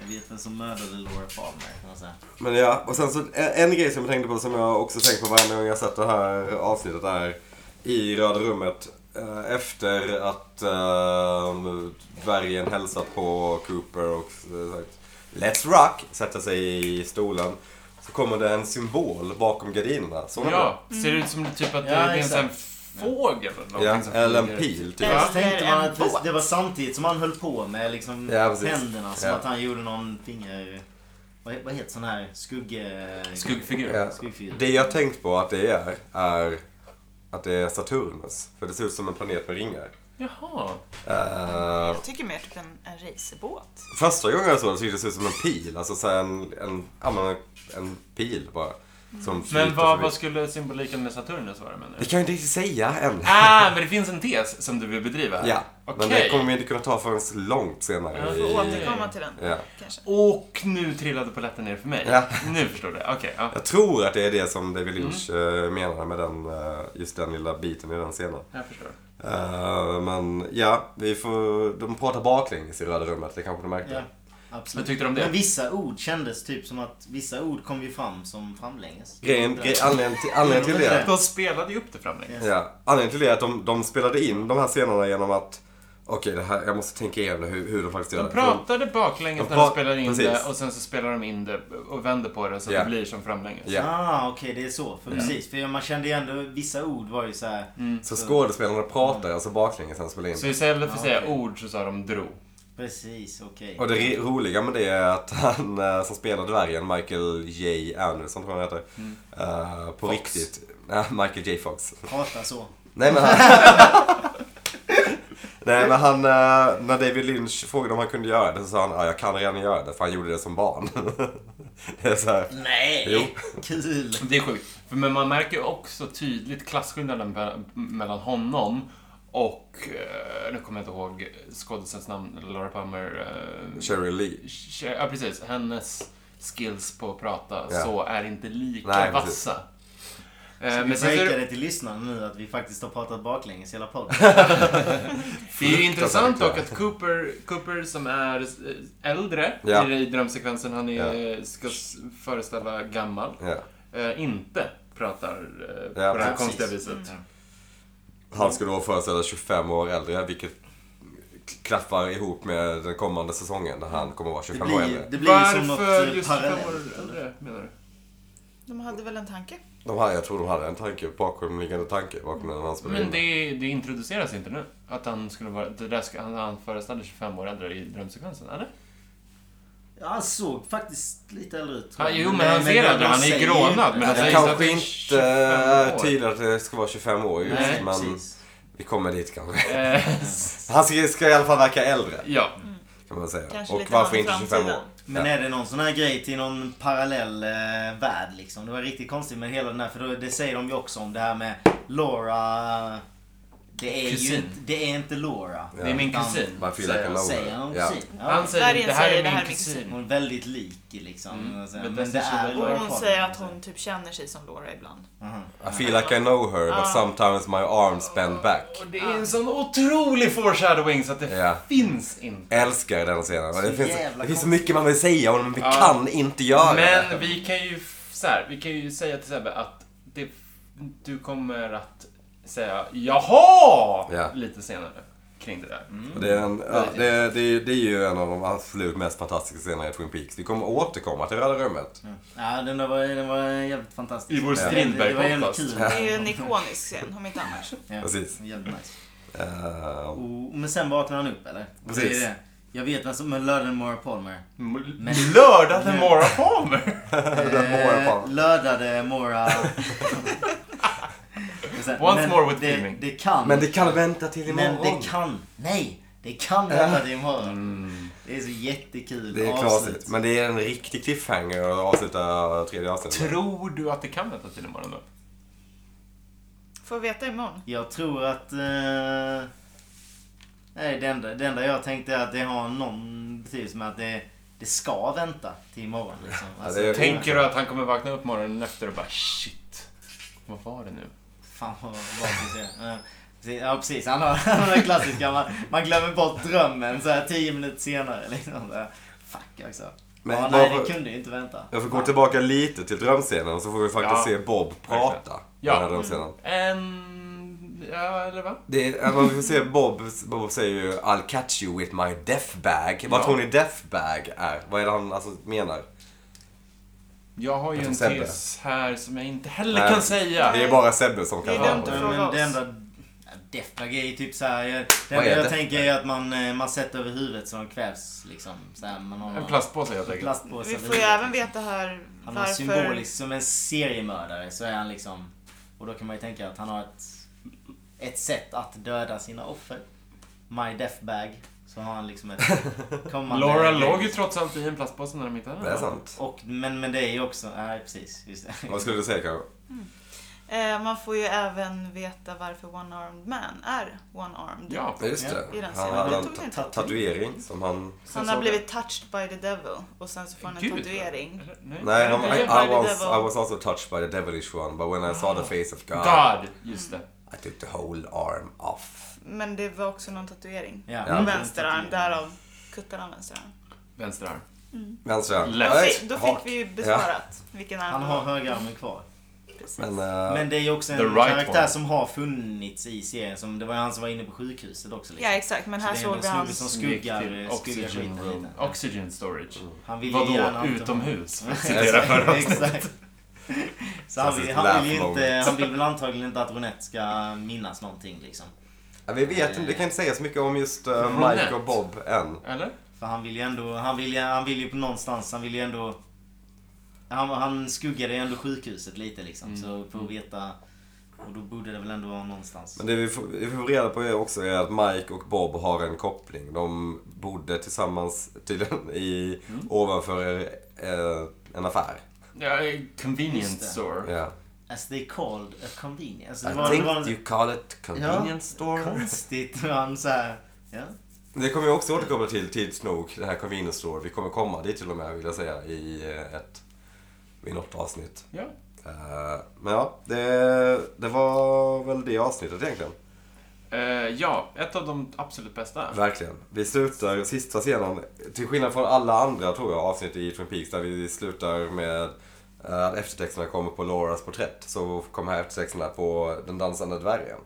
A: jag vet vem som mördade Laura Palmer. Kan man säga.
B: Men ja, och sen så en, en grej som jag tänkte på som jag också tänkt på varje gång jag sett det här avsnittet är i Röda rummet eh, efter att eh, dvärgen hälsat på Cooper och eh, sagt Let's rock! Sätter sig i stolen. Så kommer det en symbol bakom gardinerna. Såg ni
C: Ja, ser ut som typ att det
A: Mm. Ja,
C: är en sån här
A: exakt.
C: fågel
B: det?
C: eller någonting
B: Ja,
C: som
B: eller en
C: flyger.
B: pil typ.
D: Ja.
A: Så tänkte
D: Eller
A: man
D: en
A: att det,
D: båt.
A: det var samtidigt som han höll på med liksom
B: Ja, precis.
A: händerna. Som
B: Ja.
A: att han gjorde någon finger... Vad, he- vad heter sån här skugge...
C: Skuggfigur.
B: Ja.
A: skuggfigur.
B: Det jag tänkt på att det är, är att det är Saturnus. För det ser ut som en planet med ringar.
C: Jaha.
B: Eh,
D: Jag tycker mer typ en, en racerbåt.
B: Första gången jag såg det så såg det ut som en pil. Alltså så här en, en, ja, men en, en pil bara. Som
C: Men
B: flyter
C: vad,
B: förbi.
C: vad skulle symboliken med Saturnus vara menar
B: Det
C: du?
B: kan jag inte riktigt säga än.
C: Ah, men det finns en tes som du vill bedriva här.
B: Ja,
C: Okej.
B: men det kommer vi inte kunna ta förrän långt senare.
C: Ja, vi
D: Får
B: i-
D: återkomma till den.
B: Ja.
D: Kanske.
C: Och nu trillade polletten ner för mig.
B: Ja.
C: Nu förstår du. Okej, ja.
B: Jag tror att det är det som David Lynch eh, menar med den, eh, just den lilla biten i den scenen.
C: Jag förstår.
B: Eh, men ja, vi får, de pratar baklänges i röda rummet, det kanske du märkte.
A: Ja,
C: Vad
A: absolut.
C: tyckte du om
A: Men
C: det?
A: vissa ord kändes typ som att vissa ord kom ju fram som framlänges.
B: Grejen, gre- anledningen till, anledningen till det
C: De spelade ju upp det fram dig.
B: Ja, anledningen till det är att de, de spelade in de här scenerna genom att Okej, det här, jag måste tänka igenom hur, hur de faktiskt gör
C: De
B: det.
C: pratade baklänges
B: De
C: när de
B: pra-
C: spelade in
B: precis.
C: det och sen så spelar de in det och vänder på det så att
B: Ja.
C: det blir som framlänges.
B: Ja.
A: Ah, okej det är så. För precis, för man kände ju ändå vissa ord var ju så här.
C: Mm.
B: Så skådespelarna pratar alltså baklänges när de spelar in.
C: Så istället för att
A: Ja,
C: säga
A: okej.
C: ord så sa de dro.
A: Precis, okej.
B: Och det ri- roliga med det är att han eh, som spelar dvärgen, Michael J. Anderson tror jag han heter. eh, på
C: Mm. Fox.
B: riktigt. Nej, Michael J. Fox.
A: Prata så.
B: Nej men han... Nej men han, eh, när David Lynch frågade om han kunde göra det så sa han ja, jag kan redan göra det för han gjorde det som barn. det är så här,
A: Nej!
B: Jo.
A: Kul!
C: Det är sjukt. För- Men man märker ju också tydligt klasskillnaden be- mellan honom och, eh, nu kommer jag inte ihåg skådisens namn, Laura Palmer. eh,
B: Cheryl Lee.
C: Sh- Ja, precis. Hennes skills på att prata
B: Ja.
C: så är inte lika
B: Nej, precis.
C: vassa. Eh,
A: Så vi
C: Men sen så är
A: breakar
C: det,
A: det till lyssnarna nu att vi faktiskt har pratat baklänges hela podden.
C: det är ju
B: alltså,
C: intressant dock
B: Fruktansvärt.
C: att Cooper, Cooper som är eh, äldre
B: Ja.
C: i drömsekvensen, han är, eh,
B: Ja.
C: ska s- föreställa gammal,
B: Ja.
C: eh, inte pratar eh, på
B: Ja,
C: det här
A: precis.
C: konstiga viset.
A: Mm.
B: Han skulle då föreställa 25 år äldre, vilket klaffar ihop med den kommande säsongen där han kommer vara
A: Det
B: 25 år
A: blir,
B: äldre.
A: det blir som något
C: Varför
A: eh,
C: just fem år
A: parallellt. eller?
C: äldre, menar du?
D: De hade väl en tanke?
B: De här, jag tror de hade en tanke, bakomliggande tanke bakom den han spelade
C: Men
B: in.
C: det, det introduceras inte nu, att han skulle vara, det där ska, han, han föreställer 25 år äldre i drömsekvensen, eller?
A: Ja, han såg faktiskt lite äldre ut. tror
C: Ja,
A: jag.
C: jo, men han ser
A: det-
C: äldre.
A: man
C: Han är
A: säger ju
C: grånad,
A: inte.
C: men han
B: Det
C: säger
B: kanske
C: alltså att-
B: inte är
C: 25 år.
B: tydligt att det ska vara 25 år just,
C: Nej,
B: men
A: Precis.
B: vi kommer dit kanske.
C: Eh,
B: Han ska, ska i alla fall verka äldre,
C: ja.
B: kan man säga.
D: Kanske
B: och
D: lite han
B: varför
D: i
B: inte 25 år?
D: framtiden.
A: Men
B: Ja.
A: är det någon sån här grej till någon parallell eh, värld liksom? Det var riktigt konstigt med hela den här, för då, det säger de ju också om det här med Laura... Det är
C: Kusin.
A: ju inte, det är inte Laura.
C: Det är min
A: Utan-
C: kusin.
B: Varför
C: säger
B: gillar
C: han.
B: Laura?
A: Säger han
B: Ja.
A: kusin? Ja.
C: Han säger
D: Därjen
C: det här
D: säger,
C: är min kusin.
A: Hon är väldigt lik liksom.
C: Mm.
A: Så här,
C: Men
A: Men det
C: det är
A: är
D: Och
A: Laura
D: hon
A: Palmer,
D: säger att
A: liksom.
D: hon typ känner sig som Laura ibland.
A: Aha.
B: I feel like I know her, but sometimes my arms bend back.
C: Och det är en sån otrolig foreshadowing så att det
B: Ja.
C: finns inte.
B: Älskar den scenen. Och
A: Så
B: Det finns,
A: jävla
B: det finns så
A: konstigt.
B: mycket man vill säga om den, men vi
C: Ja.
B: kan inte göra det.
C: Men vi kan ju, f- så här, vi kan ju säga till Sebbe att det, du kommer att säga jaha
B: Ja.
C: lite senare kring det där.
B: Och Det är, en, ja, det, det, det är ju en av de absolut mest fantastiska scenerna i Twin Peaks. Vi kommer återkomma till Röda Rummet.
A: Ja, den där var, den var jävligt fantastisk.
C: I vår
A: Det-
C: Strindberg
A: Det var jävligt
C: podcast.
A: kul.
D: Det är ju en ikonisk scen, om inte annars.
A: Ja,
B: Precis.
A: Jävligt nice.
B: Eh,
A: Och, Oh, men sen vaknar han upp eller?
B: Precis.
A: Det är det. Jag vet alltså, vem som är lördagen Maura Palmer.
C: M-
A: Men-
C: Mm. Lördag den morgon kommer!
B: Den
A: eh,
B: Maura Palmer.
A: Lördade Maura... Men sen-
C: Once
A: men
C: more with
A: det,
C: filming.
A: Det kan.
B: men det kan vänta till imorgon.
A: Men det kan. Nej! Det kan hända det imorgon. Det är så jättekul
B: Mm. Det är
A: avsnitt.
B: knasigt. Men det är en riktig cliffhanger att avsluta tredje avsnittet.
C: Tror du att det kan vänta till imorgon då?
D: Får veta imorgon.
A: Jag tror att... Eh, nej, det enda, det enda jag tänkte är att det har någon betydelse med att det, det ska vänta till imorgon. Liksom. Alltså,
B: det är-
C: Tänker du att han kommer vakna upp morgonen efter och bara shit, vad var det nu?
A: Fan vad bakis jag är. Ja, precis. Ja precis, han har han har den klassiska. Man, man glömmer bort drömmen så här tio minuter senare. Liksom. Så här, Fuck också.
B: Men
A: ja, nej,
B: varför-
A: det kunde ju inte vänta.
B: Jag får gå tillbaka lite till drömscenen och så får vi faktiskt se
C: Ja.
B: Bob prata.
C: Ja.
B: Ja. Den här drömscenen.
C: En... Ja, eller va?
B: Det är, man får se Bob, Bob säger ju I'll catch you with my death bag. Vad
C: Ja.
B: tror ni death bag är? Vad är det han alltså menar?
C: Jag har ju
B: Jag
C: en
B: tror Sebbe.
C: tes här som jag inte heller
B: Nej.
C: kan säga.
B: Det är bara Sebbe som kan
D: Det är
B: svara
D: dumt
B: på
D: att
B: det.
D: fråga
A: Men
D: oss.
A: det enda... Deathbag är ju typ såhär... Jag, det
B: Vad
A: enda
B: är
A: jag
B: death
A: tänker är att man, eh, man sätter över huvudet så de kvävs. Liksom. Så här, man har
C: En plastpåse helt
A: en
C: enkelt.
A: plastpåse
D: Vi
A: vid
D: får ju
A: huvudet,
D: även
A: liksom.
D: veta här
A: Han har
D: varför...
A: symboliskt, som en seriemördare så är han liksom... Och då kan man ju tänka att han har ett, ett sätt att döda sina offer. My death bag. Så Så har han liksom ett kommande...
C: Laura låg ju trots allt i en plastpåse när de hittade
B: Det är sant.
A: Och, men, men det är ju också... Nej, precis. Just det.
B: Vad skulle du säga Karo?
D: Eh, man får ju även veta varför One-Armed Man är One-Armed.
C: Ja.
B: Ja, Just
A: Ja.
D: I
B: det.
D: den
B: Han
D: scenen.
B: hade
D: Det
B: en
D: tog
B: ta-
D: inte
A: ta-
B: tatuering som han...
D: Han har blivit touched by the devil och sen så får han en
C: Gud,
D: tatuering.
C: eller? Nej.
B: Nej, han, I,
D: by
B: I,
D: the
B: was,
D: devil. Ah.
B: I was also touched by the devilish one, but when I saw the face of oh, God,
C: God! Just det.
B: I took the whole arm off.
D: Men det var också någon tatuering.
A: Ja.
B: Ja.
D: En Vänsterarm, därav kuttade han vänsterarm.
C: Vänster arm.
B: Vänstra.
C: Left.
D: Då
B: Nej,
D: fick- Då
B: hak.
D: fick vi ju besvarat vilken arm
A: Han
D: det
A: har
D: var.
A: högerarmen kvar.
D: Precis.
B: Men, eh,
A: Men det är ju också en
C: The right
A: karaktär
C: one.
A: som har funnits i serien. Som, det var ju han som var inne på sjukhuset också.
D: Ja,
A: Liksom.
D: exakt. Men
A: Så
D: här
A: det är
D: såg
A: en
D: vi
A: snubbe
D: hans...
A: som skuggar,
C: till
A: skuggar
C: oxygen
A: skiten
C: room.
A: lite.
C: Oxygen storage.
A: Han vill ju gärna
C: Vadå?
A: inte-
C: Utomhus? Citera
A: Exakt,
C: förra avsnittet.
A: Mm. Exakt. Så han vill,
B: Klassiskt
A: han vill ju
B: laugh
A: inte,
B: moment.
A: han vill väl antagligen inte att Ronette ska minnas någonting liksom.
B: Ja, vi vet inte, det kan inte sägas mycket om just eh, Mike och Bob än.
C: Eller?
A: För han vill ju ändå, han vill ju, han vill ju på någonstans, han vill ju ändå han, han skuggade ju ändå sjukhuset lite liksom, så för att veta Och då borde det väl ändå vara någonstans
B: Mm. Men det vi får, vi får reda på är också är att Mike och Bob har en koppling. De bodde tillsammans tydligen i, ovanför eh, en affär.
C: Ja, eh,
A: Just det.
C: convenience store.
B: Ja.
A: As they called a convenience alltså, det
B: I
A: var, det
B: think
A: var
B: you call it convenience store.
A: konstigt hur han såhär ja.
B: Det kommer jag också återkomma till tids nog, det här convenience store. Vi kommer komma dit till och med vill jag säga i eh, ett, i något avsnitt.
C: Ja.
B: Eh, Men ja, det, det var väl det avsnittet egentligen.
C: Eh, ja, ett av de absolut bästa.
B: Verkligen. Vi slutar sista scenen, till skillnad från alla andra tror jag avsnitt i Twin Peaks där vi slutar med eh, att eftertexterna kommer på Lauras porträtt. Så kommer här eftertexterna på Den dansande dvärgen.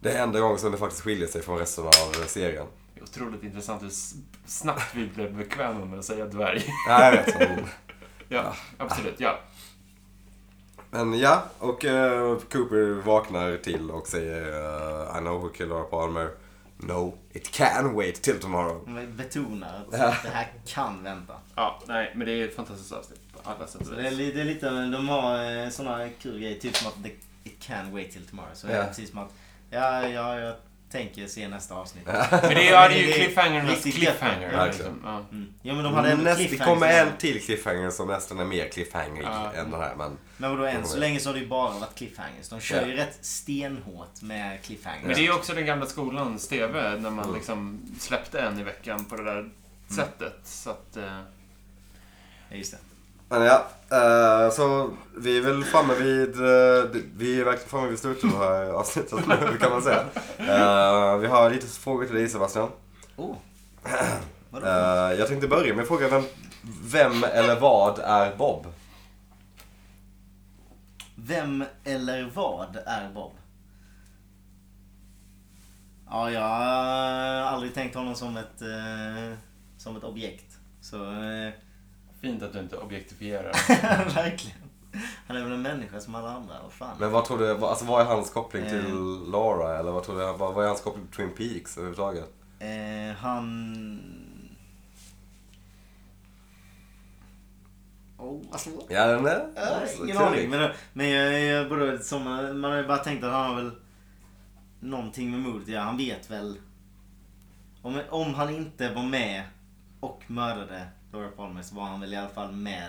B: Det är enda gången som det faktiskt skiljer sig från resten av serien.
C: Det är Otroligt intressant hur s- snabbt vi blev bekväma med att säga dvärg.
B: Ja, jag vet. Mm.
C: Ja,
B: Ah.
C: absolut. Ja.
B: Men ja, och eh, Cooper vaknar till och säger eh, I know who killed Laura Palmer. No, it can wait till tomorrow.
A: Han betonar att det här kan vänta
C: ja, nej, men det är ett fantastiskt avsnitt på alla sätt
A: Så
C: och
A: det, är,
C: vis.
A: li- det är lite, de har eh, såna kul grejer, typ som att det, it can wait till tomorrow. Så det
B: Ja.
A: är precis som att, ja, ja, jag tänker se nästa avsnitt.
C: Men det är ju
A: Det är
C: cliffhangernas
A: riktigt
C: cliffhanger.
A: gött.
C: liksom. Ja.
A: Mm. Ja men de hade ändå
B: Näst, det
A: cliffhangers
B: kommer
A: innan.
B: en till cliffhanger som nästan är mer cliffhangerig
C: Ja.
B: än den här. Men
A: Men vadå än så
B: Mm.
A: länge så har det ju bara varit cliffhangers. De kör ju
B: Ja.
A: rätt stenhårt med cliffhangers.
C: Men det är ju också den gamla skolans TV, när man liksom släppte en i veckan på det där sättet. Så att... eh,
A: Ja, just det.
B: Men ja, eh, så vi är väl framme vid, eh, vi är verkligen framme vid slutet av det här avsnittet nu kan man säga. Eh, vi har lite frågor till dig Sebastian.
A: Oh. Vadå?
B: Eh, jag tänkte börja med att fråga vem, vem eller vad är Bob?
A: Vem eller vad är Bob? Ja, jag har aldrig tänkt honom som ett, eh, som ett objekt. Så... Eh,
C: Fint att du inte objektifierar.
A: Verkligen. Han är väl en människa som alla andra. Vad fan.
B: Men vad tror du, vad- alltså vad är hans koppling till
A: Eh.
B: Laura? Eller vad tror du, vad, vad är hans koppling till Twin Peaks överhuvudtaget?
A: Eh, han... Oh, vad svårt.
B: Ja, den är...
A: Eh,
B: alltså,
A: Ingen
B: klurig.
A: aning. Men, men jag, jag, både, som, man har ju bara tänkt att han har väl någonting med mordet att göra. Han vet väl. Om, om han inte var med och mördade Laura Palmer så var han väl i alla fall med.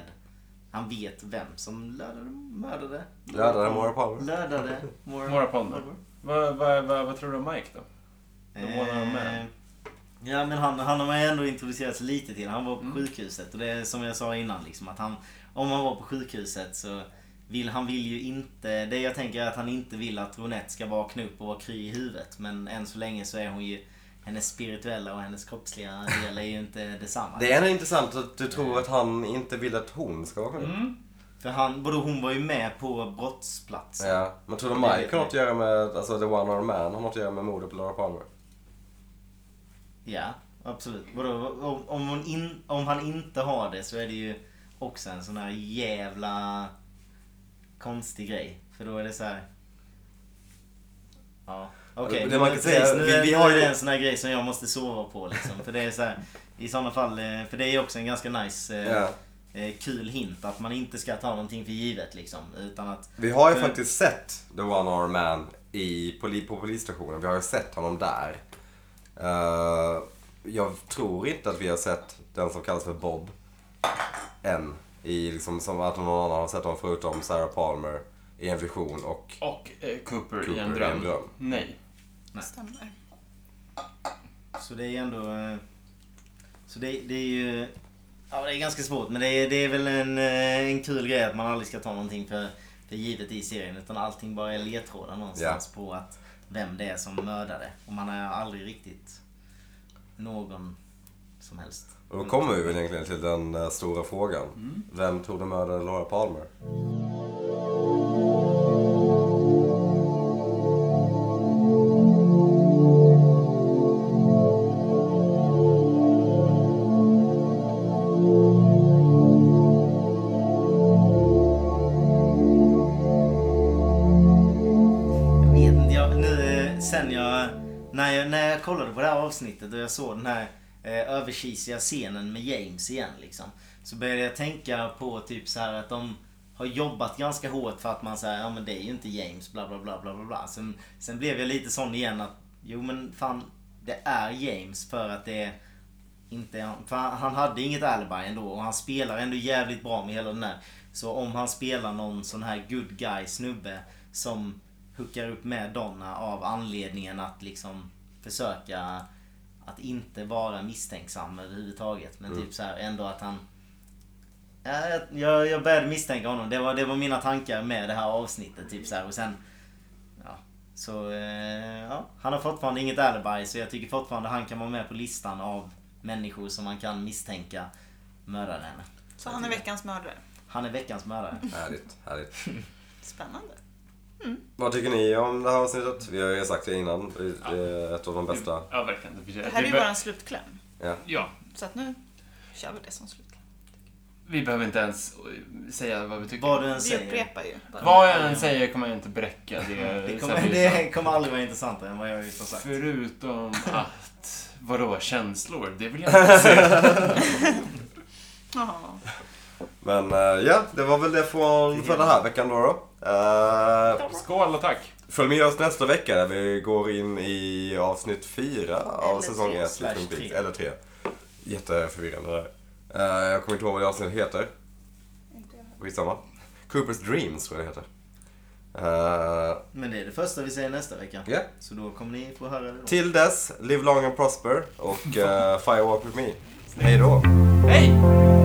A: Han vet vem som lördade, mördade.
B: Lördade Maura Palmer.
A: Lördade Maura
C: Maura Palmer. Vad, vad, vad, vad tror du om Mike då? The One Armed Man.
A: Eh, Ja men han, han har man ju ändå introducerats lite till. Han var på
C: Mm.
A: sjukhuset och det är som jag sa innan liksom att han Om han var på sjukhuset så vill han vill ju inte Det jag tänker är att han inte vill att Ronette ska vakna upp och vara kry i huvudet. Men än så länge så är hon ju Hennes spirituella och hennes kroppsliga del är ju inte detsamma.
B: Det är ändå intressant att du tror att han inte vill att hon ska vara med.
C: Mm.
A: För han, både hon var ju med på brottsplatsen.
B: Ja, men tror du
A: Det
B: Mike
A: vet
B: har
A: vi.
B: något att göra med, alltså The One Armed Man har något att göra med mordet på Laura Palmer?
A: Ja, absolut. Vadå, om, om, hon in, om han inte har det så är det ju också en sån här jävla konstig grej. För då är det så här... Ja, okej.
B: Det- det man kan
A: precis.
B: säga-
A: nu,
B: vi-
A: är-
B: vi
A: nu
B: har
A: är
B: ju-
A: det en sån här grej som jag måste sova på liksom. För det är så här, i sådana fall, eh, för det är ju också en ganska nice, eh,
B: Ja.
A: eh, kul hint att man inte ska ta någonting för givet liksom. Utan att...
B: Vi har ju
A: För-
B: faktiskt sett The One Armed Man i, poli, på polisstationen. Vi har ju sett honom där. Eh, jag tror inte att vi har sett den som kallas för Bob än. I liksom, som att någon annan har sett honom förutom Sarah Palmer i en vision och
C: Och eh, Cooper,
B: Cooper
C: i en dröm.
B: dröm.
C: Nej.
D: Stämmer.
A: Så det är ju ändå... eh, Så det, det är ju... Ja, det är ganska svårt men det är, det är väl en, eh, en kul grej att man aldrig ska ta någonting för, för givet i serien. Utan allting bara är ledtrådar någonstans på att vem det är som mördade. Och man är aldrig riktigt någon som helst.
B: Och då kommer vi väl egentligen till den eh, stora frågan. Vem tog det mördade Laura Palmer?
A: Jag vet inte, jag, nu, eh, sen jag när, jag... när jag kollade på det här avsnittet och jag såg den här eh, överkisiga scenen med James igen liksom. Så började jag tänka på typ så här att de har jobbat ganska hårt för att man säger ja men det är ju inte James bla bla bla bla bla bla. Sen, sen blev jag lite sån igen att jo men fan det är James för att det är inte han. För han han hade inget alibi ändå och han spelar ändå jävligt bra med hela den här. Så om han spelar någon sån här good guy snubbe som hookar upp med Donna av anledningen att liksom försöka att inte vara misstänksam överhuvudtaget. Men typ så här ändå att han... Ja, jag- jag, jag började misstänka honom. Det var, det var mina tankar med det här avsnittet. Typ så här. Och sen... Ja, så, eh, ja. Han har fortfarande inget alibi så jag tycker fortfarande han kan vara med på listan av människor som man kan misstänka mördade henne.
D: Så han är veckans mördare.
A: Han är veckans mördare.
B: Härligt, härligt.
D: Spännande.
B: Vad tycker ni om det här avsnittet? Vi har ju sagt det innan. Det är ett av de bästa.
C: Ja, verkligen. Det,
D: Det här är ju bara en slutkläm.
C: Ja,
D: Så att nu kör vi det som slutkläm.
C: vi behöver inte ens eh, säga vad vi tycker.
A: Vad du än
D: Vi
A: säger.
D: upprepar ju. bara.
C: Vad jag än säger kommer jag inte bräcka det. alltså.
A: Det
C: sen
A: kommer,
C: vi-
A: det kommer aldrig vara intressantare än vad jag just har sagt.
C: Förutom att... Vadå, känslor? Det vill jag inte säga.
D: Ja.
B: Men eh, ja, det var väl det från för den här veckan då. då. Eh,
C: Skål och tack!
B: följ med oss nästa vecka där vi går in i avsnitt fyra av
D: Eller
B: säsong
D: tre
B: 1.
A: slash tre.
B: Eller tre. Jätteförvirrande där. Eh, jag kommer inte ihåg vad det avsnittet heter. Skitsamma. Coopers Dreams tror jag det heter. Eh,
A: Men det är det första vi säger nästa vecka.
B: Ja.
A: Så då kommer ni få höra det då.
B: till dess, live long and prosper och eh, Firewalk with me. Hej då!
C: Hej!